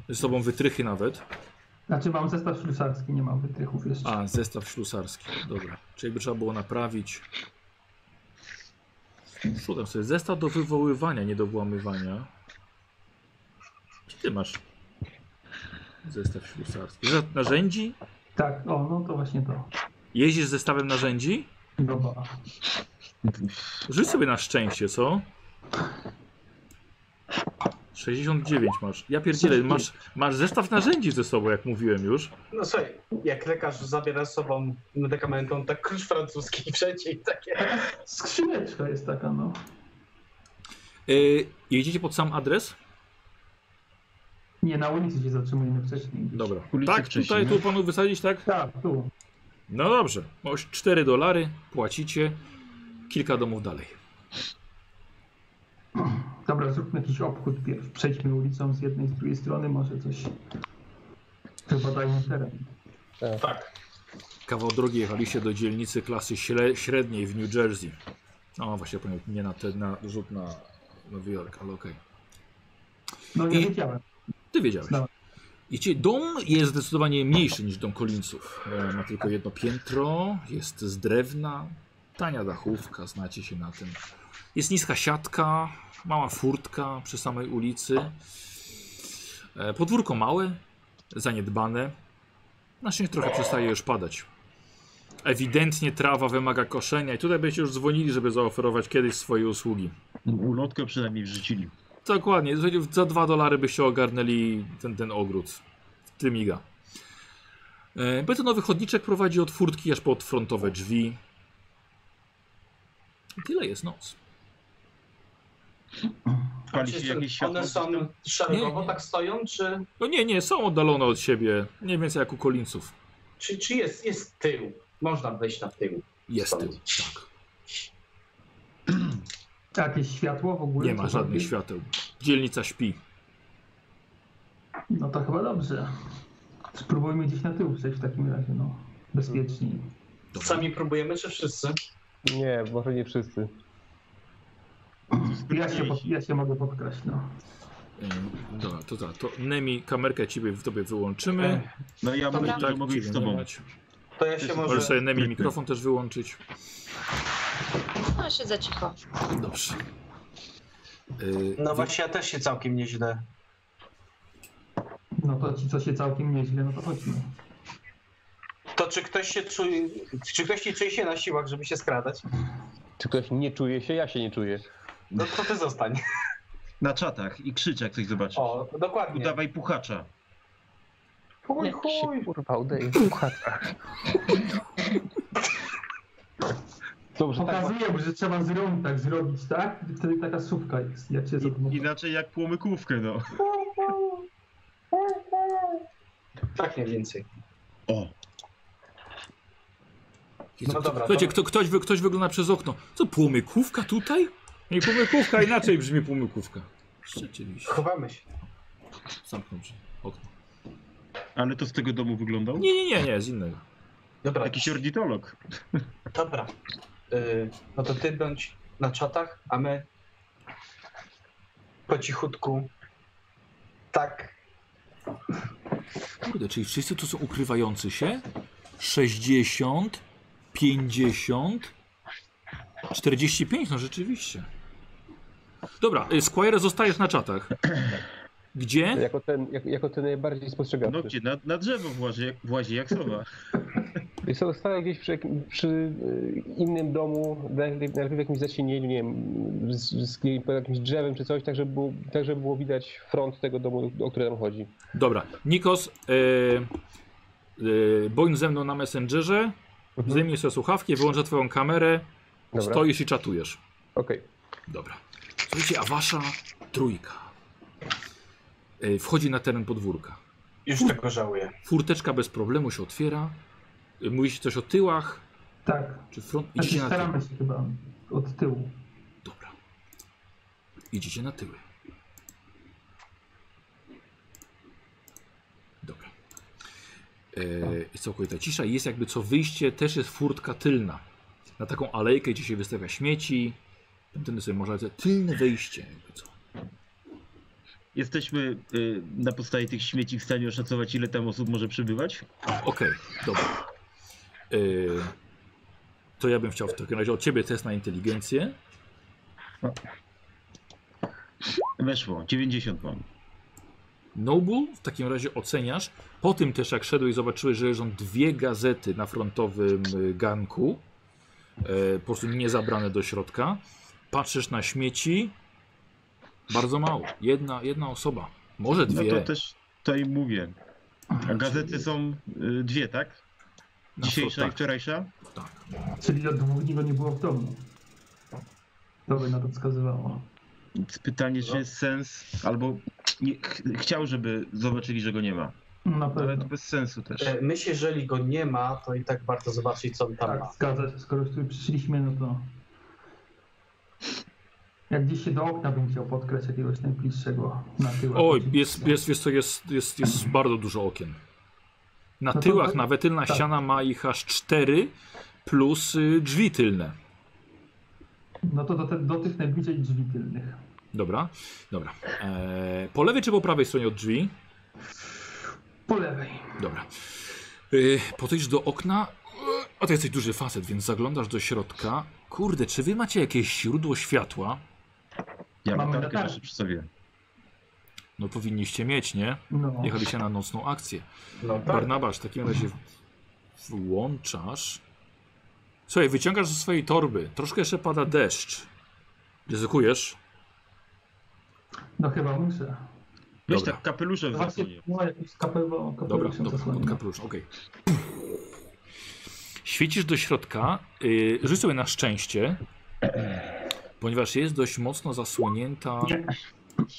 ze sobą wytrychy nawet. Znaczy mam zestaw ślusarski, nie mam wytrychów jeszcze. A, zestaw ślusarski. Dobra. Czyli by trzeba było naprawić. Szukam sobie. Zestaw do wywoływania, nie do włamywania. Czy ty masz zestaw ślusarski? Zestaw narzędzi? Tak, o, no to właśnie to. Jeździsz z zestawem narzędzi? Dobra. Rzuć sobie na szczęście, co? 69 masz. Ja pierdzielę, masz, masz zestaw narzędzi ze sobą, jak mówiłem już. No słuchaj, jak lekarz zabiera z sobą medykament, on tak klucz francuski wszędzie i takie. Skrzyneczka jest taka, no. Yy, jedziecie pod sam adres? Nie, na ulicy się zatrzymujemy wcześniej. Dobra. Ulicy Tak, wcześniej, tutaj nie? tu panu wysadzić, tak? Tak, tu. No dobrze, oś 4 dolary, płacicie, kilka domów dalej. Dobra, zróbmy jakiś obchód pierw. Przejdźmy ulicą z jednej, z drugiej strony, może coś. Wybadajmy teren. Kawał drogi jechaliście do dzielnicy klasy śle- średniej w New Jersey. No właśnie, powiem, nie na ten na rzut na Nowy Jork, ale okej. No nie I- wiedziałem. Ty wiedziałeś. No. I ci, dom jest zdecydowanie mniejszy niż dom Collinsów. E, Ma tylko jedno piętro, jest z drewna, tania dachówka, znacie się na tym. Jest niska siatka, mała furtka przy samej ulicy. E, Podwórko małe, zaniedbane. Na szczęście trochę przestaje już padać. Ewidentnie trawa wymaga koszenia i tutaj byście już dzwonili, żeby zaoferować kiedyś swoje usługi. Ulotkę przynajmniej wrzucili. Dokładnie, słuchajcie, za 2 dolary byście ogarnęli ten, ten ogród. Trymiga. E, Betonowy chodniczek prowadzi od furtki aż pod frontowe drzwi. I Tyle jest noc. Pali się Czy jakieś światło. Znaczy, One są Nie, szeregowo nie. tak stoją, czy, No nie, nie, są oddalone od siebie, mniej więcej jak u Kolinców. czy, czy jest, jest tył? Można wejść na tył. Jest tył, tak. A Jakieś światło w ogóle? Nie ma żadnych świateł. Dzielnica śpi. No to chyba dobrze. Spróbujmy gdzieś na tył przejść w takim razie, no. Bezpieczniej. Dobra. Sami próbujemy, czy wszyscy? Nie, może nie wszyscy. Ja się, pod- ja się mogę podkraść, no. E, Dobra, to tak, to Nemi, kamerkę ciebie w tobie wyłączymy. tak No ja Dobra. myślę, że mogę ciebie iść z nie tobą. mać. To ja się Możesz może... sobie Nemi mikrofon też wyłączyć. No, siedzę cicho. Dobrze. E, No właśnie, ja też się całkiem nieźle. No to ci, co się całkiem nieźle, no to chodźmy. To czy ktoś się czuje, czy ktoś nie czuje się na siłach, żeby się skradać? Czy ktoś nie czuje się? Ja się nie czuję. No to ty zostań. Na czatach i krzycz jak coś zobaczysz. O, dokładnie. Udawaj puchacza. Chuj, Jak się, chuj. Kurwa, odejdź. Dobrze, tak, Pokazuję, mu, że trzeba z rąk tak zrobić, tak? Wtedy taka sówka jest, jak się I, zadmucha. inaczej jak płomykówkę, no. Tak mniej więcej. O, Jezu, No kto- dobra, Słuchajcie, to- kto, ktoś, wy- ktoś wygląda przez okno. Co, płomykówka tutaj? Nie płomykówka, inaczej brzmi płomykówka. Rzeczywiście. Chowamy się. Zamknął się okno. ale to z tego domu wyglądał? Nie, nie, nie, nie, z innego. Dobra, Jakiś ornitolog. dobra. Y, no to ty bądź na czatach, a my po cichutku tak Kurde, czyli wszyscy tu są ukrywający się? 60, 50, 45, no rzeczywiście. Dobra, y, Squire zostajesz na czatach. Gdzie? Jako ten, jak, jako ten najbardziej spostrzegawczy. No gdzie? Na, na drzewo włazi, włazi jak <laughs> sowa. Wiesz co, stałem gdzieś przy, jakim- przy y, innym domu, najlepiej najlepiej w jakimś zacienieniu, nie wiem, z, z pod jakimś drzewem czy coś, tak żeby, było, tak żeby było widać front tego domu, o który nam chodzi. Dobra, Nikos, yy, yy, bądź ze mną na Messengerze, zdejmij sobie słuchawki, wyłączę twoją kamerę, Dobra, stoisz i czatujesz. okej. Dobra. Słuchajcie, a wasza trójka y, wchodzi na teren podwórka. Już tego żałuję. Furteczka bez problemu się otwiera. Y, Mówi się coś o tyłach, Tak. czy front. Znaczy, Idziecie na tył. staramy się chyba od tyłu. Dobra. Idziecie na tyły. Dobra. E, jest całkowita cisza i jest jakby co wyjście, też jest furtka tylna. Na taką alejkę, gdzie się wystawia śmieci. Tamtędy sobie można tylne wejście. Jakby co. Jesteśmy y, na podstawie tych śmieci w stanie oszacować, ile tam osób może przebywać? Okej, dobra. Y, to ja bym chciał w takim razie od ciebie test na inteligencję. Weszło, 90 mam. Noble, No w takim razie oceniasz. Po tym też jak szedłeś zobaczyłeś, że leżą dwie gazety na frontowym y, ganku. E, po prostu nie zabrane do środka. Patrzysz na śmieci. Bardzo mało. Jedna, jedna osoba. Może No dwie. to też to im mówię. A gazety są y, dwie, tak? Na Dzisiejsza front- i wczorajsza? tak, tak. Czyli od dwóch dni go nie było w domu. To by na to wskazywało. Więc pytanie, No. czy jest sens, albo nie, ch chciał, żeby zobaczyli, że go nie ma. No, Na Ale to pewno. bez sensu też. E, My się, jeżeli go nie ma, to i tak warto zobaczyć, co on tam Tak, ma. zgadza się. Skoro już tu przyszliśmy, no to... Jak gdzieś się do okna bym chciał podkrać jakiegoś najbliższego na tyłach. Oj, jest, jest, jest, to jest, jest, jest bardzo dużo okien. Na No to- tyłach nawet tylna tak. ściana ma ich aż cztery plus y, drzwi tylne. No to do, te, do tych najbliżej drzwi tylnych. Dobra, dobra. E, po lewej czy po prawej stronie od drzwi? Po lewej. Dobra. Yy, podejdziesz do okna. Y, A ty jesteś duży facet, więc zaglądasz do środka. Kurde, czy wy macie jakieś źródło światła? Ja mam mamy tarkę latarkę. zawsze przy sobie. No powinniście mieć, nie? No. Jechaliście na nocną akcję. No tak. Barnabasz, w takim razie włączasz. Słuchaj, wyciągasz ze swojej torby. Troszkę jeszcze pada deszcz. Ryzykujesz? No chyba muszę. Weź Dobra. tak kapelusze w Właśnie zakonie. no, jakiś kapelusz Dobra, kapeluszem dobra, pod zasłania. kapelusz, okej. Świecisz do środka, yy, rzuć sobie na szczęście, ponieważ jest dość mocno zasłonięta. Nie.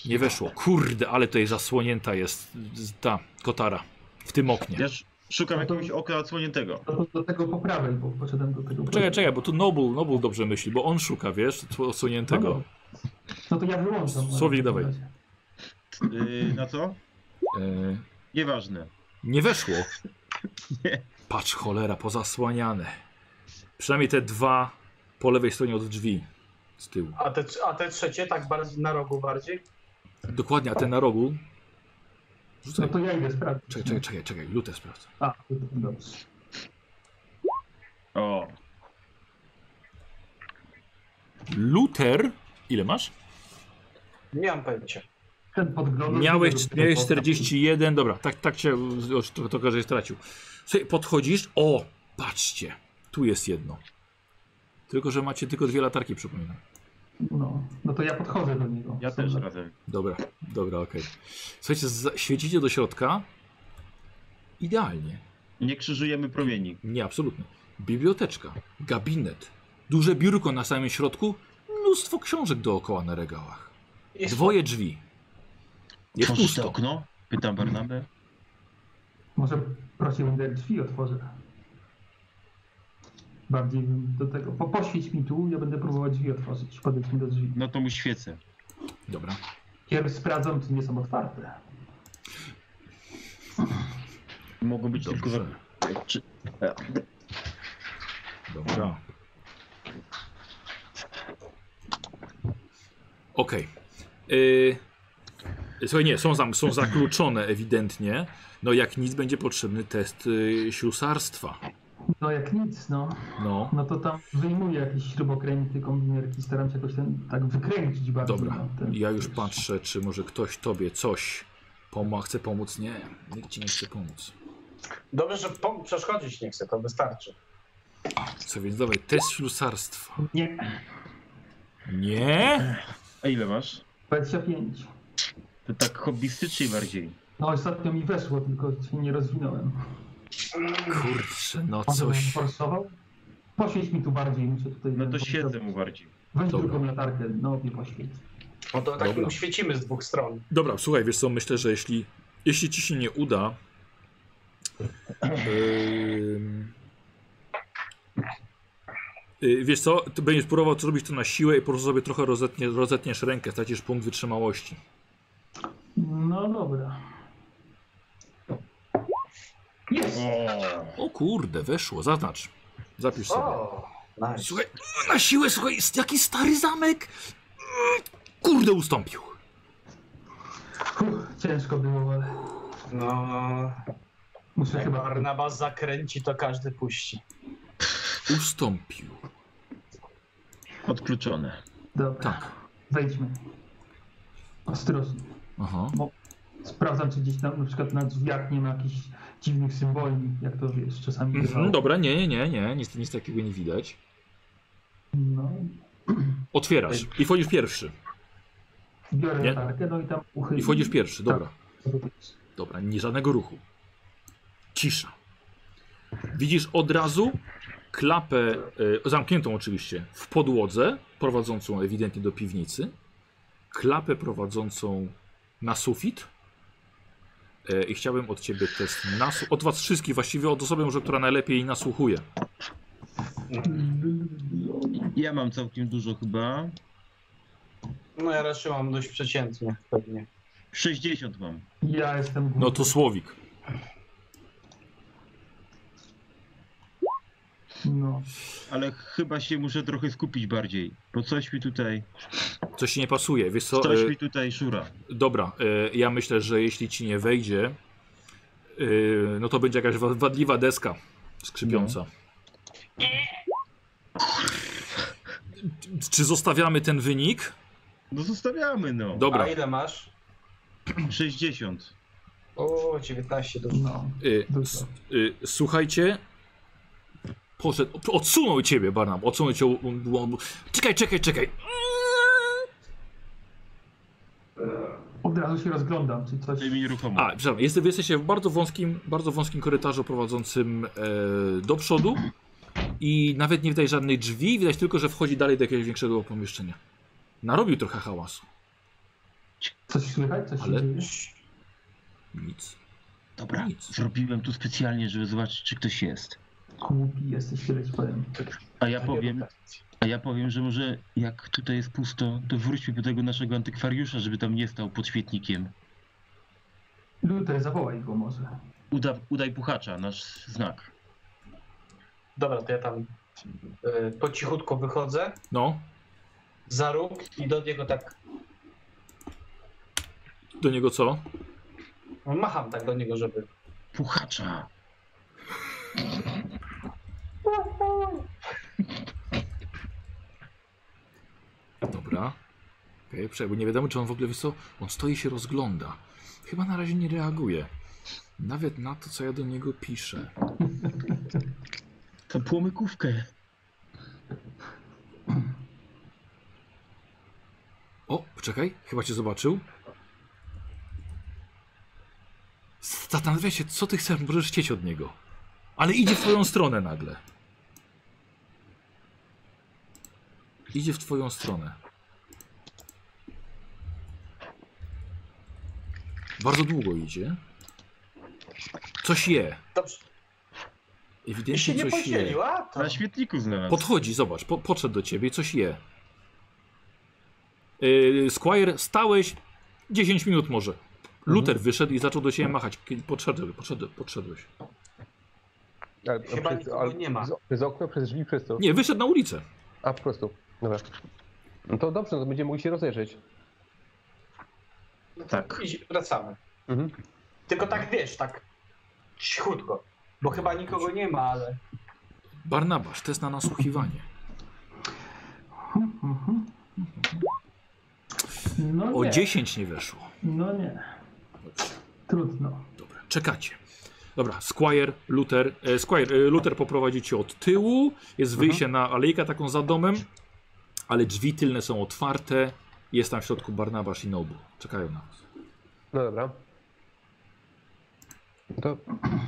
Nie weszło. Kurde, ale tutaj zasłonięta jest z- ta kotara w tym oknie. Ja sz- szukam No to- jakiegoś oka odsłoniętego. Do, do tego po prawej, bo poszedłem do tego. po Czekaj, prawej. czekaj, bo tu Noble, Noble dobrze myśli, bo on szuka, wiesz, tu odsuniętego. No to ja wyłączam. może Słowik, w takim dawaj. razie. Y, na co? Yy, Nieważne. nie weszło. Nie. Patrz, cholera, pozasłaniane. Przynajmniej te dwa po lewej stronie od drzwi z tyłu. A te, a te trzecie tak bardziej na rogu bardziej? Dokładnie, a ten na rogu. No Rzucaj. to ja idę sprawdzić. Czekaj, czekaj, czekaj, czekaj, lutę sprawdzę. A, dobrze. O, Luter, ile masz? Nie mam pojęcia. Ten podgląd. Miałeś, Ten miałeś podgląd. 41, dobra, tak, tak cię już trochę, trochę żeś stracił. Słuchaj, podchodzisz, o, patrzcie, tu jest jedno. Tylko, że macie tylko dwie latarki, przypominam. No, no to ja podchodzę do niego. ja też tak. razem. Dobra, dobra, okej. Słuchajcie, za- świecicie do środka. Idealnie. Nie krzyżujemy promieni. Nie, absolutnie. Biblioteczka, gabinet, duże biurko na samym środku, mnóstwo książek dookoła na regałach. Jest Dwoje drzwi. Jest Otworzysz to pusto. okno? Pytam Barnabę. Może prosiłbym, jak drzwi otworzę. Bardziej bym do tego. Po, poświeć mi tu, ja będę próbował drzwi otworzyć. Podejdź mi do drzwi. No to mu świecę. Dobra. Pierw sprawdzam, czy nie są otwarte. Mogą być Dobrze. tylko za... Czy... e, Dobra. Okej. Y, Słuchaj, nie, są, zam- są zakluczone ewidentnie. No jak nic będzie potrzebny test y, ślusarstwa. No jak nic, no. No, No to tam wyjmuję jakieś śrubokręty, kombinierki, staram się jakoś ten, tak wykręcić bardziej. Dobra, no, ten, ja już patrzę, czy może ktoś tobie coś pomo- chce pomóc. Nie, nikt ci nie chce pomóc. Dobrze, że pom- przeszkodzić nie chcę, to wystarczy. Co więc, dawaj, test ślusarstwa. Nie, Nie? A ile masz? 25. To tak hobbystycznie bardziej. No ostatnio mi weszło, tylko się nie rozwinąłem. Kurczę, no Może bym coś. forsował? Poświeć mi tu bardziej, muszę tutaj... No to siedzę mu bardziej. Weź Dobra. drugą latarkę, no nie poświeć. No to tak Dobra. świecimy z dwóch stron. Dobra, słuchaj, wiesz co, myślę, że jeśli, jeśli ci się nie uda, ym, y, wiesz co, ty będziesz próbował to zrobić to na siłę i po prostu sobie trochę rozetnie, rozetniesz rękę, stracisz punkt wytrzymałości. No dobra. Jest! O, O kurde, weszło, zaznacz. Zapisz sobie. O, nice. Słuchaj, na siłę, słuchaj, jaki stary zamek. Mm, Kurde, ustąpił. Fuh, ciężko było, ale No, Tak, muszę jak chyba... Barnabas zakręci, to każdy puści. Ustąpił. odkluczone. Dobra, Tak. wejdźmy. Ostrożnie. Aha. Sprawdzam, czy gdzieś tam na przykład na drzwiach nie ma jakichś dziwnych symboli, jak to wiesz, czasami bywało. Mhm, dobra, nie, nie, nie, nie, nic, nic takiego nie widać. No, Otwierasz i wchodzisz pierwszy. biorę Nie. latarkę, no i tam uchyliłem. I wchodzisz Tak. pierwszy, dobra. Dobra, nie żadnego ruchu. Cisza. Widzisz od razu klapę, e, zamkniętą oczywiście, w podłodze, prowadzącą ewidentnie do piwnicy, klapę prowadzącą na sufit. E, I chciałbym od ciebie test nasu- od was wszystkich, właściwie od osoby, może, która najlepiej nasłuchuje. Ja mam całkiem dużo chyba. No ja raczej mam dość przeciętnie pewnie. 60 mam. Ja jestem No to Słowik. No. Ale chyba się muszę trochę skupić bardziej. Bo coś mi tutaj. Coś ci nie pasuje, wiesz co? Coś e, mi tutaj szura. Dobra, e, ja myślę, że jeśli ci nie wejdzie, e, no to będzie jakaś wa- wadliwa deska skrzypiąca. Czy zostawiamy ten wynik? No zostawiamy no. Dobra. E, A ile masz? 60. O, 19 dużo. No, Y, Dużo. s- y, słuchajcie. Poszedł, odsunął ciebie, Barnab. Odsunął cię. u- u- u- Czekaj, czekaj, czekaj. od razu się rozglądam, czy coś... Tej mi nieruchomo. A, przepraszam, jeste- wy jesteście w bardzo wąskim, bardzo wąskim korytarzu prowadzącym e, do przodu i nawet nie widać żadnej drzwi, widać tylko, że wchodzi dalej do jakiegoś większego pomieszczenia. Narobił trochę hałasu. Coś słychać? Coś Ale- się dzieje? Nic. Dobra. Nic. Zrobiłem tu specjalnie, żeby zobaczyć, czy ktoś jest. Głupi jesteś, kiedyś powiem. A ja powiem, a ja powiem, że może jak tutaj jest pusto, to wróćmy do tego naszego antykwariusza, żeby tam nie stał pod świetnikiem. Luther, zawołaj go może. Uda, udaj puchacza, nasz znak. Dobra, to ja tam y, po cichutku wychodzę No, za róg i do niego tak do niego co? macham tak do niego, żeby... Puchacza! Dobra. Okay, bo nie wiadomo, czy on w ogóle wyso. On stoi i się rozgląda. Chyba na razie nie reaguje. Nawet na to, co ja do niego piszę. To płomykówkę. O, poczekaj, chyba cię zobaczył. Zastanawiam się, co ty chcesz, możesz chcieć od niego. Ale idzie w twoją stronę nagle. Idzie w twoją stronę. Bardzo długo idzie. Coś je. Dobrze, i się Ewidentnie nie coś je. podzielił, a to... Na świetniku znalazł. Podchodzi, zobacz, po, podszedł do ciebie i coś je. Yy, Squire, stałeś 10 minut może. Luther wyszedł i zaczął do ciebie machać. Kiedy Podszedł, podszedł, podszedłeś. Ale, Chyba nikogo nie ma. Przez, przez okno, przez drzwi, przez to. Nie, wyszedł na ulicę. A po prostu. Dobra. No to dobrze, no to będziemy mogli się rozejrzeć. No to Tak. idź- Wracamy. Mhm. Tylko tak wiesz, tak cichutko. Bo chyba nikogo nie ma, ale. Barnabasz, test na nasłuchiwanie. Mhm. No O nie, 10 nie weszło. no nie. Trudno. Dobra, czekacie. Dobra, Squire, Luther. E, Squire, e, Luther poprowadzi cię od tyłu. Jest wyjście na alejkę taką za domem, ale drzwi tylne są otwarte. Jest tam w środku Barnabasz i Nobu. Czekają na was. No dobra. To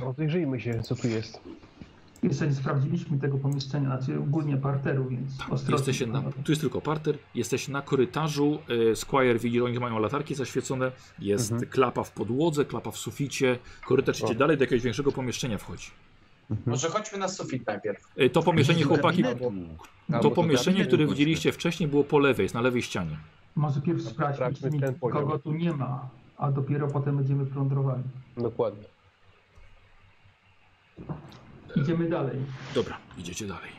rozejrzyjmy się, co tu jest. Jeszcze nie sprawdziliśmy tego pomieszczenia, znaczy ogólnie parteru, więc Tak, ostrożnie. No, Jesteście na, tu jest tylko parter. Jesteś na korytarzu. e, Squire widzi, że oni mają latarki zaświecone. Jest Mhm. klapa w podłodze, klapa w suficie. Korytarz idzie O. dalej do jakiegoś większego pomieszczenia wchodzi. Mhm. Może chodźmy na sufit najpierw. E, To pomieszczenie, chłopaki, Gabinetu. Albo to do pomieszczenie, gabinetu tak. które chodźmy. widzieliście wcześniej, było po lewej, jest na lewej ścianie. Może pierw Sprawdźmy sprawdźmy, ten poziom. kogo tu nie ma, a dopiero potem będziemy plądrowali. Dokładnie. Idziemy dalej. Dobra, idziecie dalej.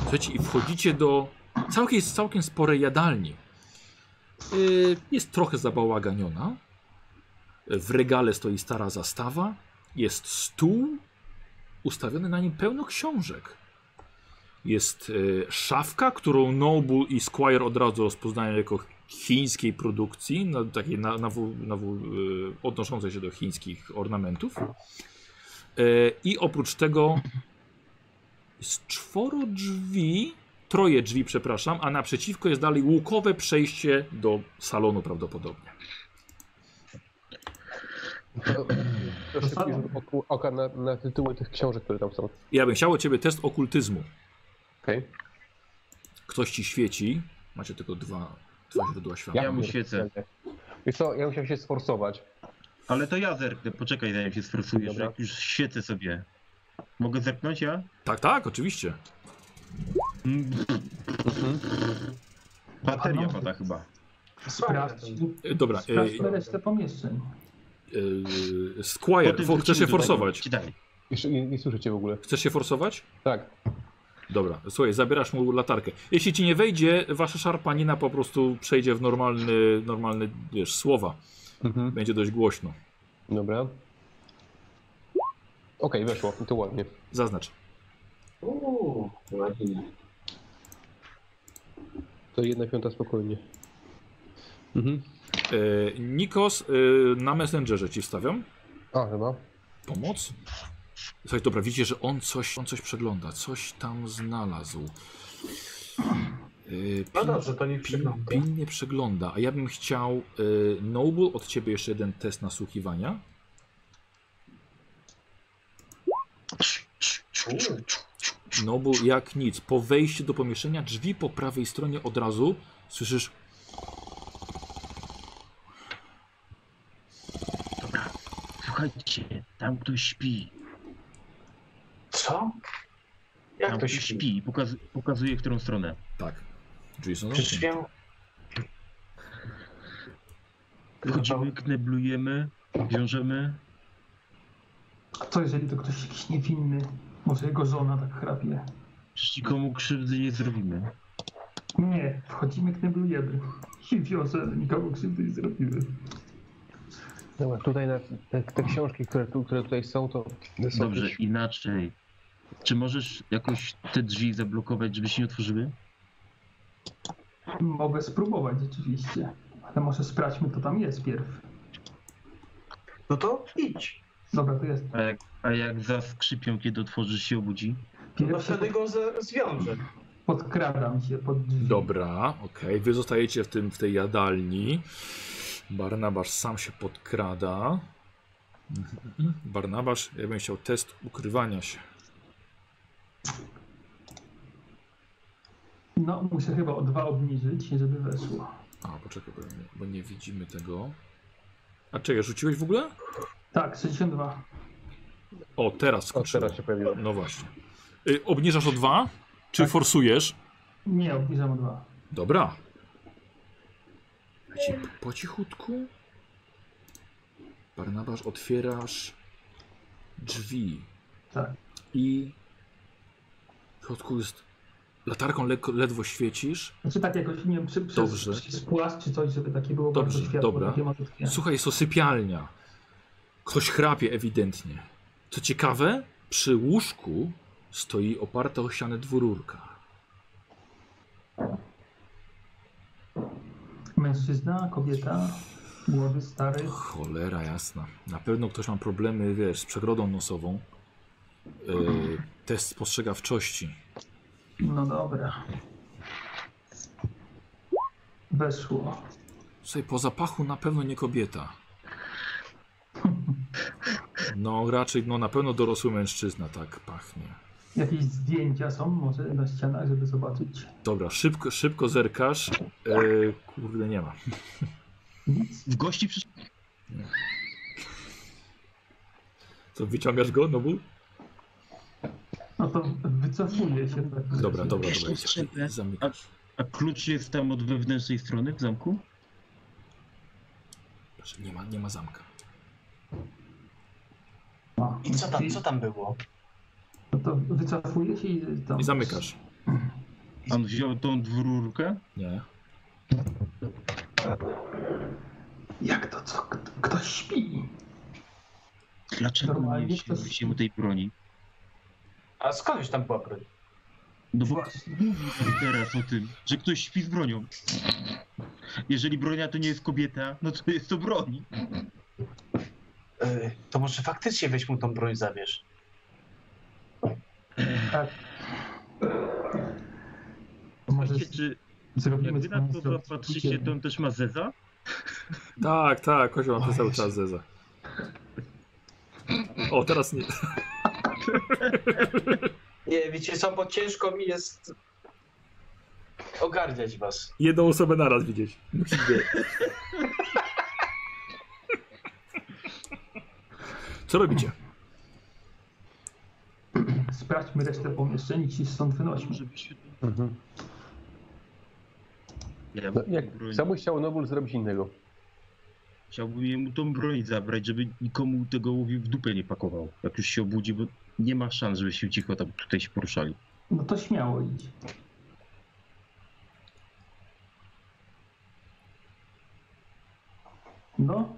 Słuchajcie, i wchodzicie do całkiem, całkiem sporej jadalni. Yy, Jest trochę zabałaganiona. Yy, W regale stoi stara zastawa. Jest stół. Ustawiony na nim pełno książek. Jest yy, szafka, którą Noble i Squire od razu rozpoznają jako chińskiej produkcji, na, takiej na, nawu- nawu- yy, odnoszącej się do chińskich ornamentów. Yy, I oprócz tego z czworo drzwi, troje drzwi, przepraszam, a naprzeciwko jest dalej łukowe przejście do salonu prawdopodobnie. To, to szybki rzut oku- oka na, na tytuły tych książek, które tam są. Ja bym chciał od ciebie test okultyzmu. Okej. Ktoś ci świeci, macie tylko dwa, dwa źródła światła. Ja mu świecę. Wiesz co, ja musiałem się sforsować. Ale to ja zerknę, poczekaj zanim się sforsujesz, Dobra. jak już świecę sobie. Mogę zerknąć ja? Tak, tak, oczywiście. Mm, Bateria A no. pada chyba. Sprawdź. Sprawdźmy, E, Dobra, e, sprawdźmy resztę pomieszczeń. e, Po Squire, tym for, chcesz się wrócimy do tego. forsować? Czytaj. Jeszcze nie, nie słyszycie w ogóle. Chcesz się forsować? Tak. Dobra, słuchaj, zabierasz mu latarkę. Jeśli ci nie wejdzie, wasza szarpanina po prostu przejdzie w normalny, normalny, wiesz, słowa. Mhm. Będzie dość głośno. Dobra. Okej, weszło. To ładnie. Zaznacz. Uuu, ładnie. To jedna piąta spokojnie. Mhm. E, Nikos, e, na Messengerze ci wstawiam. A, chyba. Pomoc. Słuchaj, dobra, widzicie, że on coś, on coś przegląda, coś tam znalazł. E, No pin- dobrze, to nie pin, przygląda. pilnie przegląda, a ja bym chciał, e, Noble, od ciebie jeszcze jeden test nasłuchiwania. Noble, jak nic, po wejściu do pomieszczenia, drzwi po prawej stronie od razu słyszysz Dobra, słuchajcie, tam ktoś śpi. Co? Jak Tam to ktoś śpi? śpi i pokaz- pokazuje w którą stronę. Tak. Drzwi są Przecież zamknięte. miał... Chodzimy, kneblujemy, wiążemy. A co jeżeli to ktoś jakiś niewinny? Może jego żona tak chrapie? Przecież nikomu krzywdy nie zrobimy. Nie, wchodzimy, kneblujemy. I wiozę, nikogo krzywdy nie zrobimy. Dobra, tutaj na, te, te książki, które, tu, które tutaj są, to to są Dobrze, jakieś- inaczej. Czy możesz jakoś te drzwi zablokować, żeby się nie otworzyły? Mogę spróbować rzeczywiście, ale może sprawdźmy, kto tam jest pierw. No to idź. Dobra, to jest A jak, a jak zaskrzypią, kiedy otworzysz się obudzi? No pierwszy. wtedy go za- zwiążę. Podkradam się pod drzwi. Dobra, okej. Wy zostajecie w, tym, w tej jadalni. Barnabasz sam się podkrada. Mhm, mhm. Barnabasz, ja bym chciał test ukrywania się. No, muszę chyba o dwa obniżyć, żeby weszło. A, poczekaj, bo nie, bo nie widzimy tego. A czekaj, rzuciłeś w ogóle? Tak, 62. O, teraz O, skoczyło. teraz się pojawiło. No właśnie. Y, obniżasz o dwa? Czy forsujesz? Nie, obniżam o dwa. Dobra. Leci po cichutku. Barnabasz, otwierasz drzwi. Tak. I w środku jest Latarką lekko, ledwo świecisz. Znaczy tak jakoś, nie wiem, przy, przez, Dobrze. przez płaszcz czy coś, żeby takie było Dobrze, bardzo światło, dobra. takie malutkie. Słuchaj, jest to sypialnia. Ktoś chrapie ewidentnie. Co ciekawe, przy łóżku stoi oparta o ścianę dwururka. Mężczyzna, kobieta, młody, stary. Cholera jasna. Na pewno ktoś ma problemy, wiesz, z przegrodą nosową. Yy, test spostrzegawczości. No dobra. Weszło. Słuchaj, po zapachu na pewno nie kobieta. No, raczej, no na pewno dorosły mężczyzna tak pachnie. Jakieś zdjęcia są może na ścianach, żeby zobaczyć? Dobra, szybko, szybko zerkasz. Yy, kurde, nie ma. Nic. W gości przy... Co, wyciągasz go, no bu? No to wycofuję się. Tak. Dobra, dobra, Jeszcze dobra. skrzypę. Zamykasz. A klucz jest tam od wewnętrznej strony w zamku? Proszę, Nie ma, nie ma zamka. No, I co tam, co tam było? No to wycofuję się i tam... I zamykasz. On wziął tą dwururkę? Nie. Jak to, co? Kto- Ktoś śpi. Dlaczego Normalnie nie to- wziął się mu tej broni? A skąd już tam była broń? No bo mówił pan teraz o tym, że ktoś śpi z bronią. Jeżeli bronia to nie jest kobieta, no to jest to broń. E, Yy, to może faktycznie weź mu tą broń zabierz. Tak. To może Wiecie, czy zrobimy jak wy na z panem to patrzycie, to on też ma zeza? Tak, tak, kozioł ma to cały czas zeza. O, teraz nie. Nie, wiecie co, bo ciężko mi jest ogarniać was. Jedną osobę naraz widzieć. Co robicie? Sprawdźmy resztę pomieszczeń i się stąd wynośmy. Żebyśmy... Mhm. Ja No, bym jak, broń- co by chciał Nobul zrobić innego? Chciałbym jemu tą broń zabrać, żeby nikomu tego łowiu w dupę nie pakował. Jak już się obudzi, bo nie ma szans, żeby się cicho tam tutaj się poruszali. No to śmiało idź. No,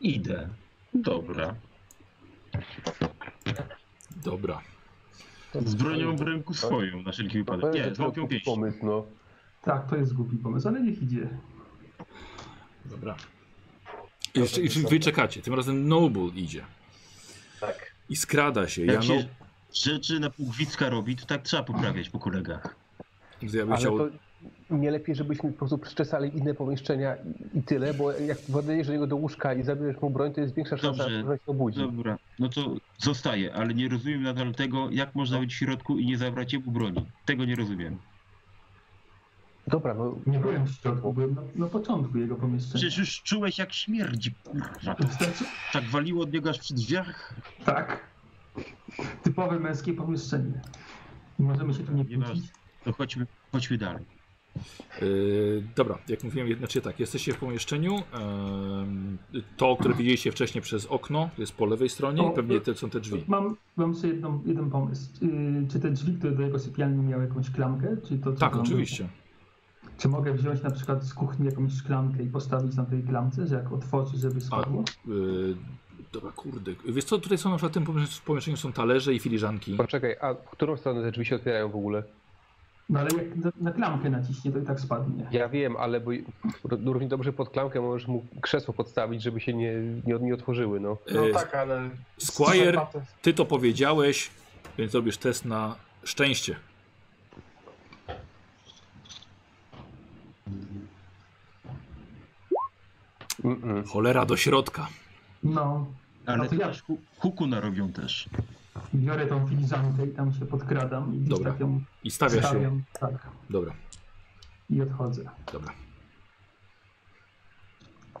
Idę. Dobra. Dobra. Z bronią w ręku swoją, na wszelki No, wypadek. pewnie, Nie, że z to łapią pięści. Pomysł, no. tak, to jest głupi pomysł, ale niech idzie. Dobra. I, jeszcze- i wy czekacie. Tym razem Noble idzie. Tak. I skrada się. Ja, Jak no, się rzeczy na półgwicka robi, to tak trzeba poprawiać po kolegach. ja bym Ale chciał. to nie lepiej, żebyśmy po prostu przeczesali inne pomieszczenia i, i tyle, bo jak podejdziesz do niego do łóżka i zabierzesz mu broń, to jest większa szansa, Dobrze. że się obudzi. Dobra, no to zostaje, ale nie rozumiem nadal tego, jak można być w środku i nie zabrać jemu broni. Tego nie rozumiem. Dobra, no Nie byłem w środku, byłem na, na początku jego pomieszczenia. Przecież już czułeś jak śmierdzi, kurwa. Wystarczy? Tak waliło od niego aż przy drzwiach. Tak. Typowe męskie pomieszczenie. I możemy się tu nie Nieważne. kłócić. To chodźmy, chodźmy dalej. Yy, dobra, jak mówiłem, jed- znaczy tak, jesteście w pomieszczeniu. Yy, to, które widzieliście wcześniej przez okno, to jest po lewej stronie. O, i Pewnie te są te drzwi. Mam, mam sobie jedną, jeden pomysł. Yy, czy te drzwi, które do jego sypialni miały jakąś klamkę? Czy to, co Tak, tam- oczywiście. Czy mogę wziąć na przykład z kuchni jakąś szklankę i postawić na tej klamce, że jak otworzy, żeby Tak. spadło? Yy, dobra, kurde. Wiesz co, tutaj są na przykład w tym pomiesz- w pomieszczeniu są talerze i filiżanki. poczekaj, a w którą stronę te drzwi się otwierają w ogóle? No ale jak na, na klamkę naciśnie, to i tak spadnie. Ja wiem, ale bo równie dobrze pod klamkę możesz mu krzesło podstawić, żeby się nie, nie, nie otworzyły, no. No Yy, tak, ale... Squire, ty to powiedziałeś, więc robisz test na szczęście. Mm-mm. Cholera do środka. No, Ale No to ja- też hu- huku narobią też. biorę tą filiżankę i tam się podkradam i gdzieś Dobra. tak ją I stawia się. stawiam. Tak, Dobra, i odchodzę. dobra.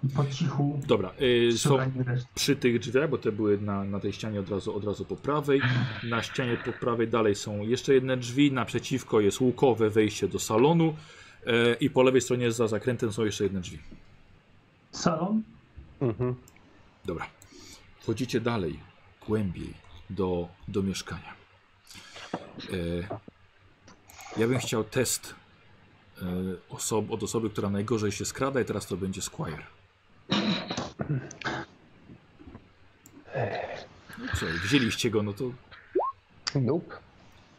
I po cichu Dobra, yy, są szukam reszty. przy tych drzwiach, bo te były na, na tej ścianie od razu, od razu po prawej. Na ścianie po prawej dalej są jeszcze jedne drzwi, naprzeciwko jest łukowe wejście do salonu e, i po lewej stronie za zakrętem są jeszcze jedne drzwi. Salon? Mhm. Dobra. Wchodzicie dalej, głębiej do, do mieszkania. E, Ja bym chciał test e, osob, od osoby, która najgorzej się skrada i teraz to będzie Squire. No co, wzięliście go, no to Nope.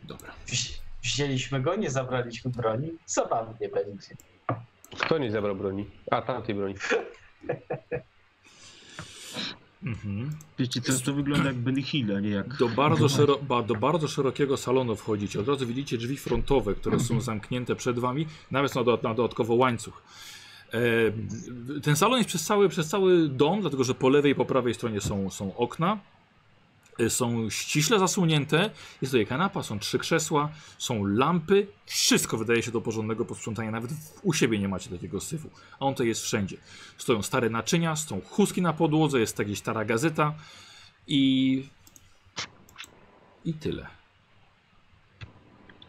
dobra. Wzi- Wzięliśmy go, nie zabraliśmy broni. Zabawnie będzie. Kto nie zabrał broni? A, tamtej broni. Mhm. Wiecie co, to wygląda jak Benny Hill, a nie jak... Do bardzo, szero, ba, do bardzo szerokiego salonu wchodzicie. Od razu widzicie drzwi frontowe, które są zamknięte przed wami, nawet na, do, na dodatkowo łańcuch. E, ten salon jest przez cały, przez cały dom, dlatego że po lewej i po prawej stronie są, są okna. E, Są ściśle zasłonięte. Jest tutaj kanapa, są trzy krzesła, są lampy. Wszystko wydaje się do porządnego posprzątania. Nawet w- u siebie nie macie takiego syfu. A on to jest wszędzie. Stoją stare naczynia, są chustki na podłodze, jest ta gdzieś stara gazeta. I i tyle.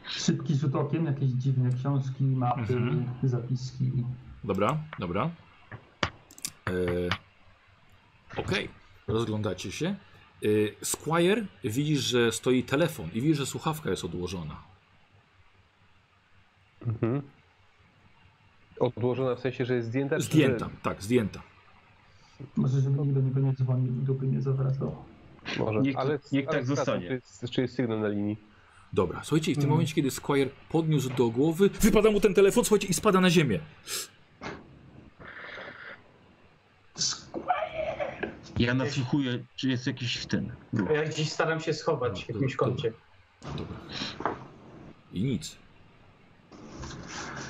Szybki rzut okiem, jakieś dziwne książki, mapy, Mhm. zapiski. Dobra, dobra. E, Okej, rozglądacie się. E, Squire widzisz, że stoi telefon i widzisz, że słuchawka jest odłożona. Mhm. Odłożona w sensie, że jest zdjęta? czy że- Zdjęta, tak, zdjęta. Może żeby nikt do niego nie dzwonił i dupy nie zawracał. Może, Niech- ale, niech ale tak sprawdzam, zostanie. Czy jest, czy jest sygnał na linii? Dobra, słuchajcie, i w tym momencie, kiedy Squire podniósł do głowy, wypada mu ten telefon, słuchajcie, i spada na ziemię. Ja nasłuchuję, czy jest jakiś ten... ruch. No Ja gdzieś staram się schować w jakimś kącie. Dobra. I nic.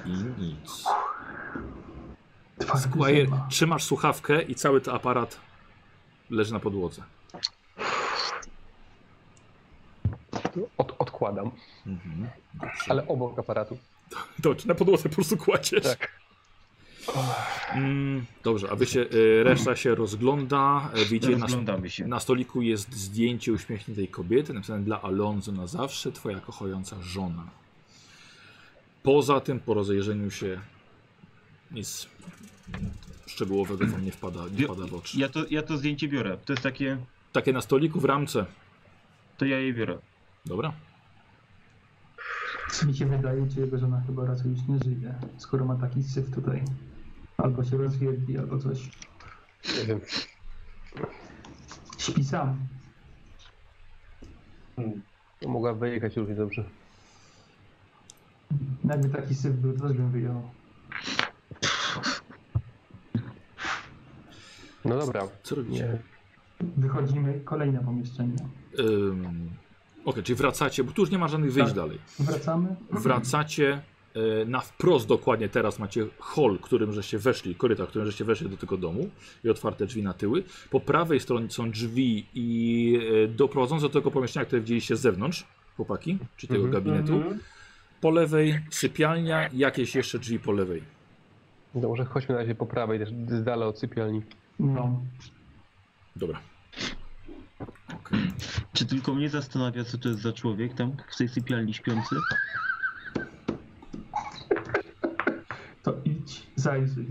I nic. Twardy Squire, zęba. trzymasz słuchawkę i cały ten aparat leży na podłodze. Od, odkładam, Mhm. ale obok aparatu. Dobrze, na podłodze po prostu kładziesz. Tak. Mm, dobrze, a wy się, y, reszta się rozgląda. y, Widzicie, na, Rozglądamy się. na stoliku jest zdjęcie uśmiechniętej kobiety, napisane dla Alonso na zawsze, twoja kochająca żona. Poza tym, po rozejrzeniu się, nic szczegółowego wam nie wpada, nie Wie- wpada w oczy. Ja to, ja to zdjęcie biorę. To jest takie... Takie na stoliku w ramce. To ja je biorę. Dobra. Czy mi się wydaje, czy jego żona chyba raczej już nie żyje, skoro ma taki syf tutaj. Albo się rozwierdzi, albo coś. Nie wiem. Śpi sam. Mogła wyjechać równie dobrze. Jakby taki syf był, to też bym wyjął. No dobra. Co robicie? Nie. Wychodzimy, kolejne pomieszczenie. Ym, Okej, czyli wracacie, bo tu już nie ma żadnych wyjść Tak. dalej. Wracamy. Mhm. Wracacie e, na wprost dokładnie teraz macie hol, którym żeście weszli, korytarz, którym żeście weszli do tego domu i otwarte drzwi na tyły. Po prawej stronie są drzwi i e, doprowadzące do tego pomieszczenia, które widzieliście z zewnątrz, chłopaki, czy tego Mhm. gabinetu. Po lewej sypialnia, jakieś jeszcze drzwi po lewej. No może chodźmy na razie po prawej, też z dala od sypialni. No. Dobra. Czy tylko mnie zastanawia, co to jest za człowiek tam w tej sypialni śpiący? To idź, zajrzyj.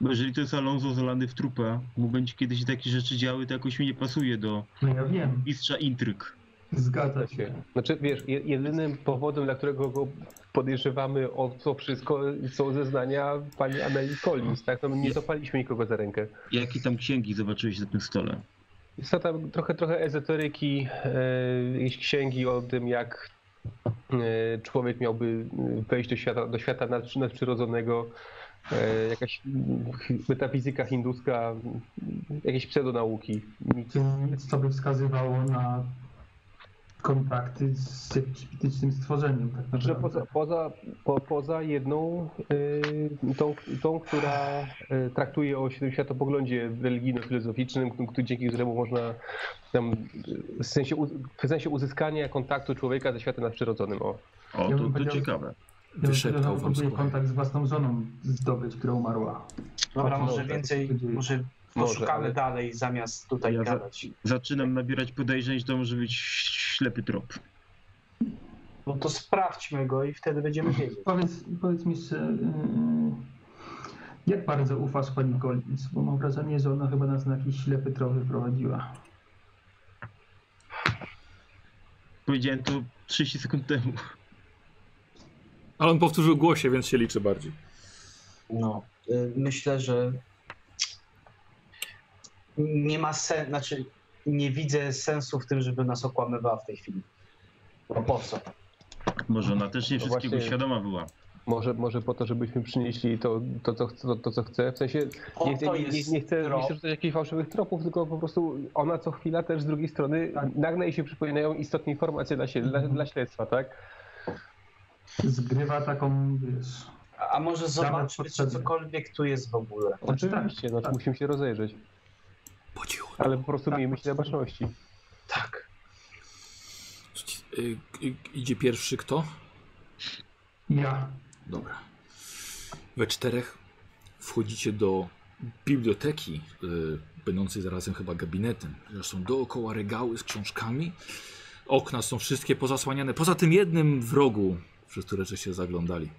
Bo jeżeli to jest Alonso zalany w trupa, mu będzie kiedyś takie rzeczy działy, to jakoś mi nie pasuje do No ja wiem, mistrza intryg. zgadza się. Się. Znaczy, wiesz, je- jedynym powodem, dla którego go podejrzewamy o to wszystko, są zeznania pani Ameli Collins, tak? No, my nie zapaliśmy nikogo za rękę. Jakie tam księgi zobaczyłeś na tym stole? Jest to tam trochę, trochę ezoteryki, e, jakieś księgi o tym, jak e, człowiek miałby wejść do świata, do świata nad- nadprzyrodzonego, e, jakaś mm, metafizyka hinduska, mm, jakieś pseudonauki. Nic. Czy nic, co by wskazywało na kontakty z jakimś mitycznym stworzeniem, tak Że naprawdę. poza, poza, po, poza jedną, y, tą, tą, która y, traktuje o świ- światopoglądzie religijno-filozoficznym, k- k- dzięki któremu można tam, y, w, sensie, u- w sensie uzyskania kontaktu człowieka ze światem nadprzyrodzonym. O. O, Ja to, bym to powiedział- ciekawe. Ja myślę, że Wyszeptał on wam próbuje skład. kontakt z własną żoną zdobyć, która umarła. Dobra, Tak, może może. więcej, może Może, poszukamy ale- dalej zamiast tutaj Ja za- gadać. Zaczynam nabierać podejrzeń, że to może być ślepy trop. No to sprawdźmy go i wtedy będziemy wiedzieć. Powiedz, powiedz mi jeszcze, yy, jak bardzo ufasz pani Collins? Bo mam wrażenie, że ona chyba nas na jakiś ślepy trop wyprowadziła. Powiedziałem to 30 sekund temu. Ale on powtórzył głosie, więc się liczy bardziej. No, y, myślę, że nie ma sensu, znaczy nie widzę sensu w tym, żeby nas okłamywała w tej chwili. Bo po co? Może ona też nie No wszystkiego właśnie. świadoma była. Może, może po to, żebyśmy przynieśli to, to, co, chce- to, to co chce. W sensie Po nie, chcę- to nie, nie, jest nie chcę trop. nie chcę rzucać jakichś fałszywych tropów, tylko po prostu ona co chwila też z drugiej strony nagle jej się przypominają istotne informacje dla, sie- dla, Mhm. dla śledztwa, tak? Zgrywa taką, wiesz... A może zobaczmy, czy potrzebny. cokolwiek tu jest w ogóle. Oczywiście, no, tak. musimy się rozejrzeć, Po cichu. ale po prostu miejmy się na baczności. Tak. Y, y, Idzie pierwszy kto? Ja. Dobra. We czterech wchodzicie do biblioteki, y, będącej zarazem chyba gabinetem. Są dookoła regały z książkami. Okna są wszystkie pozasłaniane, poza tym jednym w rogu, przez które żeście zaglądali.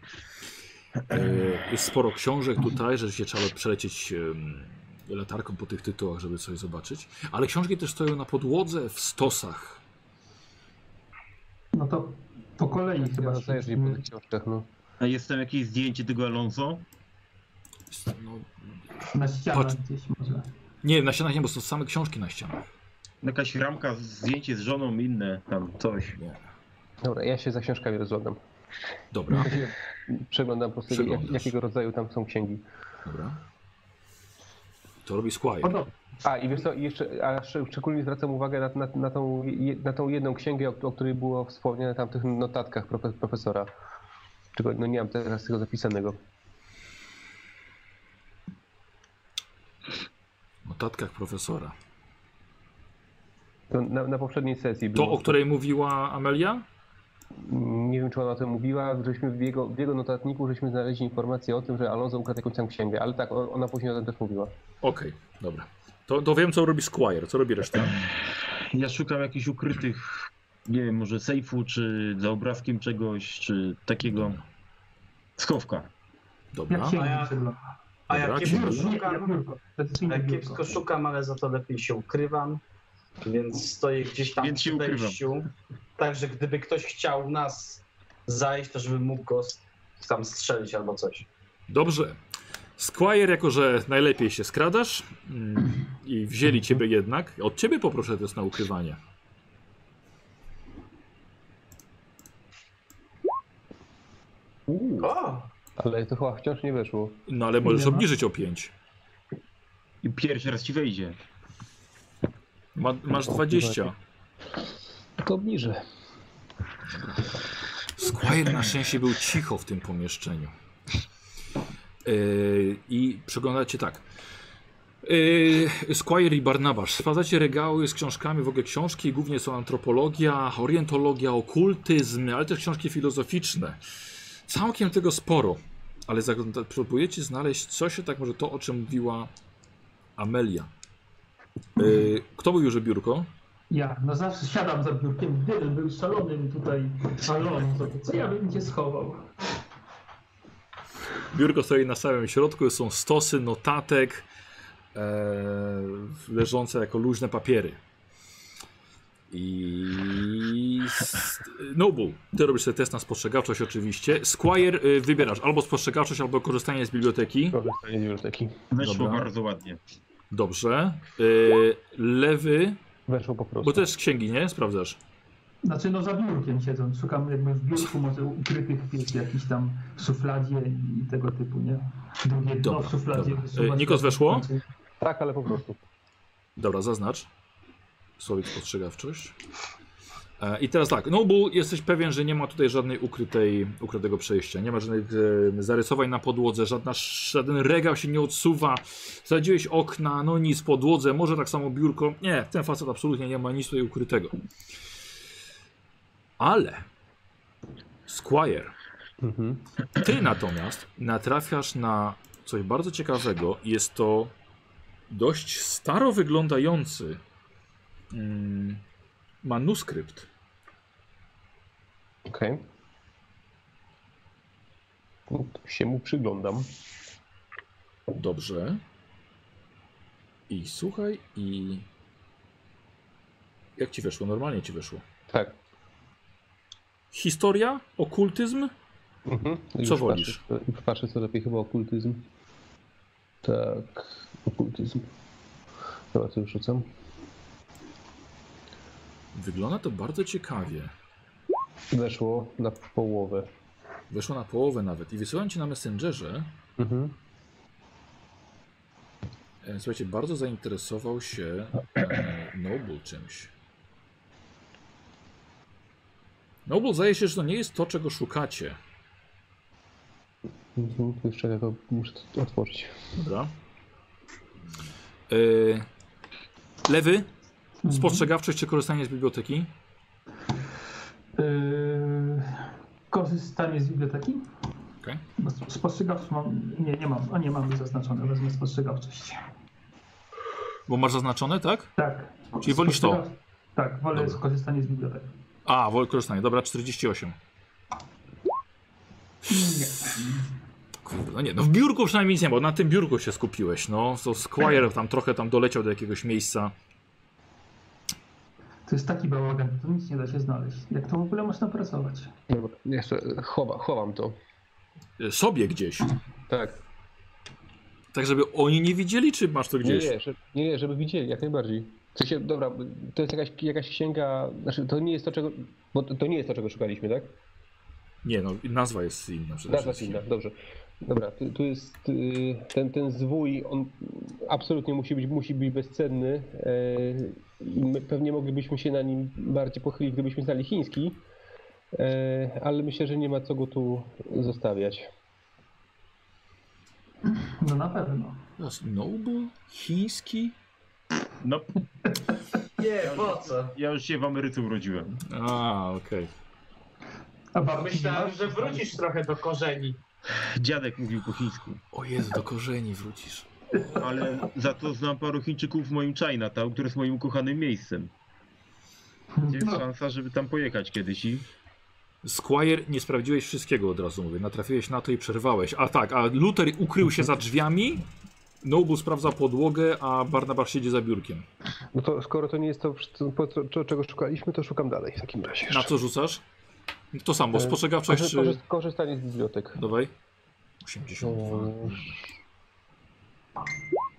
Y, Jest sporo książek tutaj, rzeczywiście trzeba przelecieć em, latarką po tych tytułach, żeby coś zobaczyć. Ale książki też stoją na podłodze, w stosach. No to po kolei Chyba chyba mm, rozejrzeć po szliśmy. tych książkach, no. A jest tam jakieś zdjęcie tego Alonso? Jest, No, na ścianach Patrz. gdzieś może. nie, na ścianach nie, bo są same książki na ścianach. Jakaś ramka, zdjęcie z żoną, inne tam coś. Dobra, ja się za książkami rozglądam. Dobra, Ja się Przeglądam po prostu jak, Przeglądasz. jakiego rodzaju tam są księgi. dobra. To robi Squire. Podobnie. A i wiesz co, i jeszcze a sz- szczególnie zwracam uwagę na, na, na, tą, je- na tą jedną księgę, o, o której było wspomniane tam w tych notatkach profe, profesora. Czego no nie mam teraz tego zapisanego. O tatkach profesora. To na, na poprzedniej sesji No. było. To, o której mówiła Amelia? Nie wiem, czy ona o tym mówiła, żeśmy w jego, w jego notatniku żeśmy znaleźli informację o tym, że Alonso ukradł jakąś tam księgę, ale tak, o- ona później o tym też mówiła. Okej, dobra. To, to wiem, co robi Squire. Co robi reszta? Ja szukam jakichś ukrytych, nie wiem, może sejfu, czy za obrazkiem czegoś, czy takiego schowka. Jak Dobra. się no. A ja- przegląda? A Dobra, ja księgi. kiepsko szukam, a ja kiepsko szukam. szukam, ale za to lepiej się ukrywam, więc stoję gdzieś tam Więc się przy ukrywam. wejściu. Także gdyby ktoś chciał nas zajść, to żebym mógł go s- tam strzelić albo coś. Dobrze. Squire, jako że najlepiej się skradasz mm, i wzięli ciebie jednak, od ciebie poproszę test na ukrywanie. O! Ale to chyba wciąż nie wyszło. No ale możesz Nie ma. obniżyć o 5. I pierwszy raz ci wejdzie. Ma, masz 20. To obniżę. Squire na szczęście był cicho w tym pomieszczeniu. Yy, I przeglądacie tak. Yy, Squire i Barnabasz. Sprawdzacie regały z książkami, w ogóle książki, głównie są antropologia, orientologia, okultyzm, ale też książki filozoficzne. Całkiem tego sporo, ale zagląda- próbujecie znaleźć coś, tak może to, o czym mówiła Amelia. Yy, kto mówił, że biurko? Ja, no zawsze siadam za biurkiem, gdybym był szalonym tutaj Alonso, to co ja bym cię schował? Biurko stoi na samym środku, są stosy notatek e, leżące jako luźne papiery. I s- Nobu, ty robisz sobie test na spostrzegawczość oczywiście. Squire y, wybierasz albo spostrzegawczość, albo korzystanie z biblioteki. Korzystanie z biblioteki. Weszło Dobra. bardzo ładnie. Dobrze. Y, lewy, Weszło po prostu. bo też z księgi, nie? Sprawdzasz. Znaczy no za biurkiem siedząc, szukam jakby w biurku może ukrytych wiesz, jakichś tam w szufladzie i tego typu, nie? Drugie dno Dobra, w szufladzie dobra. wysuwa E, się- Znaczy, Nikos, weszło? Tak, ale po prostu. Dobra, zaznacz. Słowik spostrzegawczość. E, I teraz tak, Nobu, jesteś pewien, że nie ma tutaj żadnej ukrytej, ukrytego przejścia. Nie ma żadnych e, zarysowań na podłodze, żadna, żaden regał się nie odsuwa. Zadziłeś okna, no nic, podłodze, może tak samo biurko. Nie, ten facet absolutnie nie ma nic tutaj ukrytego. Ale Squire, Mhm. ty natomiast natrafiasz na coś bardzo ciekawego. Jest to dość staro wyglądający mm, manuskrypt. Okej. No, to Się mu przyglądam. Dobrze. I słuchaj, i. Jak ci Tak. weszło? Normalnie ci weszło. Tak. Historia, okultyzm, Mhm. Co Już wolisz? Patrzę, co- patrzę co lepiej, chyba okultyzm. Tak, okultyzm. Dobra, to już rzucam. Wygląda to bardzo ciekawie. Weszło na połowę. Weszło na połowę nawet. I wysyłam ci na Messengerze. Mhm. E, Słuchajcie, bardzo zainteresował się e, Noble czymś. Noble zdaje się, że to nie jest to, czego szukacie. Mhm. to Jeszcze ja to muszę to otworzyć. Dobra. Yy, lewy, Mhm. spostrzegawczość czy korzystanie z biblioteki? Yy, korzystanie z biblioteki? Okej. Bo Spostrzegawczość mam. Nie, nie mam. A nie mam zaznaczone. Wezmę spostrzegawczość. Bo masz zaznaczone, tak? Tak. Czyli wolisz to? Spostrzegaw- Tak, wolę Dobra. korzystanie z biblioteki. A, wol korzystanie. Dobra, 48. Nie. Kurde, no nie, no w biurku przynajmniej nic nie było, na tym biurku się skupiłeś, no. To Squire tam trochę tam doleciał do jakiegoś miejsca. To jest taki bałagan, to nic nie da się znaleźć. Jak to w ogóle można pracować? Dobra, jeszcze chowa, chowam to. Y, Sobie gdzieś. Tak. Tak, żeby oni nie widzieli, czy masz to Nie, gdzieś? nie, że- nie, nie, żeby widzieli, jak najbardziej. W sensie, dobra, to jest jakaś, jakaś księga, znaczy to nie jest to, czego, bo to, to nie jest to, czego szukaliśmy, tak? Nie, no nazwa jest inna przede Nazwa wszystkim. silna, dobrze. Dobra, tu, tu jest y, ten, ten zwój, on absolutnie musi być, musi być bezcenny y, i my pewnie moglibyśmy się na nim bardziej pochylić, gdybyśmy znali chiński, y, ale myślę, że nie ma co go tu zostawiać. No na pewno. Teraz Noble? Chiński? No, Nie, po co? ja już się w Ameryce urodziłem. A, okej. A babci nie Myślałem, ma? że wrócisz trochę do korzeni. Dziadek mówił po chińsku. O Jezu, do korzeni wrócisz. Ale za to znam paru Chińczyków w moim Chinatown, które jest moim ukochanym miejscem. Jest No, szansa, żeby tam pojechać kiedyś i... Squire, nie sprawdziłeś wszystkiego od razu, mówię. Natrafiłeś na to i przerwałeś. A tak, a Luther ukrył się za drzwiami, Noble sprawdza podłogę, a Barnabas siedzi za biurkiem. No to skoro to nie jest to, po co- to, czego szukaliśmy, to szukam dalej w takim razie. Na co rzucasz? To samo, E, spostrzegawczość Korzyst, czy... korzyst, korzystanie z bibliotek. Dawaj. 82. Mm,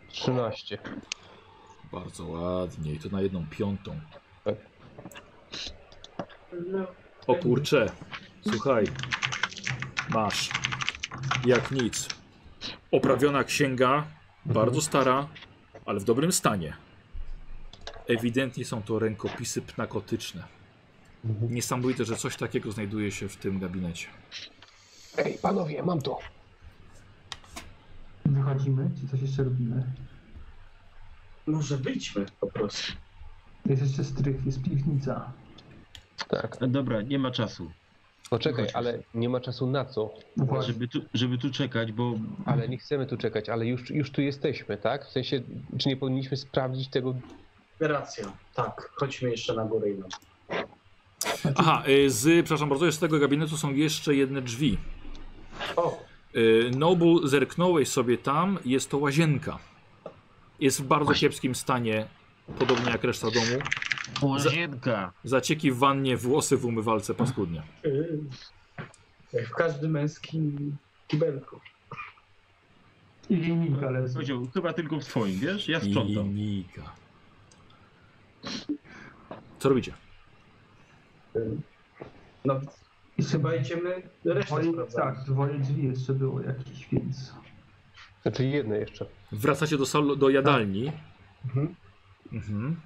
13. Bardzo ładnie. I to na jedną piątą. Tak. O kurcze. Słuchaj. Masz. Jak nic. Oprawiona księga. Bardzo stara, ale w dobrym stanie. Ewidentnie są to rękopisy pnakotyczne. Niesamowite, że coś takiego znajduje się w tym gabinecie. Ej, panowie, mam to. wychodzimy, czy coś jeszcze robimy? Może wyjdźmy po prostu. Jest jeszcze strych, jest piwnica. Tak. Dobra, nie ma czasu, Poczekaj, ale nie ma czasu na co. No właśnie. żeby tu, żeby tu czekać, bo Ale nie chcemy tu czekać, ale już, już tu jesteśmy, tak? W sensie, czy nie powinniśmy sprawdzić tego? Racja, tak. Chodźmy jeszcze na górę i na Aha, y, z, przepraszam bardzo, z tego gabinetu są jeszcze jedne drzwi. O, Y, Nobu, zerknąłeś sobie tam, jest to łazienka. Jest w bardzo kiepskim stanie, podobnie jak reszta domu. łazienka. Zacieki w wannie, włosy w umywalce paskudnie. yy, jak w każdym męskim kibelku. I linijka leży. Kozioł, chyba tylko w swoim, wiesz? Ja sprzątam. Mimika. Co robicie? No, I chyba chyba idziemy resztę dwoje, sprawdzać. tak, dwoje drzwi jeszcze było jakieś, więc... Znaczy jedne jeszcze. Wracacie do, salu, do Tak. jadalni. Mhm. Mhm.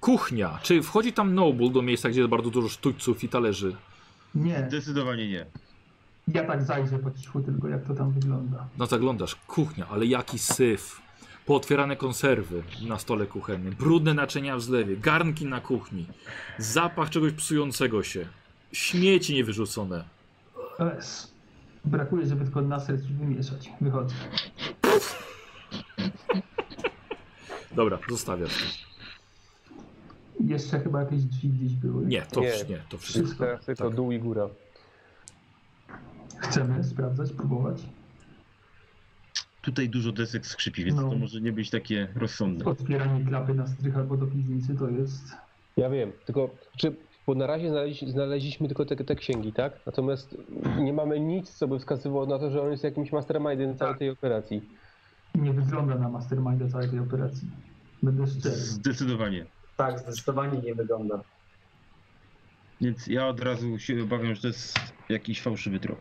Kuchnia. Czy wchodzi tam Noble do miejsca, gdzie jest bardzo dużo sztućców i talerzy? Nie, Zdecydowanie nie. ja tak zajrzę po cichu tylko, jak to tam wygląda. No zaglądasz, kuchnia, ale jaki syf. Pootwierane konserwy na stole kuchennym, brudne naczynia w zlewie, garnki na kuchni, zapach czegoś psującego się, śmieci niewyrzucone. Es. Brakuje, żeby tylko naser coś wymieszać. Wychodzę. Dobra, zostawiasz. to. Jeszcze chyba jakieś drzwi gdzieś były. Nie, to Nie. nie, nie to wszystko. Wszystko, teraz tylko Tak. dół i góra. Chcemy sprawdzać, próbować. Tutaj dużo desek skrzypi, więc No. to może nie być takie No, rozsądne. Otwieranie klapy na strych albo do piwnicy to jest... Ja wiem, tylko czy Bo na razie znaleźli, znaleźliśmy tylko te, te księgi, tak? Natomiast nie mamy nic, co by wskazywało na to, że on jest jakimś mastermindem całej Tak. tej operacji. Nie wygląda na mastermind całej tej operacji. Będę szczery. Zdecydowanie. Tak, zdecydowanie nie wygląda. Więc ja od razu się obawiam, że to jest jakiś fałszywy trop.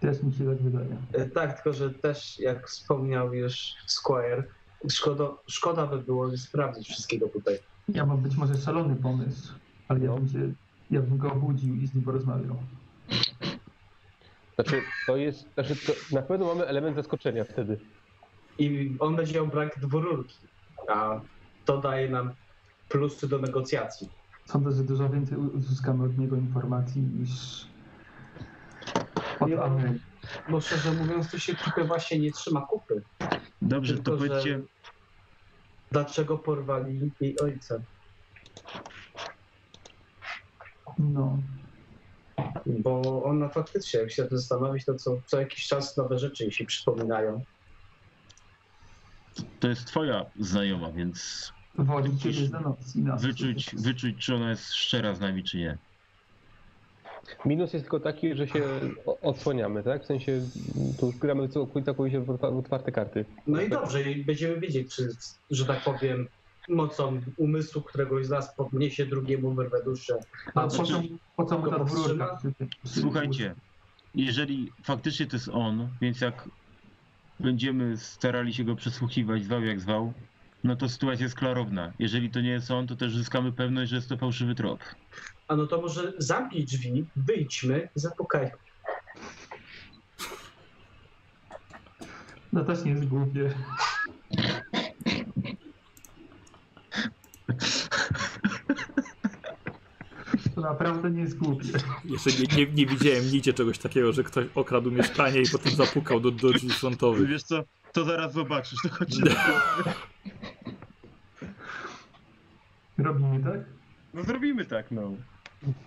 Też mi się tak wydaje. E, Tak, tylko że też jak wspomniał już Squire, szkoda, szkoda by było sprawdzić wszystkiego tutaj. Ja mam być może szalony pomysł, ale ja bym, się, ja bym go obudził i z nim porozmawiał. Znaczy, to jest, znaczy to, na pewno mamy element zaskoczenia wtedy. I on będzie miał brak dwururki, a to daje nam plusy do negocjacji. Sądzę, że dużo więcej u- uzyskamy od niego informacji niż od Ja- Amery. Bo szczerze mówiąc, tu się trochę właśnie nie trzyma kupy. Dobrze, to Tylko, że- powiedzcie, Dlaczego porwali jej ojca? No, Bo ona faktycznie, jak się zastanowić, to co, co jakiś czas nowe rzeczy jej się przypominają. to jest twoja znajoma, więc woli Wyczuć- ciebie za noc i nas. wyczuć, wyczuć, czy ona jest szczera z nami, czy nie. Minus jest tylko taki, że się o- odsłaniamy, tak? W sensie tu już gramy całkowicie w otwa- w otwarte karty. No i dobrze, i będziemy wiedzieć, czy, że tak powiem, mocą umysłu któregoś z nas podniesie drugiemu wyrwę duszę. A Znaczy, po co, po co mu go ta dwururka? powstrzyma? przy tym? Przy- Słuchajcie, jeżeli faktycznie to jest on, więc jak będziemy starali się go przesłuchiwać, zwał jak zwał, no to sytuacja jest klarowna. Jeżeli to nie jest on, to też zyskamy pewność, że jest to fałszywy trop. A no to może zamknij drzwi, wyjdźmy, zapukaj. No też nie jest głupie. To naprawdę nie jest głupie. Jeszcze nie, nie, nie widziałem nigdzie czegoś takiego, że ktoś okradł mieszkanie i potem zapukał do, do drzwi frontowych. Wiesz co, to zaraz zobaczysz, to chodź. Robimy tak? No zrobimy tak, no.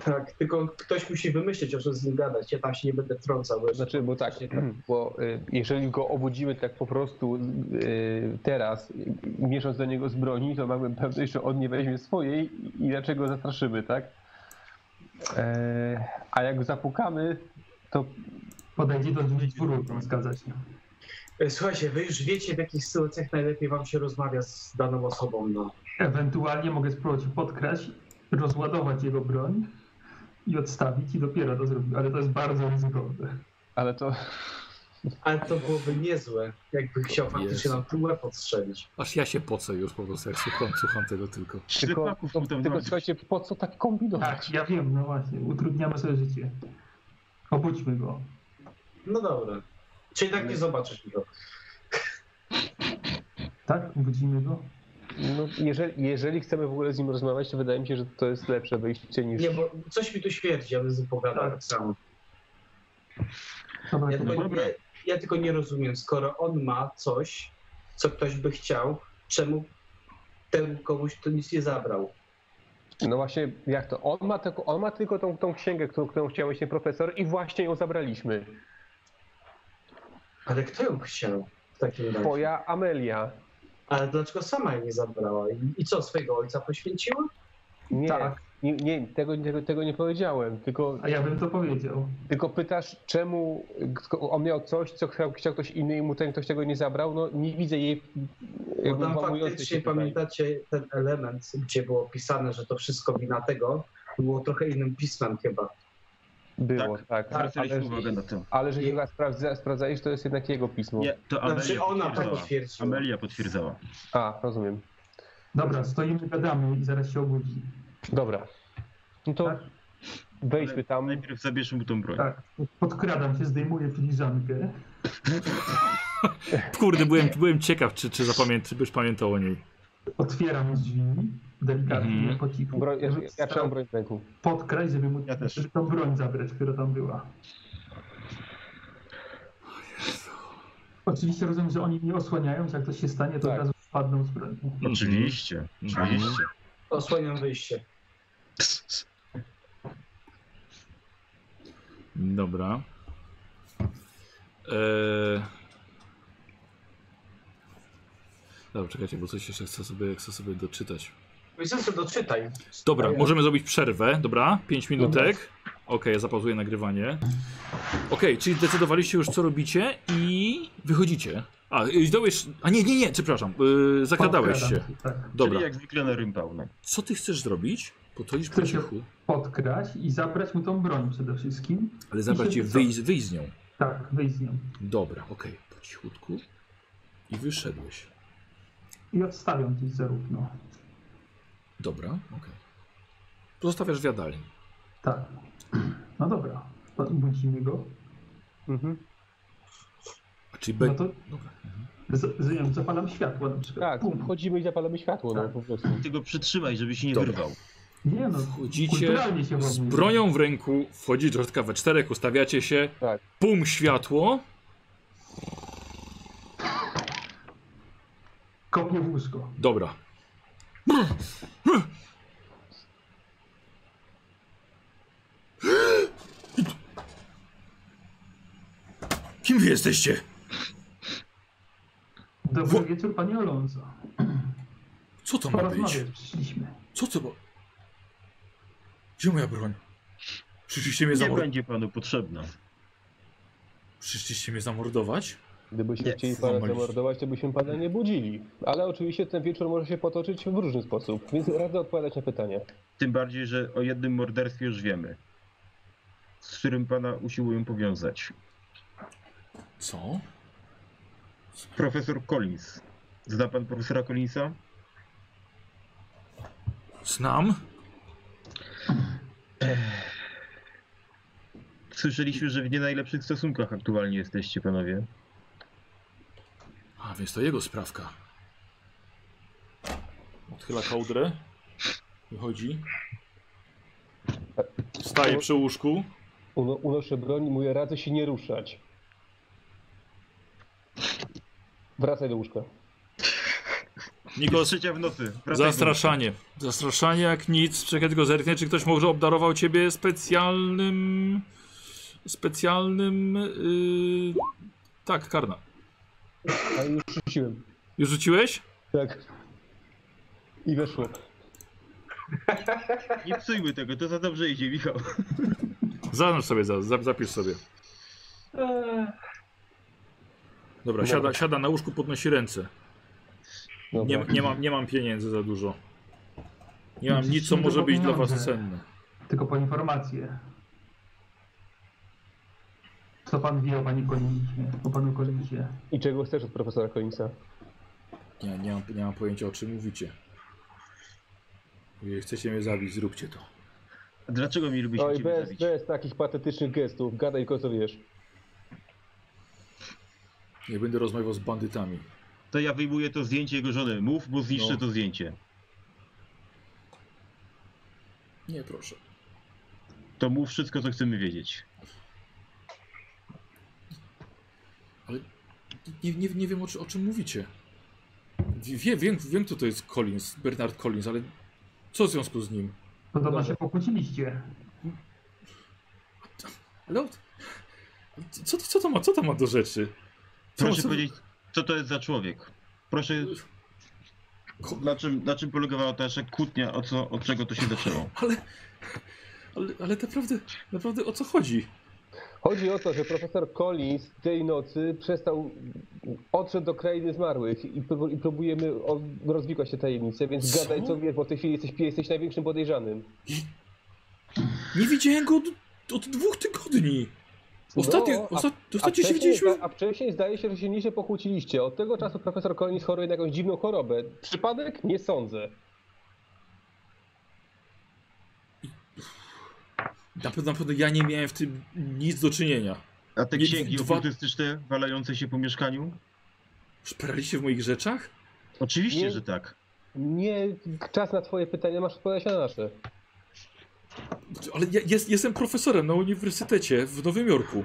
Tak, tylko ktoś musi wymyśleć, o czym z nim gadać. Ja tam się nie będę wtrącał. Znaczy, bo tak, <clears throat> bo y, jeżeli go obudzimy tak po prostu y, teraz, y, mierząc do niego z broni, to mamy pewność, że on nie weźmie swojej i raczej go zastraszymy, tak? E, a jak zapukamy, to Podejdzie do drzwi dwururką, zgadza się. E, Słuchajcie, wy już wiecie, w jakich sytuacjach najlepiej wam się rozmawia z daną osobą. No. Ewentualnie mogę spróbować podkraść, rozładować jego broń i odstawić i dopiero to zrobić, ale to jest bardzo ryzykowne. ale to Ale to byłoby niezłe, jakby chciał Jezu. faktycznie nam tu łeb odstrzelić. Aż ja się pocę już po prostu, jak słucham, słucham tego tylko. tylko, Ślepaków to, mu tam tylko nabić. słuchajcie, po co tak kombinować? Tak, ja wiem, no właśnie, utrudniamy sobie życie. Obudźmy go. No dobra. Czyli tak nie zobaczysz go. Tak? Obudzimy go? No, jeżeli, jeżeli chcemy w ogóle z nim rozmawiać, to wydaje mi się, że to jest lepsze wyjście niż... Nie, bo coś mi tu śmierdzi, ja bym z nim pogadał tak samo. Dobra, Ja to tylko, dobra. nie, ja tylko nie rozumiem, skoro on ma coś, co ktoś by chciał, czemu temu komuś to nic nie zabrał? No właśnie, jak to? On ma tylko, on ma tylko tą, tą księgę, którą, którą chciał mieć ten profesor i właśnie ją zabraliśmy. Ale kto ją chciał w takim razie? Twoja Amelia. Ale dlaczego sama jej nie zabrała? I, i co, swojego ojca poświęciła? Nie, Tak. nie, nie tego, tego, tego nie powiedziałem, tylko, A ja bym to powiedział. tylko pytasz, czemu on miał coś, co chciał, chciał ktoś inny i mu ten ktoś tego nie zabrał, no nie widzę jej Bo jakby tam włamującej faktycznie tutaj. pamiętacie ten element, gdzie było pisane, że to wszystko wina tego, było trochę innym pismem chyba. Było, tak, ale, Zwracaliśmy uwagę na to. ale że chyba sprawdza, sprawdzali, że to jest jednak jego pismo. Nie, to Amelia Znaczy ona to potwierdzała. potwierdziła. Amelia potwierdzała. A, rozumiem. Dobra, stoimy, gadamy i zaraz się obudzi. Dobra. No to Tak. wejdźmy Ale tam. Najpierw zabierzmy mu tą broń. Tak, podkradam się, zdejmuję filiżankę. Kurde, byłem, byłem ciekaw, czy, czy, zapamię, czy byś pamiętał o niej. Otwieram drzwi, delikatnie, Mhm. po cichu. Broń, ja, ja trzymam Staram broń w ręku. Podkraść, żeby mu Ja też. żeby tą broń zabrać, która tam była. Oczywiście rozumiem, że oni mnie osłaniają, że jak to się stanie, to Tak. od razu wpadną z bronią. Mhm. Oczywiście, oczywiście. Osłaniam wyjście. Dobra. Eee... Dobra, czekajcie, bo coś jeszcze chcę sobie, chcę sobie doczytać. Jezusu, doczytaj. Dobra, możemy zrobić przerwę, dobra? 5 minutek. Okej, ja zapauzuję nagrywanie. Okej, czyli zdecydowaliście już co robicie i wychodzicie. A, y, zdołeś... A nie, nie, nie, przepraszam. Yy, zakradałeś się. Podkradam Tak. Dobra. Czyli jak zwykle na rympał. No. Co ty chcesz zrobić? Podchodzisz po Chcę się- cichu, Podkraść i zabrać mu tą broń przede wszystkim. ale zabrać je, wyjść, wyjść z nią. Tak, wyjść z nią. Dobra, okej, po cichutku. I wyszedłeś. I odstawiam no. gdzieś zarówno. Dobra, okej. Pozostawiasz w jadalni. Tak. No dobra. To Musimy go. Mhm. A czyli be... No to Dobra. z, z, nie wiem, zapalam światło na przykład. Tak, Pum. wchodzimy i zapalamy światło, no Tak. po prostu. Ty go przytrzymaj, żeby się nie Dobra. wyrwał. Nie no, Wchodzicie kulturalnie się z chowamy. bronią w ręku, wchodzicie do środka we czterech, ustawiacie się. Tak. Pum, światło. Kopię w łóżko. Dobra. Kim wy jesteście? Dobry Wo- wieczór, panie Alonso. Co to ma być? Porozmawiać przyszliśmy. Co to ma... Gdzie moja broń? Przyszliście mnie, Nie zamor... będzie panu potrzebna. Przyszliście mnie zamordować? Gdybyśmy Nie, chcieli pana złamaliście. zamordować, to byśmy pana nie budzili. Ale oczywiście ten wieczór może się potoczyć w różny sposób, więc radzę odpowiadać na pytania. Tym bardziej, że o jednym morderstwie już wiemy. Z którym pana usiłują powiązać. Co? Profesor Collins. Zna pan profesora Collinsa? Znam? Słyszeliśmy, że w nie najlepszych stosunkach aktualnie jesteście, panowie. A, więc to jego sprawka. Odchyla kołdrę. Wychodzi. Staje przy łóżku. Uno, unoszę broń i mówię, radzę się nie ruszać. Wracaj do łóżka. Tylko Nikos, trzecia w nocy. Wracaj do- zastraszanie. Zastraszanie jak nic. Czekaj tylko zerknę, czy ktoś może obdarował ciebie specjalnym... Specjalnym... Yy... Tak, karna. A już rzuciłem. Już rzuciłeś? Tak. I weszło. Nie psujmy tego, to za dobrze idzie, Michał. Zaznacz sobie, za, za- zapisz sobie. Dobra, siada, siada na łóżku, podnosi ręce. Nie, Dobra. nie, mam, nie mam pieniędzy za dużo. Nie mam nic, co Musimy może to być dla was powiązać. cenne. Tylko po informację. Co pan wie o pani Kolinsie? O panu Kolinsie. I czego chcesz od profesora Collinsa? Nie, nie, mam, nie mam pojęcia, o czym mówicie. Jeżeli chcecie mnie zabić, zróbcie to. A Dlaczego mielibyśmy Oj, ciebie bez, zabić? bez takich patetycznych gestów. Gadaj tylko co wiesz. Nie będę rozmawiał z bandytami. To ja wyjmuję to zdjęcie jego żony. Mów, bo zniszczę No. to zdjęcie. Nie, proszę. To mów wszystko, co chcemy wiedzieć. Nie, nie, nie wiem, o, czy- o czym mówicie. Wie, wiem, wiem, kto to jest Collins, Bernard Collins, ale co w związku z nim? Podobno Dobrze. się pokłóciliście. Ale od- co, co, to ma, co to ma do rzeczy? Co, Proszę co, powiedzieć, co to jest za człowiek? Proszę, Ko- na czym, na czym polegała ta nasza kłótnia, o co, od czego to się zaczęło? ale, ale, ale naprawdę, naprawdę o co chodzi? Chodzi o to, że profesor Collins tej nocy przestał, odszedł do krainy zmarłych i, pró- i próbujemy o- rozwikłać tę tajemnicę, więc Co? gadaj co wiesz, bo w tej chwili jesteś, jesteś największym podejrzanym. Nie widziałem go od, od dwóch tygodni. Ostatnio, No, a- osta, A ostatnio się wcześniej, widzieliśmy. zda- a wcześniej zdaje się, że się nieźle pokłóciliście. Od tego czasu profesor Collins choruje na jakąś dziwną chorobę. Przypadek? Nie sądzę. Na pewno, na pewno ja nie miałem w tym nic do czynienia. A te Nie, księgi dwa- okultystyczne walające się po mieszkaniu? Szperaliście w moich rzeczach? Oczywiście, Nie. że tak. Nie, czas na twoje pytania, masz odpowiadać na nasze. Ale ja jest, jestem profesorem na uniwersytecie w Nowym Jorku.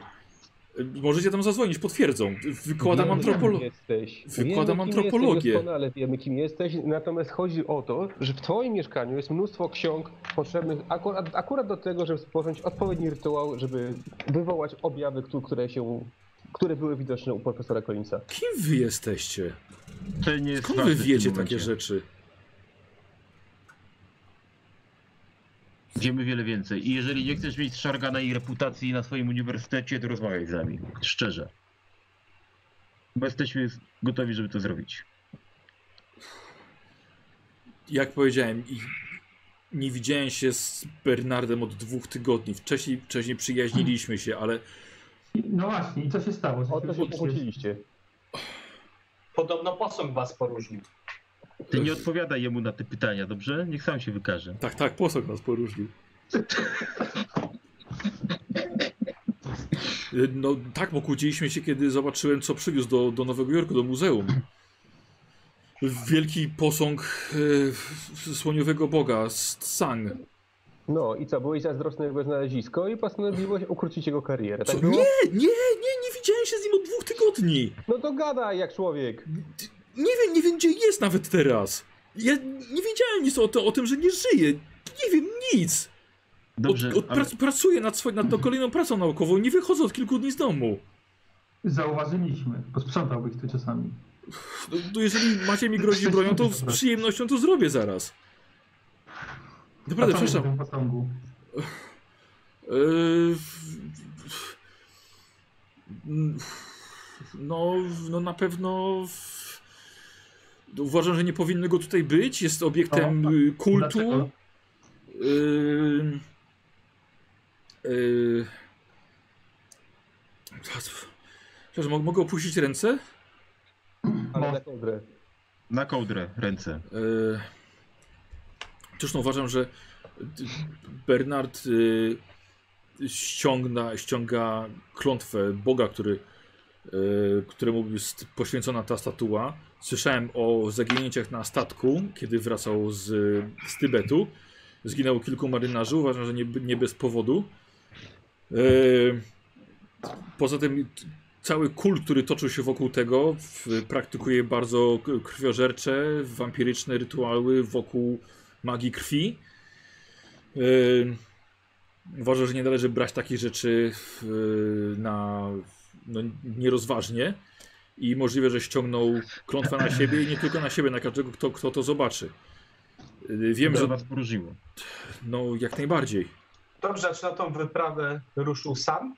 Y, Możecie tam zadzwonić, potwierdzą. Wykładam Wiemy, kim antropologię. Jesteś. Wykładam Wiemy, kim antropologię. Jesteś, doskonale wiemy, kim jesteś. Natomiast chodzi o to, że w Twoim mieszkaniu jest mnóstwo ksiąg potrzebnych akurat, akurat do tego, żeby sporządzić odpowiedni rytuał, żeby wywołać objawy, któ- które się. Które były widoczne u profesora Collinsa. Kim wy jesteście? To nie jest Skąd ważne wy w tym wiecie momencie. takie rzeczy? Wiemy wiele więcej. I jeżeli nie chcesz mieć szarganej reputacji na swoim uniwersytecie, to rozmawiaj z nami. Szczerze. Bo jesteśmy gotowi, żeby to zrobić. jak powiedziałem, i- nie widziałem się z Bernardem od dwóch tygodni. Wcześniej, wcześniej przyjaźniliśmy się, ale I- No właśnie, i co się stało? O to się Jesteś- pokłóciliście. Podobno posąg was poróżnił. Ty nie odpowiadaj jemu na te pytania, dobrze? Niech sam się wykaże. tak, tak, posąg nas <laughs> poróżnił. Y, No tak, pokłóciliśmy się, kiedy zobaczyłem, co przywiózł do, do Nowego Jorku, do muzeum. Wielki posąg y, słoniowego boga, Sang. No i co, byłeś zazdrosny jego znalezisko i postanowiłeś ukrócić jego karierę, Co? tak Nie, było? nie, nie, nie widziałem się z nim od dwóch tygodni. No to gadaj jak człowiek. Nie wiem, nie wiem gdzie jest nawet teraz. Ja nie wiedziałem nic o, to, o tym, że nie żyje. Nie wiem nic. Od, Dobrze, od, ale prac, Pracuję nad, swoją, nad tą kolejną pracą naukową i nie wychodzę od kilku dni z domu. Zauważyliśmy. Posprzątałbyś to czasami. No, no jeżeli macie mi grozić bronią, to z przyjemnością to zrobię zaraz. Naprawdę, A co przepraszam. mówię o tym posągu? Yy, w- w- No, no na pewno w- no uważam, że nie powinno go tutaj być. Jest obiektem O, y, kultu. No, tak. Dlaczego? Yy, yy. Przepraszam, mo- mogę opuścić ręce? Ale na kołdrę. na kołdrę ręce. Yy. Zresztą uważam, że d- Bernard yy, ściągna, ściąga klątwę Boga, który, yy, któremu jest poświęcona ta statua. Słyszałem o zaginięciach na statku, kiedy wracał z, z Tybetu. Zginęło kilku marynarzy, uważam, że nie, nie bez powodu. Yy, poza tym t- cały kult, który toczył się wokół tego, w, praktykuje bardzo k- krwiożercze, wampiryczne rytuały wokół magii krwi. Yy, uważam, że nie należy brać takich rzeczy yy, na no, nierozważnie i możliwe, że ściągnął klątwę na siebie i nie tylko na siebie, na każdego, kto, kto to zobaczy. Yy, wiem, Dobrze że was poróżniło. no, jak najbardziej. Dobrze, czy na tą wyprawę ruszył sam?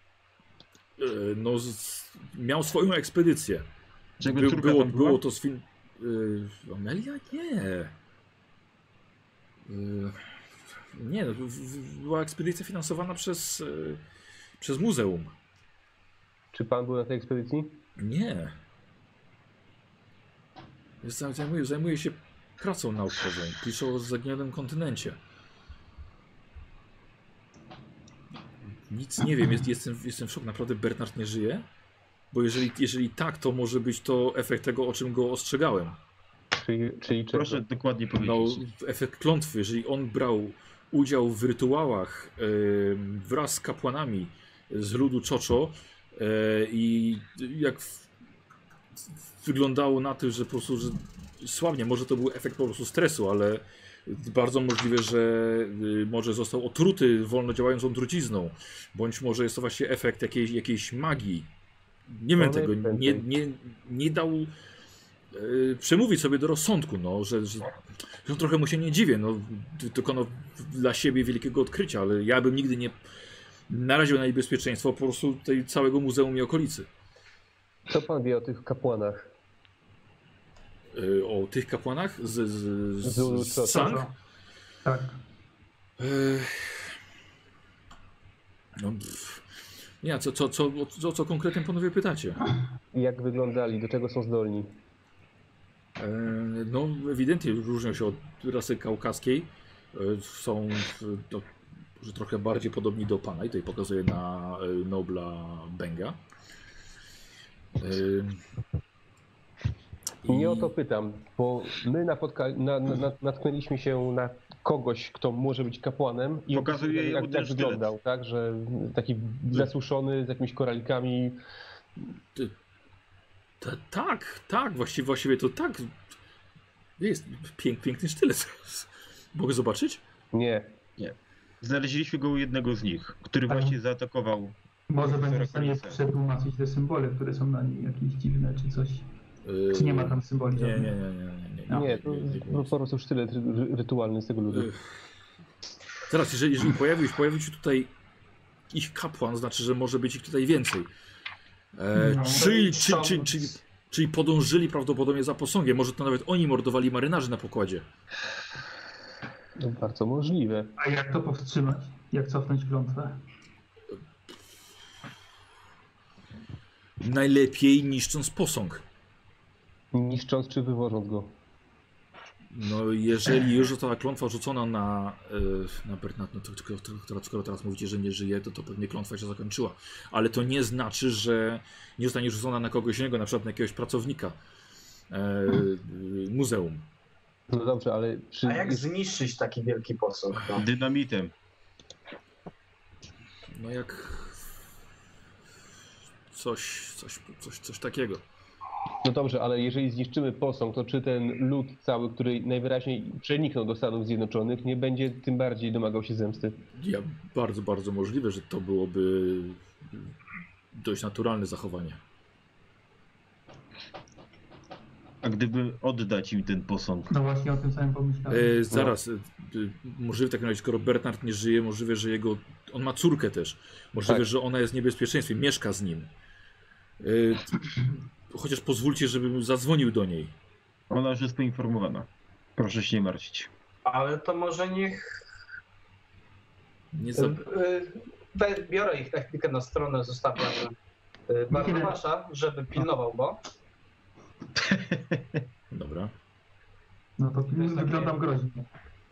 E, No, z, z, miał swoją ekspedycję. Czego By, córka było, tam była? było to z fin... y, Amelia? Nie. E, Y, nie, no, w, w, była ekspedycja finansowana przez, y, przez muzeum. Czy pan był na tej ekspedycji? Nie. Zaj- Zajmuje, zajmuje się pracą naukową. Pisze o zaginionym kontynencie. Nic nie wiem, jest, jestem, jestem w szoku. Naprawdę Bernard nie żyje? Bo jeżeli, jeżeli tak, to może być to efekt tego, o czym go ostrzegałem. Czyli, czyli czego? Proszę dokładnie No, powiedzieć. efekt klątwy, jeżeli on brał udział w rytuałach em, wraz z kapłanami z ludu Czoczo e, i jak w, wyglądało na tym, że po prostu że słabnie, może to był efekt po prostu stresu, ale bardzo możliwe, że y, może został otruty wolno działającą trucizną, bądź może jest to właśnie efekt jakiejś, jakiejś magii. Nie wiem No, tego, nie, najprędzej. nie, nie dał y, przemówić sobie do rozsądku, no, że, że no, trochę mu się nie dziwię, no, d- dokonał dla siebie wielkiego odkrycia, ale ja bym nigdy nie naraził na niebezpieczeństwo po prostu tej całego muzeum i okolicy. Co pan wie o tych kapłanach? Y, O tych kapłanach z, z, z, Zulu, co, co, z Sang? co? Tak. Ech. No, pff. nie, co, co, co, o co, o co konkretnie panowie pytacie? I Jak wyglądali? Do czego są zdolni? E, No, ewidentnie różnią się od rasy kaukaskiej. E, Są e, to, że trochę bardziej podobni do pana i tutaj pokazuje na e, Nobla Benga. E, I i- nie o to pytam, bo my napotka- na, na, na, natknęliśmy się na kogoś, kto może być kapłanem i Pokazuje opowiadał, jemu jak, ten jak sztylet. wyglądał, tak? Że taki zasuszony z jakimiś koralikami. Ta, tak, tak, właściwie, właściwie to tak. Jest pięk, piękny sztylet. <laughs> Mogę zobaczyć? Nie. Znaleźliśmy go u jednego z nich, który Tak. właśnie zaatakował. Może będziesz w stanie Rokowice. przetłumaczyć te symbole, które są na nim jakieś dziwne czy coś. E, Czy nie ma tam symboli? Nie, nie, żadnych? nie, nie, nie, nie. nie, to no nie, nie, nie. po prostu sztylet ry- ry- rytualny z tego ludu. Ech. Teraz, jeżeli, jeżeli pojawił, się- pojawił się tutaj ich kapłan, znaczy, że może być ich tutaj więcej. E, No. czyli, czy, czy, czy, czyli podążyli prawdopodobnie za posągiem. Może to nawet oni mordowali marynarzy na pokładzie. To bardzo możliwe. A jak to powstrzymać? Jak cofnąć klątwę? Najlepiej niszcząc posąg. Niszcząc czy wywożąc go. No jeżeli już została klątwa rzucona na, e, na Bernat, no to, to, to, to, skoro teraz mówicie, że nie żyje, to, to pewnie klątwa się zakończyła. Ale to nie znaczy, że nie zostanie rzucona na kogoś innego, na przykład na jakiegoś pracownika e, e, muzeum. No dobrze, ale przy... A jak zniszczyć taki wielki posąg? No? Dynamitem. No jak coś, coś, coś, coś takiego. No dobrze, ale jeżeli zniszczymy posąg, to czy ten lud cały, który najwyraźniej przeniknął do Stanów Zjednoczonych, nie będzie tym bardziej domagał się zemsty? Ja bardzo, bardzo możliwe, że to byłoby dość naturalne zachowanie. A gdyby oddać im ten posąg? No właśnie o tym samym pomyślałem. E, zaraz, e, e, możliwe w takim razie, skoro Bernard nie żyje, możliwe, że jego. On ma córkę też. Możliwe, Tak. że ona jest w niebezpieczeństwie, mieszka z nim. E, t- chociaż pozwólcie, żebym zadzwonił do niej. Ona już jest poinformowana. Proszę się nie martwić. Ale to może niech. Nie za... y, we- Biorę ich technikę na stronę, zostawiam y, Barnabasza, żeby pilnował go. Dobra. No to film jest takie- wyglądam groźnie.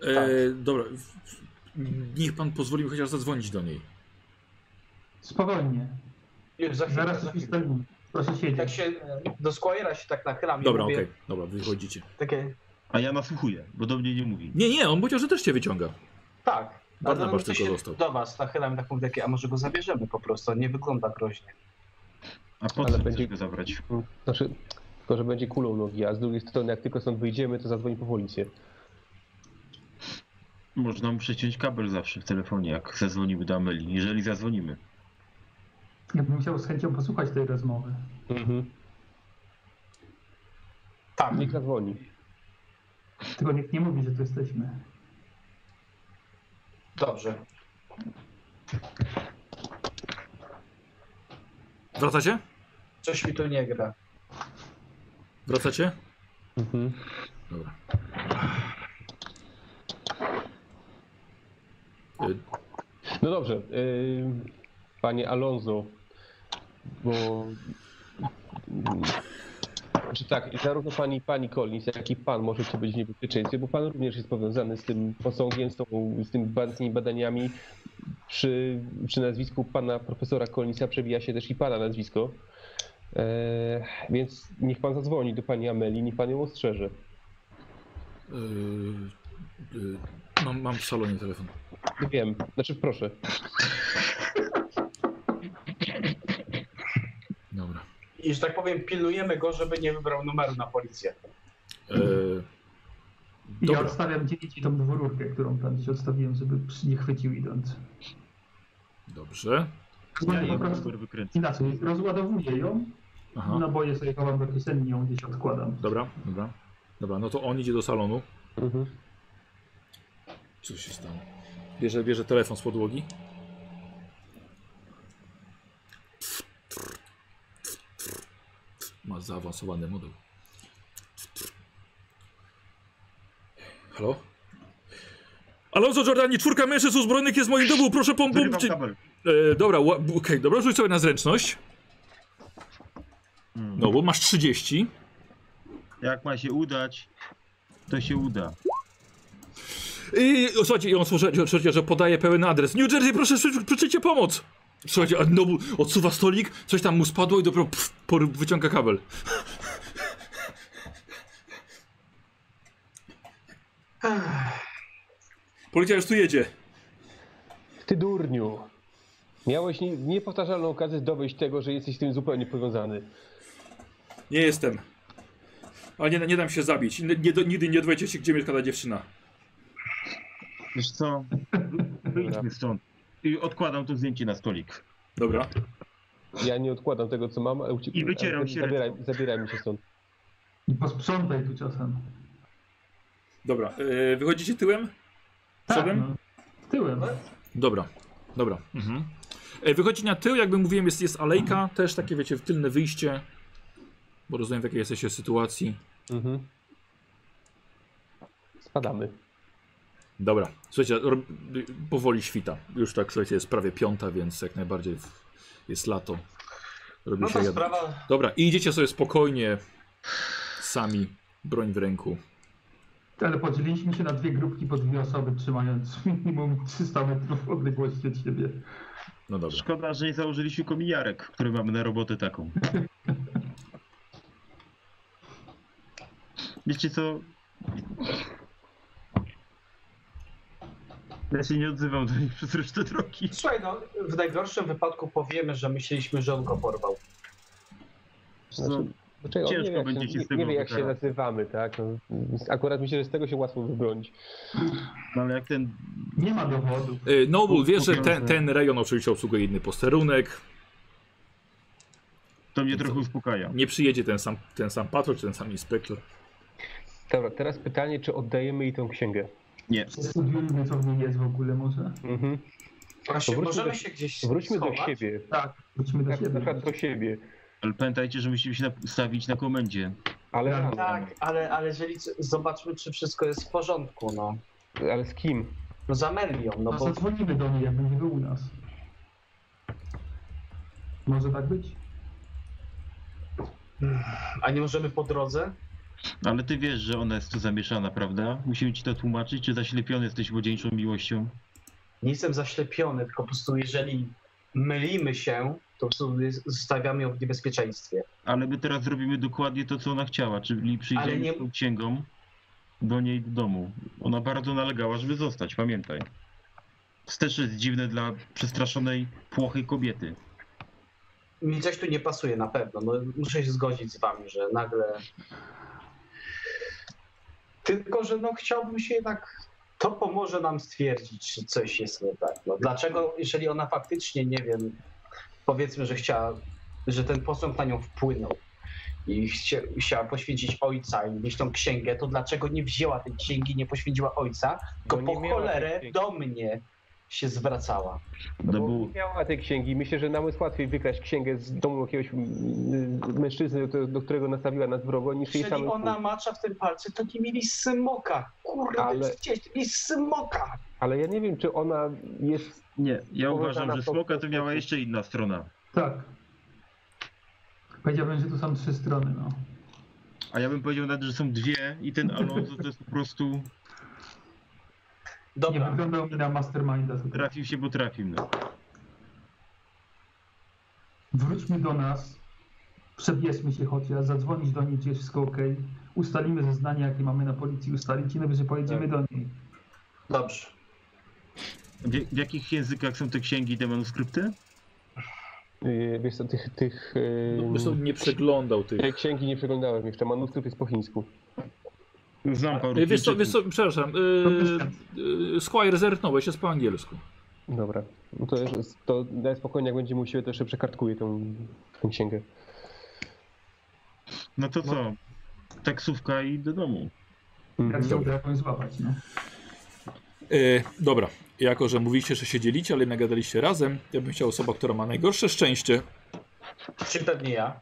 E, dobra. w- Niech pan pozwoli mi chociaż zadzwonić do niej. Spowolnie. Już za chwilę. Za Zaraz coś chwilę. ustalimy. Proszę Jak siedzieć. się y, do Square'a się tak nachylam i Dobra, mówię okej, dobra, wychodzicie. takie A ja nasłuchuję, bo do mnie nie mówi. Nie, nie, on powiedział, że też cię wyciąga. tak. Barnabasz Ale no, to tylko się został. Do was nachylam i tak mówię takie, a może go zabierzemy po prostu, on nie wygląda groźnie. A po Ale co będzie- będzie... go zabrać? Znaczy, tylko że będzie kulą nogi, a z drugiej strony, jak tylko stąd wyjdziemy, to zadzwoni po policję. Można mu przeciąć kabel zawsze w telefonie, jak zadzwonimy do Ameli, jeżeli zadzwonimy. Ja bym musiał z chęcią posłuchać tej rozmowy. Mhm. Tak. Niech zadzwoni. Tylko nikt nie mówi, że tu jesteśmy. Dobrze. Wracacie? Coś mi tu nie gra. Wracacie? Mhm. Dobra. E, Y, No dobrze, y, panie Alonso, bo czy tak, zarówno pani, pani Collins, jak i pan możecie być w niebezpieczeństwie, bo pan również jest powiązany z tym posągiem, z, tą, z, tym, ba- z tymi badaniami. Przy, przy nazwisku pana profesora Collinsa przebija się też i pana nazwisko. E, więc niech pan zadzwoni do pani Ameli, niech pan ją ostrzeże. Yy, yy, mam, mam w salonie telefon. Wiem, znaczy proszę. Dobra. I że tak powiem, pilnujemy go, żeby nie wybrał numeru na policję. No Yy, I ja dobra, odstawiam dzieci tą dwururkę, którą tam gdzieś odstawiłem, żeby przy- nie chwycił idąc. dobrze. Ja Rozumiem jej znaczy, po prostu numer wykręcę. inaczej. Rozładowuję ją, Aha, naboje sobie chowam do kieszeni i ją gdzieś odkładam. dobra, dobra. Dobra, no to on idzie do salonu. Mhm. Co się stało? Bierze, bierze telefon z podłogi. Ma zaawansowany moduł. Halo? Alonso Jordani, czwórka mężczyzn uzbrojonych jest w moim domu, proszę pom... pom Wyrywam czy- kabel. E, dobra, ła- okej, dobra, rzuć sobie na zręczność. Mm. No, bo masz 30. Jak ma się udać, to się uda. I o, słuchajcie, i on słuchajcie, słuchajcie, że podaje pełen adres. New Jersey, proszę, przy- przyjdźcie pomoc! Słuchajcie, a no, odsuwa stolik, coś tam mu spadło i dopiero pff, por- wyciąga kabel. Policja już tu jedzie. Ty durniu! Miałeś nie- niepowtarzalną okazję dowieść tego, że jesteś z tym zupełnie powiązany. Nie jestem. A nie, nie dam się zabić. Nie, nie, nigdy nie dowiecie się, gdzie mieszka ta dziewczyna. Wiesz co? Wyjdźmy stąd. I odkładam to zdjęcie na stolik. Dobra. Ja nie odkładam tego, co mam, ale uciekam. I wycieram się Zabieraj, zabieraj mi się stąd. I posprzątaj tu czasem. Dobra, e, wychodzicie tyłem? Tak, Przodem? no. Tyłem. Dobra, dobra. Mhm. E, Wychodzi na tył, jakby mówiłem, jest, jest alejka, też takie wiecie, tylne wyjście, bo rozumiem w jakiej jesteście sytuacji. Mhm. Spadamy. Dobra, słuchajcie, rob, y, powoli świta. Już tak, słuchajcie, jest prawie piąta, więc jak najbardziej w, jest lato. Robi No się to jadno. sprawa. Dobra, i idziecie sobie spokojnie, sami, broń w ręku. Ale podzieliliśmy się na dwie grupki po dwie osoby, trzymając <laughs> minimum 300 metrów odległości od siebie. No dobra. Szkoda, że nie założyliśmy komijarek, które mamy na robotę taką. Wiecie co? Ja się nie odzywam do nich przez resztę drogi. Słuchaj, no, w najgorszym wypadku powiemy, że myśleliśmy, że on go porwał. Co? Znaczy, on Ciężko nie wie, jak będzie się z nie, tego nie wie jak się wykarać. nazywamy, tak? No, akurat myślę, że z tego się łatwo wybronić. No ale jak ten... Nie ma dowodu. Y, Noble wie, że ten, ten rejon oczywiście obsługuje inny posterunek. To mnie Co? trochę uspokaja. Nie przyjedzie ten sam, ten sam patrol, czy ten sam inspektor. Dobra, teraz pytanie, czy oddajemy jej tą księgę? Nie. Studiujmy, co w niej jest w ogóle może. Mhm. Właśnie, Powróćmy możemy do- się gdzieś Wróćmy schować? do siebie. Tak, wróćmy do Tak, na siebie. przykład do siebie. Ale pamiętajcie, że musimy się nastawić na komendzie. Ale, Tak. razem. Tak, ale, ale jeżeli zobaczmy, czy wszystko jest w porządku, no. ale z kim? No za Melią, no No bo Zadzwonimy do niej, jakby nie był u nas. Może tak być? A nie możemy po drodze? No, Ale ty wiesz, że ona jest tu zamieszana, prawda? Musimy ci to tłumaczyć, czy zaślepiony jesteś młodzieńczą miłością? Nie jestem zaślepiony, tylko po prostu jeżeli mylimy się, to po prostu zostawiamy ją w niebezpieczeństwie. Ale my teraz zrobimy dokładnie to, co ona chciała, czyli przyjdziemy Ale nie- z tą księgą do niej do domu. Ona bardzo nalegała, żeby zostać, pamiętaj. To też jest dziwne dla przestraszonej, płochy kobiety. Mi coś tu nie pasuje na pewno. No, muszę się zgodzić z wami, że nagle. Tylko, że no chciałbym się jednak. To pomoże nam stwierdzić, czy coś jest nie tak. No, dlaczego, jeżeli ona faktycznie, nie wiem, powiedzmy, że chciała, że ten posąg na nią wpłynął i chcia, chciała poświęcić ojca i mieć tą księgę, to dlaczego nie wzięła tej księgi, nie poświęciła ojca, tylko Bo No nie po miała tej cholerę księgi. do mnie się zwracała. No Bo bo nie miała tej księgi. Myślę, że nam jest łatwiej wykraść księgę z domu jakiegoś mm, mężczyzny, do, do którego nastawiła nas wrogo, niż jej Jeżeli samej. ona macza w tym palcu, to nie mieli smoka. Kurwa, Ale- Ale... gdzieś mieli smoka. Ale ja nie wiem, czy ona jest. nie, ja uważam, Powołana że po- smoka to miała jeszcze inna strona. Tak. Powiedziałbym, że tu są trzy strony, no. A ja bym powiedział nawet, że są dwie i ten Alonso to jest po prostu Nie Dobra, wyglądał mi na masterminda. tak tutaj. trafił się, bo trafił. No. Wróćmy do nas, przebierzmy się chociaż, zadzwonić do niej, czy jest wszystko ok. Ustalimy zeznanie, jakie mamy na policji ustalić i najwyżej pojedziemy do niej. dobrze. W, w jakich językach są te księgi i te manuskrypty? Yy, wiesz co, tych. tych yy, No, po prostu nie przeglądał tych. tej księgi nie przeglądałem jeszcze. Manuskrypt jest po chińsku. Znam paru E, Wiesz co, Chińczyków. wiesz co, przepraszam, e, e, Squire zerknąłeś, jest po angielsku. Dobra. No to, jest, to daj spokojnie, jak będziemy u siebie, to jeszcze przekartkuję tą, tą księgę. No to co? Taksówka i do domu. Mhm. Jak Tak się Dobra. uda jakąś złapać, no. E, dobra, jako że mówiliście, że się dzielicie, ale nagadaliście razem, ja bym chciał osoba, która ma najgorsze szczęście Czy to nie ja?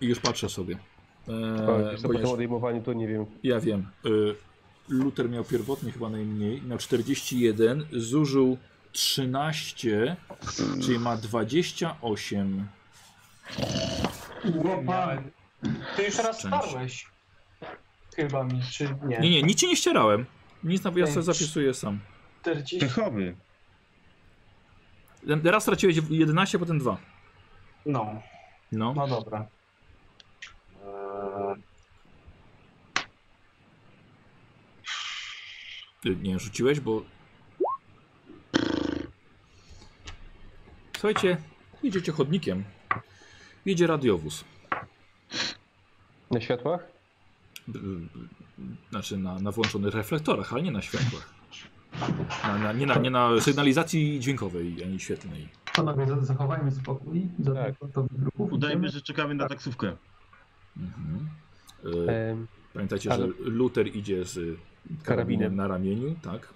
i już patrzę sobie. E, O, wiesz co, po tym ponieważ odejmowaniu to nie wiem. ja wiem, e, Luther miał pierwotnie chyba najmniej, miał 41, zużył 13, czyli ma 28. Łopanie! Ty już raz Szczęście. starłeś. Chyba mi, czy nie? Nie, nie, nic ci nie ścierałem. Nic na wyjazd Ej, zapisuję sam. 40. Pechowy. Raz straciłeś 11, potem 2. No, No. no dobra. Eee, Ty nie rzuciłeś, bo. Słuchajcie, jedziecie chodnikiem. Jedzie radiowóz. Na światłach? B- b- Znaczy na, na włączonych reflektorach, ale nie na światłach. Na, na, nie, na, nie na sygnalizacji dźwiękowej ani świetlnej. Panowie, za- zachowajmy spokój, za Tak. to grupów. Udajmy, idziemy. że czekamy na taksówkę. Mhm. E, Em, Pamiętajcie, że ale- Luther idzie z karabinem Karabinem. na ramieniu, tak?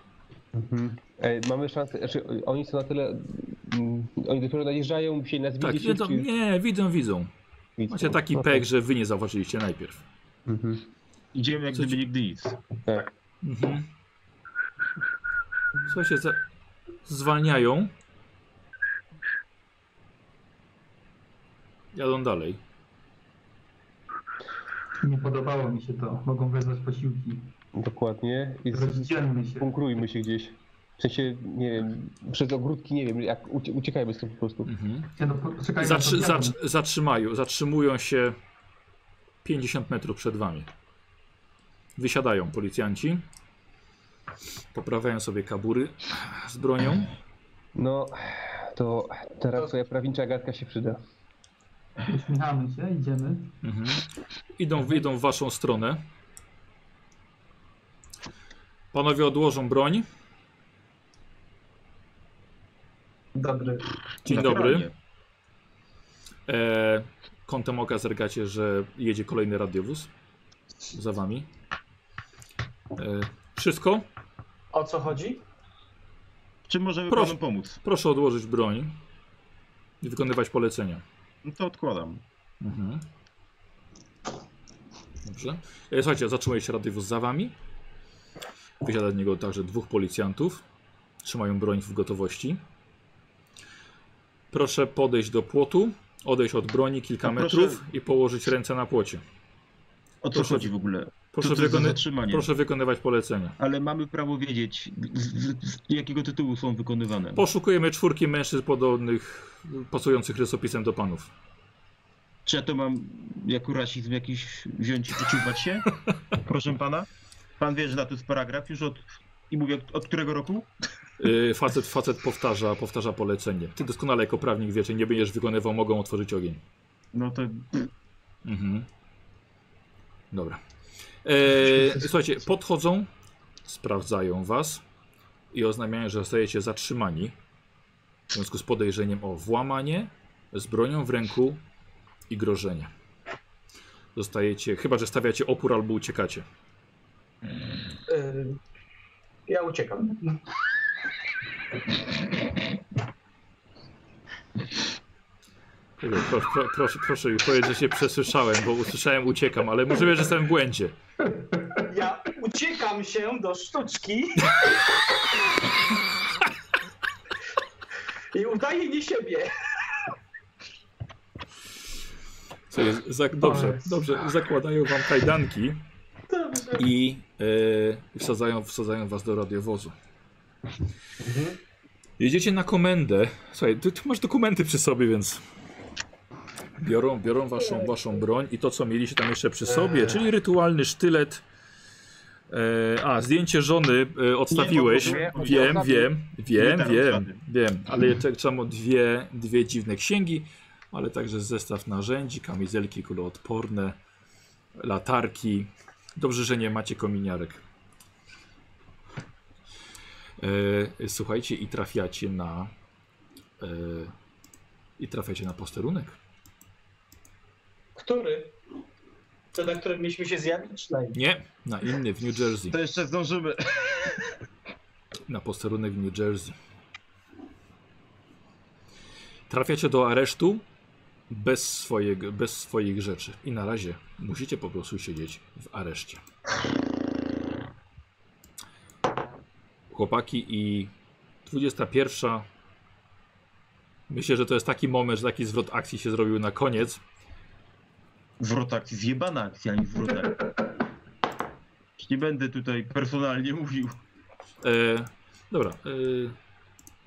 mhm. E, Mamy szansę, znaczy o- oni są na tyle, mm, oni dopiero najeżdżają, się nas Tak, widzieć, wiedzą, czy- nie, widzą, widzą. widzą. Macie taki Okej. pek, że wy nie zauważyliście najpierw. Mhm. Idziemy jak Co ci- gdyby nigdy nic. Tak. Mhm. Słuchajcie, za... zwalniają. Jadą dalej. Nie podobało mi się to. Mogą wezwać posiłki. Dokładnie. I z- Rozdzielmy się. bunkrujmy się gdzieś. W sensie, nie wiem, przez ogródki, nie wiem, jak ucie- uciekajmy stąd po prostu. Mhm. Nie, no, po- poczekajmy na Zatrzy... podmiany. Zatrzy... Zatrzymają, zatrzymują się 50 metrów przed wami. Wysiadają policjanci. Poprawiają sobie kabury z bronią. No, to teraz twoja prawnicza gadka się przyda. Uśmiechamy się, idziemy. Mhm. Idą, idą w waszą stronę. Panowie odłożą broń. Dobry. Dzień Naturalnie. dobry. E, kątem oka zerkacie, że jedzie kolejny radiowóz za wami. E, wszystko? O co chodzi? Czy możemy Proszę. panu pomóc? Proszę odłożyć broń i wykonywać polecenia. No to odkładam. Mhm. Dobrze. E, Słuchajcie, zatrzymuje się radiowóz za wami. Wysiada z niego także dwóch policjantów. Trzymają broń w gotowości. Proszę podejść do płotu, odejść od broni kilka No proszę- metrów i położyć ręce na płocie. O co Proszę. chodzi w ogóle? Proszę, Co to jest za wykony... zatrzymanie? proszę wykonywać polecenia. Ale mamy prawo wiedzieć, z, z, z jakiego tytułu są wykonywane. Poszukujemy czwórki mężczyzn podobnych, pasujących rysopisem do panów. Czy ja to mam jako rasizm jakiś wziąć i przeciwbać się? Proszę pana? Pan wie, że na to jest paragraf już od... I mówię, od którego roku? Yy, facet, facet powtarza, powtarza polecenie. Ty doskonale jako prawnik wiesz, że nie będziesz wykonywał, mogą otworzyć ogień. No to Mhm. Dobra. E, słuchajcie, podchodzą, sprawdzają was i oznajmiają, że zostajecie zatrzymani w związku z podejrzeniem o włamanie z bronią w ręku i grożenie. Zostajecie, chyba że stawiacie opór albo uciekacie. Y, Ja uciekam. Czekaj, Pro, pro, proszę, proszę mi powiedzieć, że się przesłyszałem, bo usłyszałem uciekam, ale możliwe, że jestem w błędzie. Ja uciekam się do sztuczki. <laughs> I udaję nie siebie. Co jest, zak- dobrze, dobrze, zakładają wam kajdanki i e, wsadzają, wsadzają was do radiowozu. Jedziecie na komendę. Słuchaj, ty, ty masz dokumenty przy sobie, więc biorą, biorą waszą, waszą broń i to, co mieliście tam jeszcze przy sobie, czyli rytualny sztylet. E, a, zdjęcie żony e, odstawiłeś. Nie, bo- Wiem, wiem, wiem, Nie, wiem, tam wiem, ale jeszcze trzeba dwie, dwie dziwne księgi, ale także zestaw narzędzi, kamizelki kuloodporne, latarki. Dobrze, że nie macie kominiarek. E, słuchajcie i trafiacie na e, i trafiacie na posterunek. Który? To, na którym mieliśmy się zjawić? Na innym. Nie, na inny w New Jersey. No to jeszcze zdążymy. na posterunek w New Jersey. Trafiacie do aresztu bez, swojego, bez swoich rzeczy i na razie musicie po prostu siedzieć w areszcie. Chłopaki i 21. Myślę, że to jest taki moment, że taki zwrot akcji się zrobił na koniec. Zwrot akcji, zjebana akcja, a nie zwrot akcji. Nie będę tutaj personalnie mówił. E, dobra. E,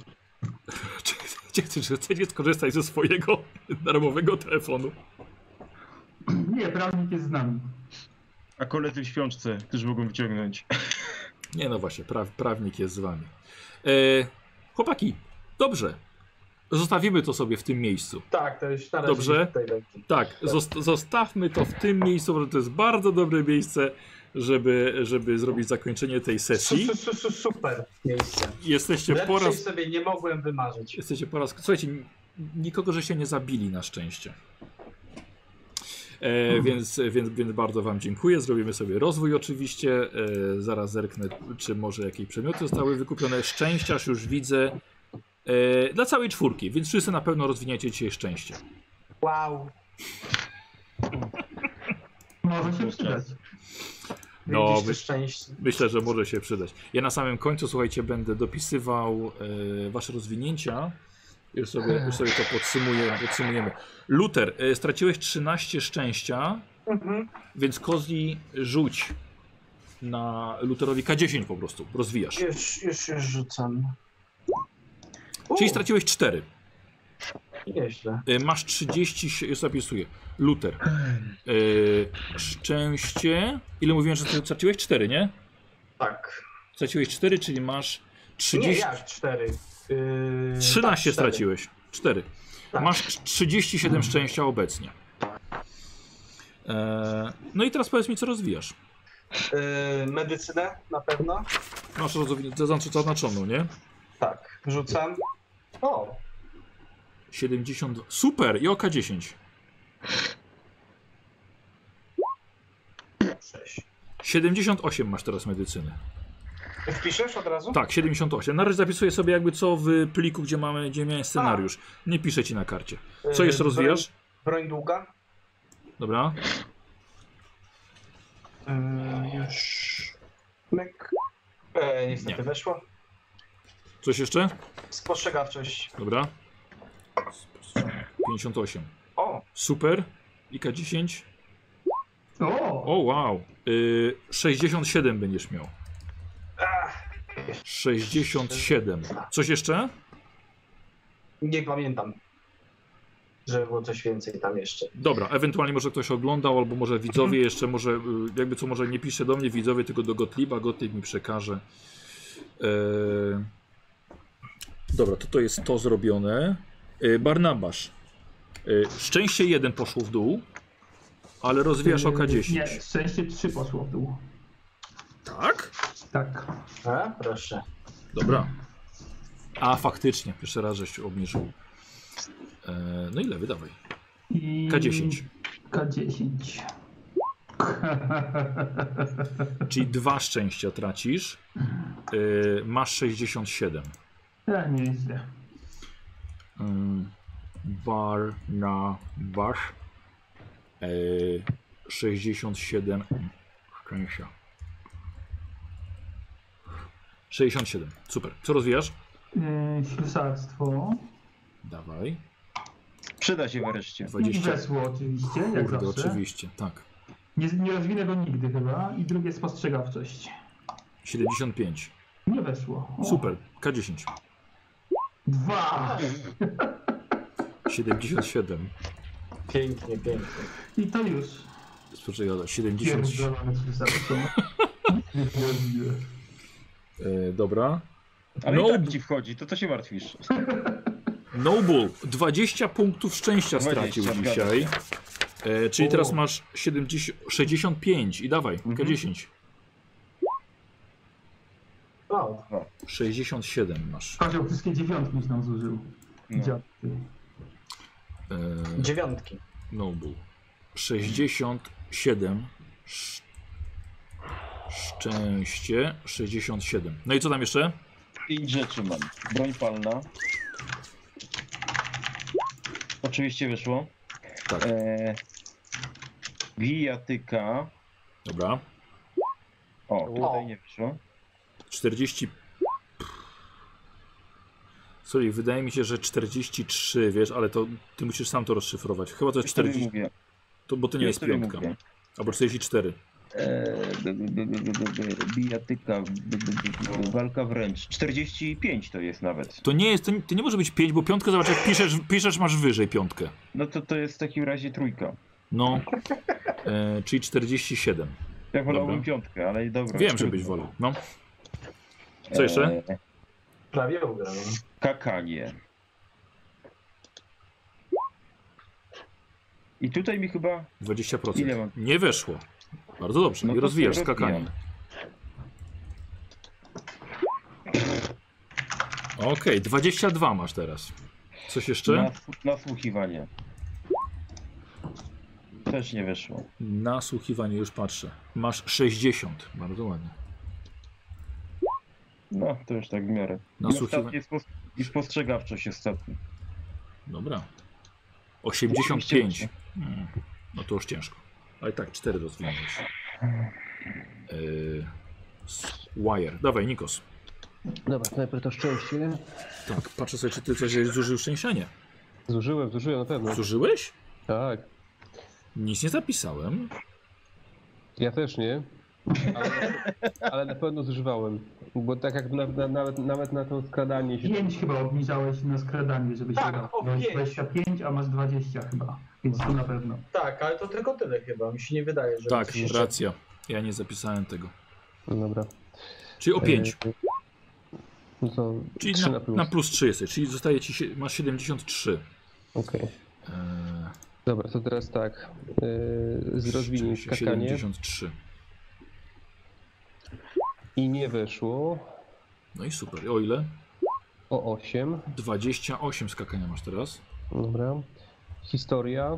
<laughs> czy, czy, czy, czy chcecie skorzystać ze swojego <laughs> darmowego telefonu? Nie, prawnik jest z nami. A koledzy w świączce też mogą wyciągnąć. Nie no właśnie, pra, prawnik jest z wami. E, chłopaki, dobrze. Zostawimy to sobie w tym miejscu. Tak, to już na razie Dobrze. Tutaj leci. Tak, zos- zostawmy to w tym miejscu, bo to jest bardzo dobre miejsce, żeby, żeby zrobić zakończenie tej Su, sesji. su, su, su, super miejsce. Jesteście po Lepszej raz... sobie nie mogłem wymarzyć. Jesteście po raz... Słuchajcie, n- nikogo, że się nie zabili na szczęście. E, więc, więc, więc bardzo Wam dziękuję. Zrobimy sobie rozwój oczywiście. E, zaraz zerknę, czy może jakieś przedmioty zostały wykupione. Szczęściarz już widzę. E, dla całej czwórki, więc wszyscy na pewno rozwiniecie dzisiaj szczęście. Wow. Może się przydać. No, Mieliście wy- szczęście. Myślę, że może się przydać. Ja na samym końcu, słuchajcie, będę dopisywał e, wasze rozwinięcia. Już sobie, już sobie to podsumujemy, podsumujemy. Luter, e, straciłeś 13 szczęścia, Mhm. więc Kozli rzuć na Luterowi K10 po prostu, rozwijasz. Już, już, już rzucam. Czyli straciłeś 4. Nieźle. E, Masz 30, si- już zapisuję. Luter. E, szczęście. Ile mówiłem, że ty straciłeś? 4, nie? Tak. Straciłeś 4, czyli masz 30. Nie, jak cztery. Yy, 13 tak, cztery. straciłeś. 4. Tak. Mm. Masz 37 szczęścia obecnie. E, no i teraz powiedz mi, co rozwijasz. Yy, medycynę na pewno? Masz rozwiniętą zaznaczoną, nie? Tak. Rzucam. O, 70. Super! I oka 10. 6. 78 masz teraz medycyny. Wpiszesz od razu? Tak, 78. Na razie zapisuję sobie jakby co w pliku, gdzie mamy, gdzie miałem scenariusz. Nie piszę ci na karcie. Co Yy, jeszcze rozwijasz? Broń, broń długa? Dobra. Yy, już. Myk. E, niestety Nie. weszło. Coś jeszcze? Spostrzegawczość. Dobra. 58. O, Super. I K10. O! O wow. Y, 67 będziesz miał. 67. Coś jeszcze? nie pamiętam. Żeby było coś więcej tam jeszcze. Dobra, ewentualnie może ktoś oglądał, albo może widzowie jeszcze, może y, jakby co, może nie pisze do mnie widzowie, tylko do Gottlieba, Gottlieb mi przekaże. E... Dobra, to to jest to zrobione. E, Barnabasz. E, szczęście jeden poszło w dół, ale rozwijasz oka Yy, 10. Nie, szczęście 3 poszło w dół. Tak? Tak. A, E, proszę. Dobra. A faktycznie, pierwszy raz żeś obniżył. E, no ile wydawaj? I... K10. K10. Czyli dwa szczęścia tracisz. E, masz 67. <laughs> ja nie jest źle. Mm, Bar na Basz. E, 67 szczęścia. 67. Super. Co rozwijasz? Yy, ślusarstwo. No Dawaj. Przyda się wreszcie. 20. Wesło oczywiście, jak Kurde, zawsze. oczywiście. Tak. Nie, nie rozwinę go nigdy chyba. I drugie spostrzegawczość. 75. Nie weszło. O, Super. K10. Dwa! 77. Pięknie, pięknie. I to już. Spoczekaj, 70. Pierdolone <laughs> ślusarstwo. Pierdolone. E, dobra. Ale No. i tak ci wchodzi, to co się martwisz? Noble, 20 No punktów szczęścia 20, stracił zgadza się. dzisiaj. E, czyli O. teraz masz 70, 65 i dawaj, Mhm. K10. O, 67 masz. Kozioł wszystkie dziewiątki nam zużył. No. Dziadki. E, no dziewiątki. Noble. 67. Sz... Szczęście. 67. No i co tam jeszcze? Pięć rzeczy mam. Broń palna. Oczywiście wyszło. Tak. E, gijatyka. Dobra. O, tutaj O. nie wyszło. 40. Sorry, wydaje mi się, że 43, wiesz, ale to ty musisz sam to rozszyfrować. Chyba to jest 40, mówię. to, bo to nie jest Historii piątka. mówię. Albo 44. E, b- b- b- b- b- b- bijatyka, b- b- b- b- walka wręcz. 45 to jest nawet. To nie jest, to nie, to nie może być 5, bo piątkę zobacz, jak piszesz, piszesz masz wyżej piątkę. No to to jest w takim razie trójka. <laughs> No, e, czyli 47. Ja wolałbym Dobra. piątkę, ale dobra. Wiem, że trudno. byś wolał. No, Co jeszcze? E, Prawie ugrał. kakanie. I tutaj mi chyba 20%. Ile mam? Nie weszło. Bardzo dobrze. No I to rozwijasz sobie skakanie. Okej, 22 masz No. teraz. Coś jeszcze? Nas, nasłuchiwanie. Też nie wyszło. Nasłuchiwanie już patrzę. Masz 60. Bardzo ładnie. No, to już tak w miarę. Nasłuchiwanie. I spost- I spostrzegawczość jest ostatni. Dobra. 85. Hmm. No to już ciężko. Ale tak, 4 rozwinięłeś. Yy, s- wire. Dawaj, Nikos. Dobra, snajper to szczęście. Tak, patrzę sobie, czy ty coś zużył szczęścia. Nie. Zużyłem, zużyłem na pewno. Zużyłeś? Tak. Nic nie zapisałem. Ja też nie. Ale, ale na pewno zużywałem. Bo tak jak na, na, nawet, nawet na to skradanie się. 5 chyba obniżałeś na skradanie, żeby się Tak, udało. o Miałeś pięć. 25, a masz 20 chyba, więc to na pewno. Tak, ale to tylko tyle chyba. Mi się nie wydaje, że. Tak, coś jeszcze- racja. Ja nie zapisałem tego. No Dobra. Czyli o 5. E, No to Czyli 3 na na, plus. na plus 3 jesteś, czyli zostaje ci, sie- masz 73. Okej. Eee, Dobra, to teraz tak. Yy, z rozwinięć skakanie 73. i nie weszło. No i super. O ile? O 8. 28 skakania masz teraz. Dobra. Historia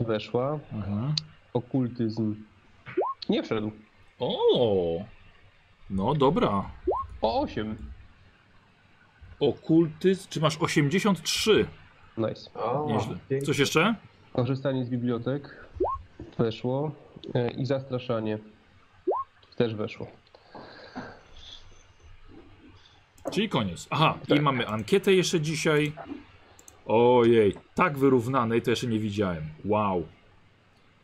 weszła. Mhm. Okultyzm nie wszedł. O! No dobra. O 8. Okultyzm. Czy masz 83? Nice. O, Nieźle. pięknie. Coś jeszcze? Korzystanie z bibliotek weszło E, i zastraszanie też weszło. Czyli koniec. Aha, i mamy ankietę jeszcze dzisiaj. Ojej, tak wyrównanej to jeszcze nie widziałem. Wow.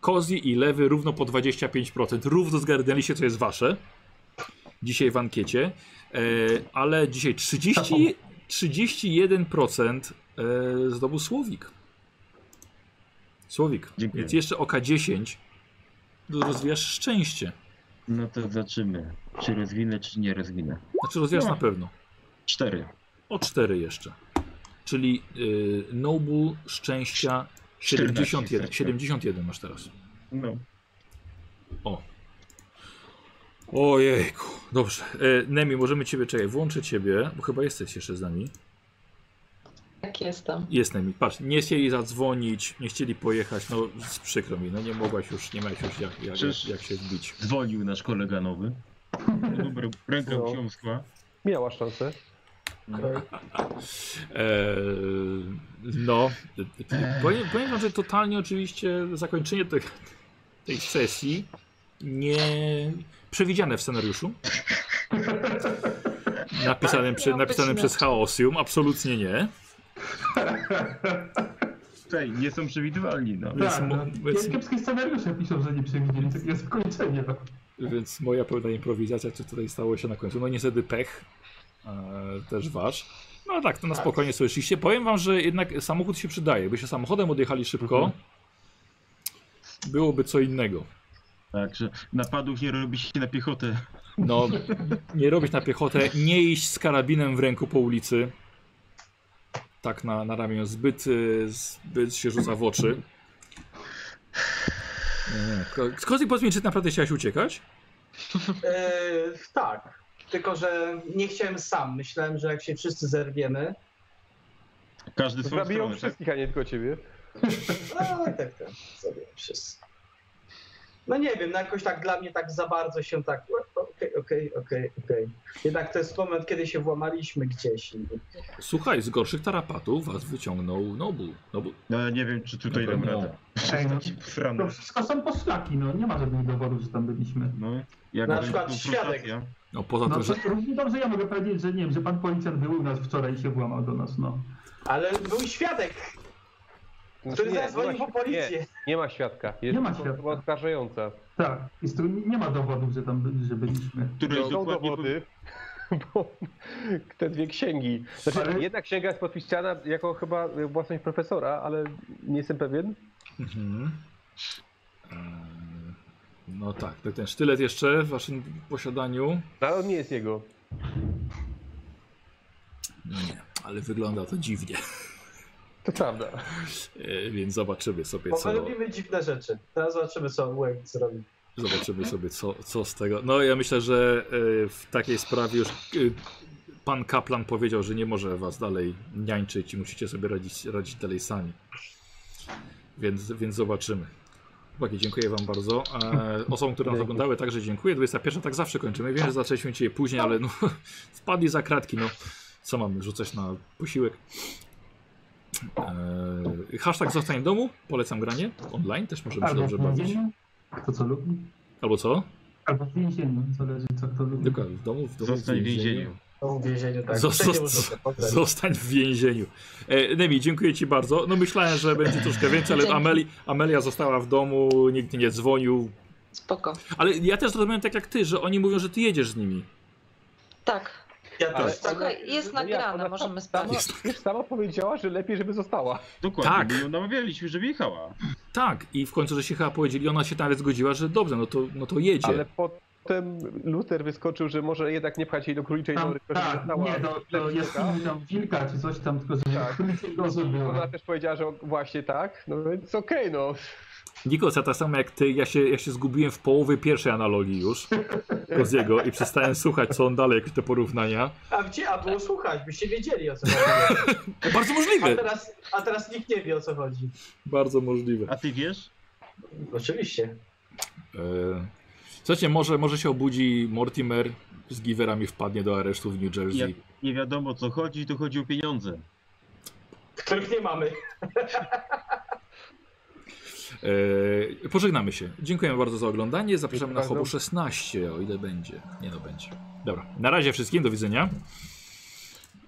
Kozi i lewy równo po 25%. Równo zgarnęliście, co jest wasze. Dzisiaj w ankiecie. E, ale dzisiaj 30, 31% e, zdobył Słowik. Słowik. Dziękuję. Więc jeszcze oka 10. Rozwijasz szczęście. No to zobaczymy, czy rozwinę, czy nie rozwinę. Znaczy rozwijasz No. na pewno. Cztery. O 4 jeszcze. Czyli y, Noble szczęścia 71, 14, 71 masz teraz. No. Ojejku, dobrze. E, Nemi, możemy ciebie, czekaj, włączę ciebie, bo chyba jesteś jeszcze z nami. Tak jestem. Jest Nemi, patrz, nie chcieli zadzwonić, nie chcieli pojechać, no z- przykro mi, no nie mogłaś już, nie miałeś już jak, jak, jak, Przecież- jak się zbić. Dzwonił nasz kolega nowy. Dobra, rękę No. książka. Miała szansę. E, no, powiem, powiem wam, że totalnie oczywiście zakończenie tej, tej sesji nie przewidziane w scenariuszu. Napisanym, przy, napisanym przez Chaosium, absolutnie nie. Tej, nie są przewidywalni, no. Więc Tak, mo- no, więc- kiepskie scenariusze piszą, że nie przewidzieli, takie jest zakończenie. No. Więc moja pełna improwizacja, co tutaj stało się na końcu. No niestety pech, e, też wasz. No ale tak, to na spokojnie słyszeliście. Powiem wam, że jednak samochód się przydaje. Byście samochodem odjechali szybko, byłoby co innego. Także napadów nie robi się na piechotę. No, nie robić na piechotę, nie iść z karabinem w ręku po ulicy. Tak na, na ramię zbyt, y, zbyt się rzuca w oczy. Nie, nie. Ko- Kozik, powiedz mi, czy ty naprawdę chciałeś uciekać? E, tak. Tylko, że nie chciałem sam. Myślałem, że jak się wszyscy zerwiemy. Każdy swoją Zabiją stronę, tak? wszystkich, a nie tylko ciebie. A, tak, tak. Sobie wszyscy. No nie wiem, no jakoś tak dla mnie tak za bardzo się tak. Okej, okej, okej, okej. Jednak to jest moment, kiedy się włamaliśmy gdzieś. i- Słuchaj, z gorszych tarapatów was wyciągnął Nobu. Nobu. No ja nie wiem, czy tutaj No, dam no. radę. Ej, no, Taki frany. to wszystko są poszlaki, no nie ma żadnych dowodów, że tam byliśmy. No, jak Na będzie przykład konfrontacja, No poza No tym, że... to równie dobrze ja mogę powiedzieć, że nie wiem, że pan policjant był u nas wczoraj i się włamał do nas, no. Ale był świadek, Znaczy, który nie, zadzwonił nie ma- po policję. Nie, nie ma świadka. Jest Nie ma osoba świadka. oskarżająca. Tak, jest tu, nie ma dowodów, że tam byli, że byliśmy. Które Są dokładnie... dowody, <laughs> bo te dwie księgi. Znaczy, Ale- jedna księga jest podpisana jako chyba własność profesora, ale nie jestem pewien. Mhm. Eee, No tak, tak, ten sztylet jeszcze w waszym posiadaniu. No, Ale on nie jest jego. No nie, ale wygląda to dziwnie. <laughs> To prawda. Eee, Więc zobaczymy sobie, Bo co... my lubimy dziwne rzeczy. Teraz zobaczymy, co Łęk zrobi. Zobaczymy sobie, co, co z tego. No, ja myślę, że e, w takiej sprawie już e, pan kaplan powiedział, że nie może was dalej niańczyć i musicie sobie radzić, radzić dalej sami. Więc, więc zobaczymy. Chłopaki, dziękuję wam bardzo. E, osobom, które nas oglądały, także dziękuję. 21 tak zawsze kończymy. Wiem, że zaczęliśmy cię później, ale no, <laughs> wpadli za kratki. No, co mamy rzucać na posiłek? E, hashtag zostań w domu. Polecam granie online, też możemy się Albo dobrze w bawić. więzieniu, kto co lubi, Albo co? albo w więzieniu, zależy co kto lubi. Dokładnie, w domu, w domu. Zostań w więzieniu. To w więzieniu, tak. Zo- Wszędzie zo- można tak potem. Zostań w więzieniu. E, Nemi, dziękuję Ci bardzo. No myślałem, że będzie troszkę więcej, ale Dzięki. Ameli, Amelia została w domu, nikt nie dzwonił. Spoko. Ale ja też zrozumiałem tak jak Ty, że oni mówią, że Ty jedziesz z nimi. Tak. Ja Ale- też tak. Słuchaj, jest No jak, nagrane, ona sama- możemy sprawdzić. Sama powiedziała, że lepiej, żeby została. Dokładnie, Tak. tak. bo ją namawialiśmy, żeby jechała. Tak, i w końcu, że się chyba powiedzieli, ona się nawet zgodziła, że dobrze, no to, no to jedzie. Ale potem Luther wyskoczył, że może jednak nie pchać jej do króliczej Tam, nory, która tak, została. nie, do, do jaskini tam wilka czy coś tam, tylko że Tak. <laughs> tak. gozo było. Ona też powiedziała, że właśnie tak, no więc okej, no. Nikos, ja tak samo jak Ty, ja się, ja się zgubiłem w połowie pierwszej analogii już Koziego i przestałem słuchać, co on dalej, jakie te porównania. A gdzie? A było słuchać, byście wiedzieli o co chodzi. Bardzo A możliwe. teraz, a teraz nikt nie wie o co chodzi. Bardzo możliwe. A ty wiesz? Oczywiście. E, Słuchajcie, może, może się obudzi Mortimer z giwerami wpadnie do aresztu w New Jersey. Jak nie wiadomo o co chodzi, to chodzi o pieniądze. Których nie mamy. E, pożegnamy się. Dziękujemy bardzo za oglądanie. Zapraszamy na Dziękuję Hobo bardzo. 16, o ile będzie. Nie no, będzie. Dobra, na razie wszystkim, do widzenia.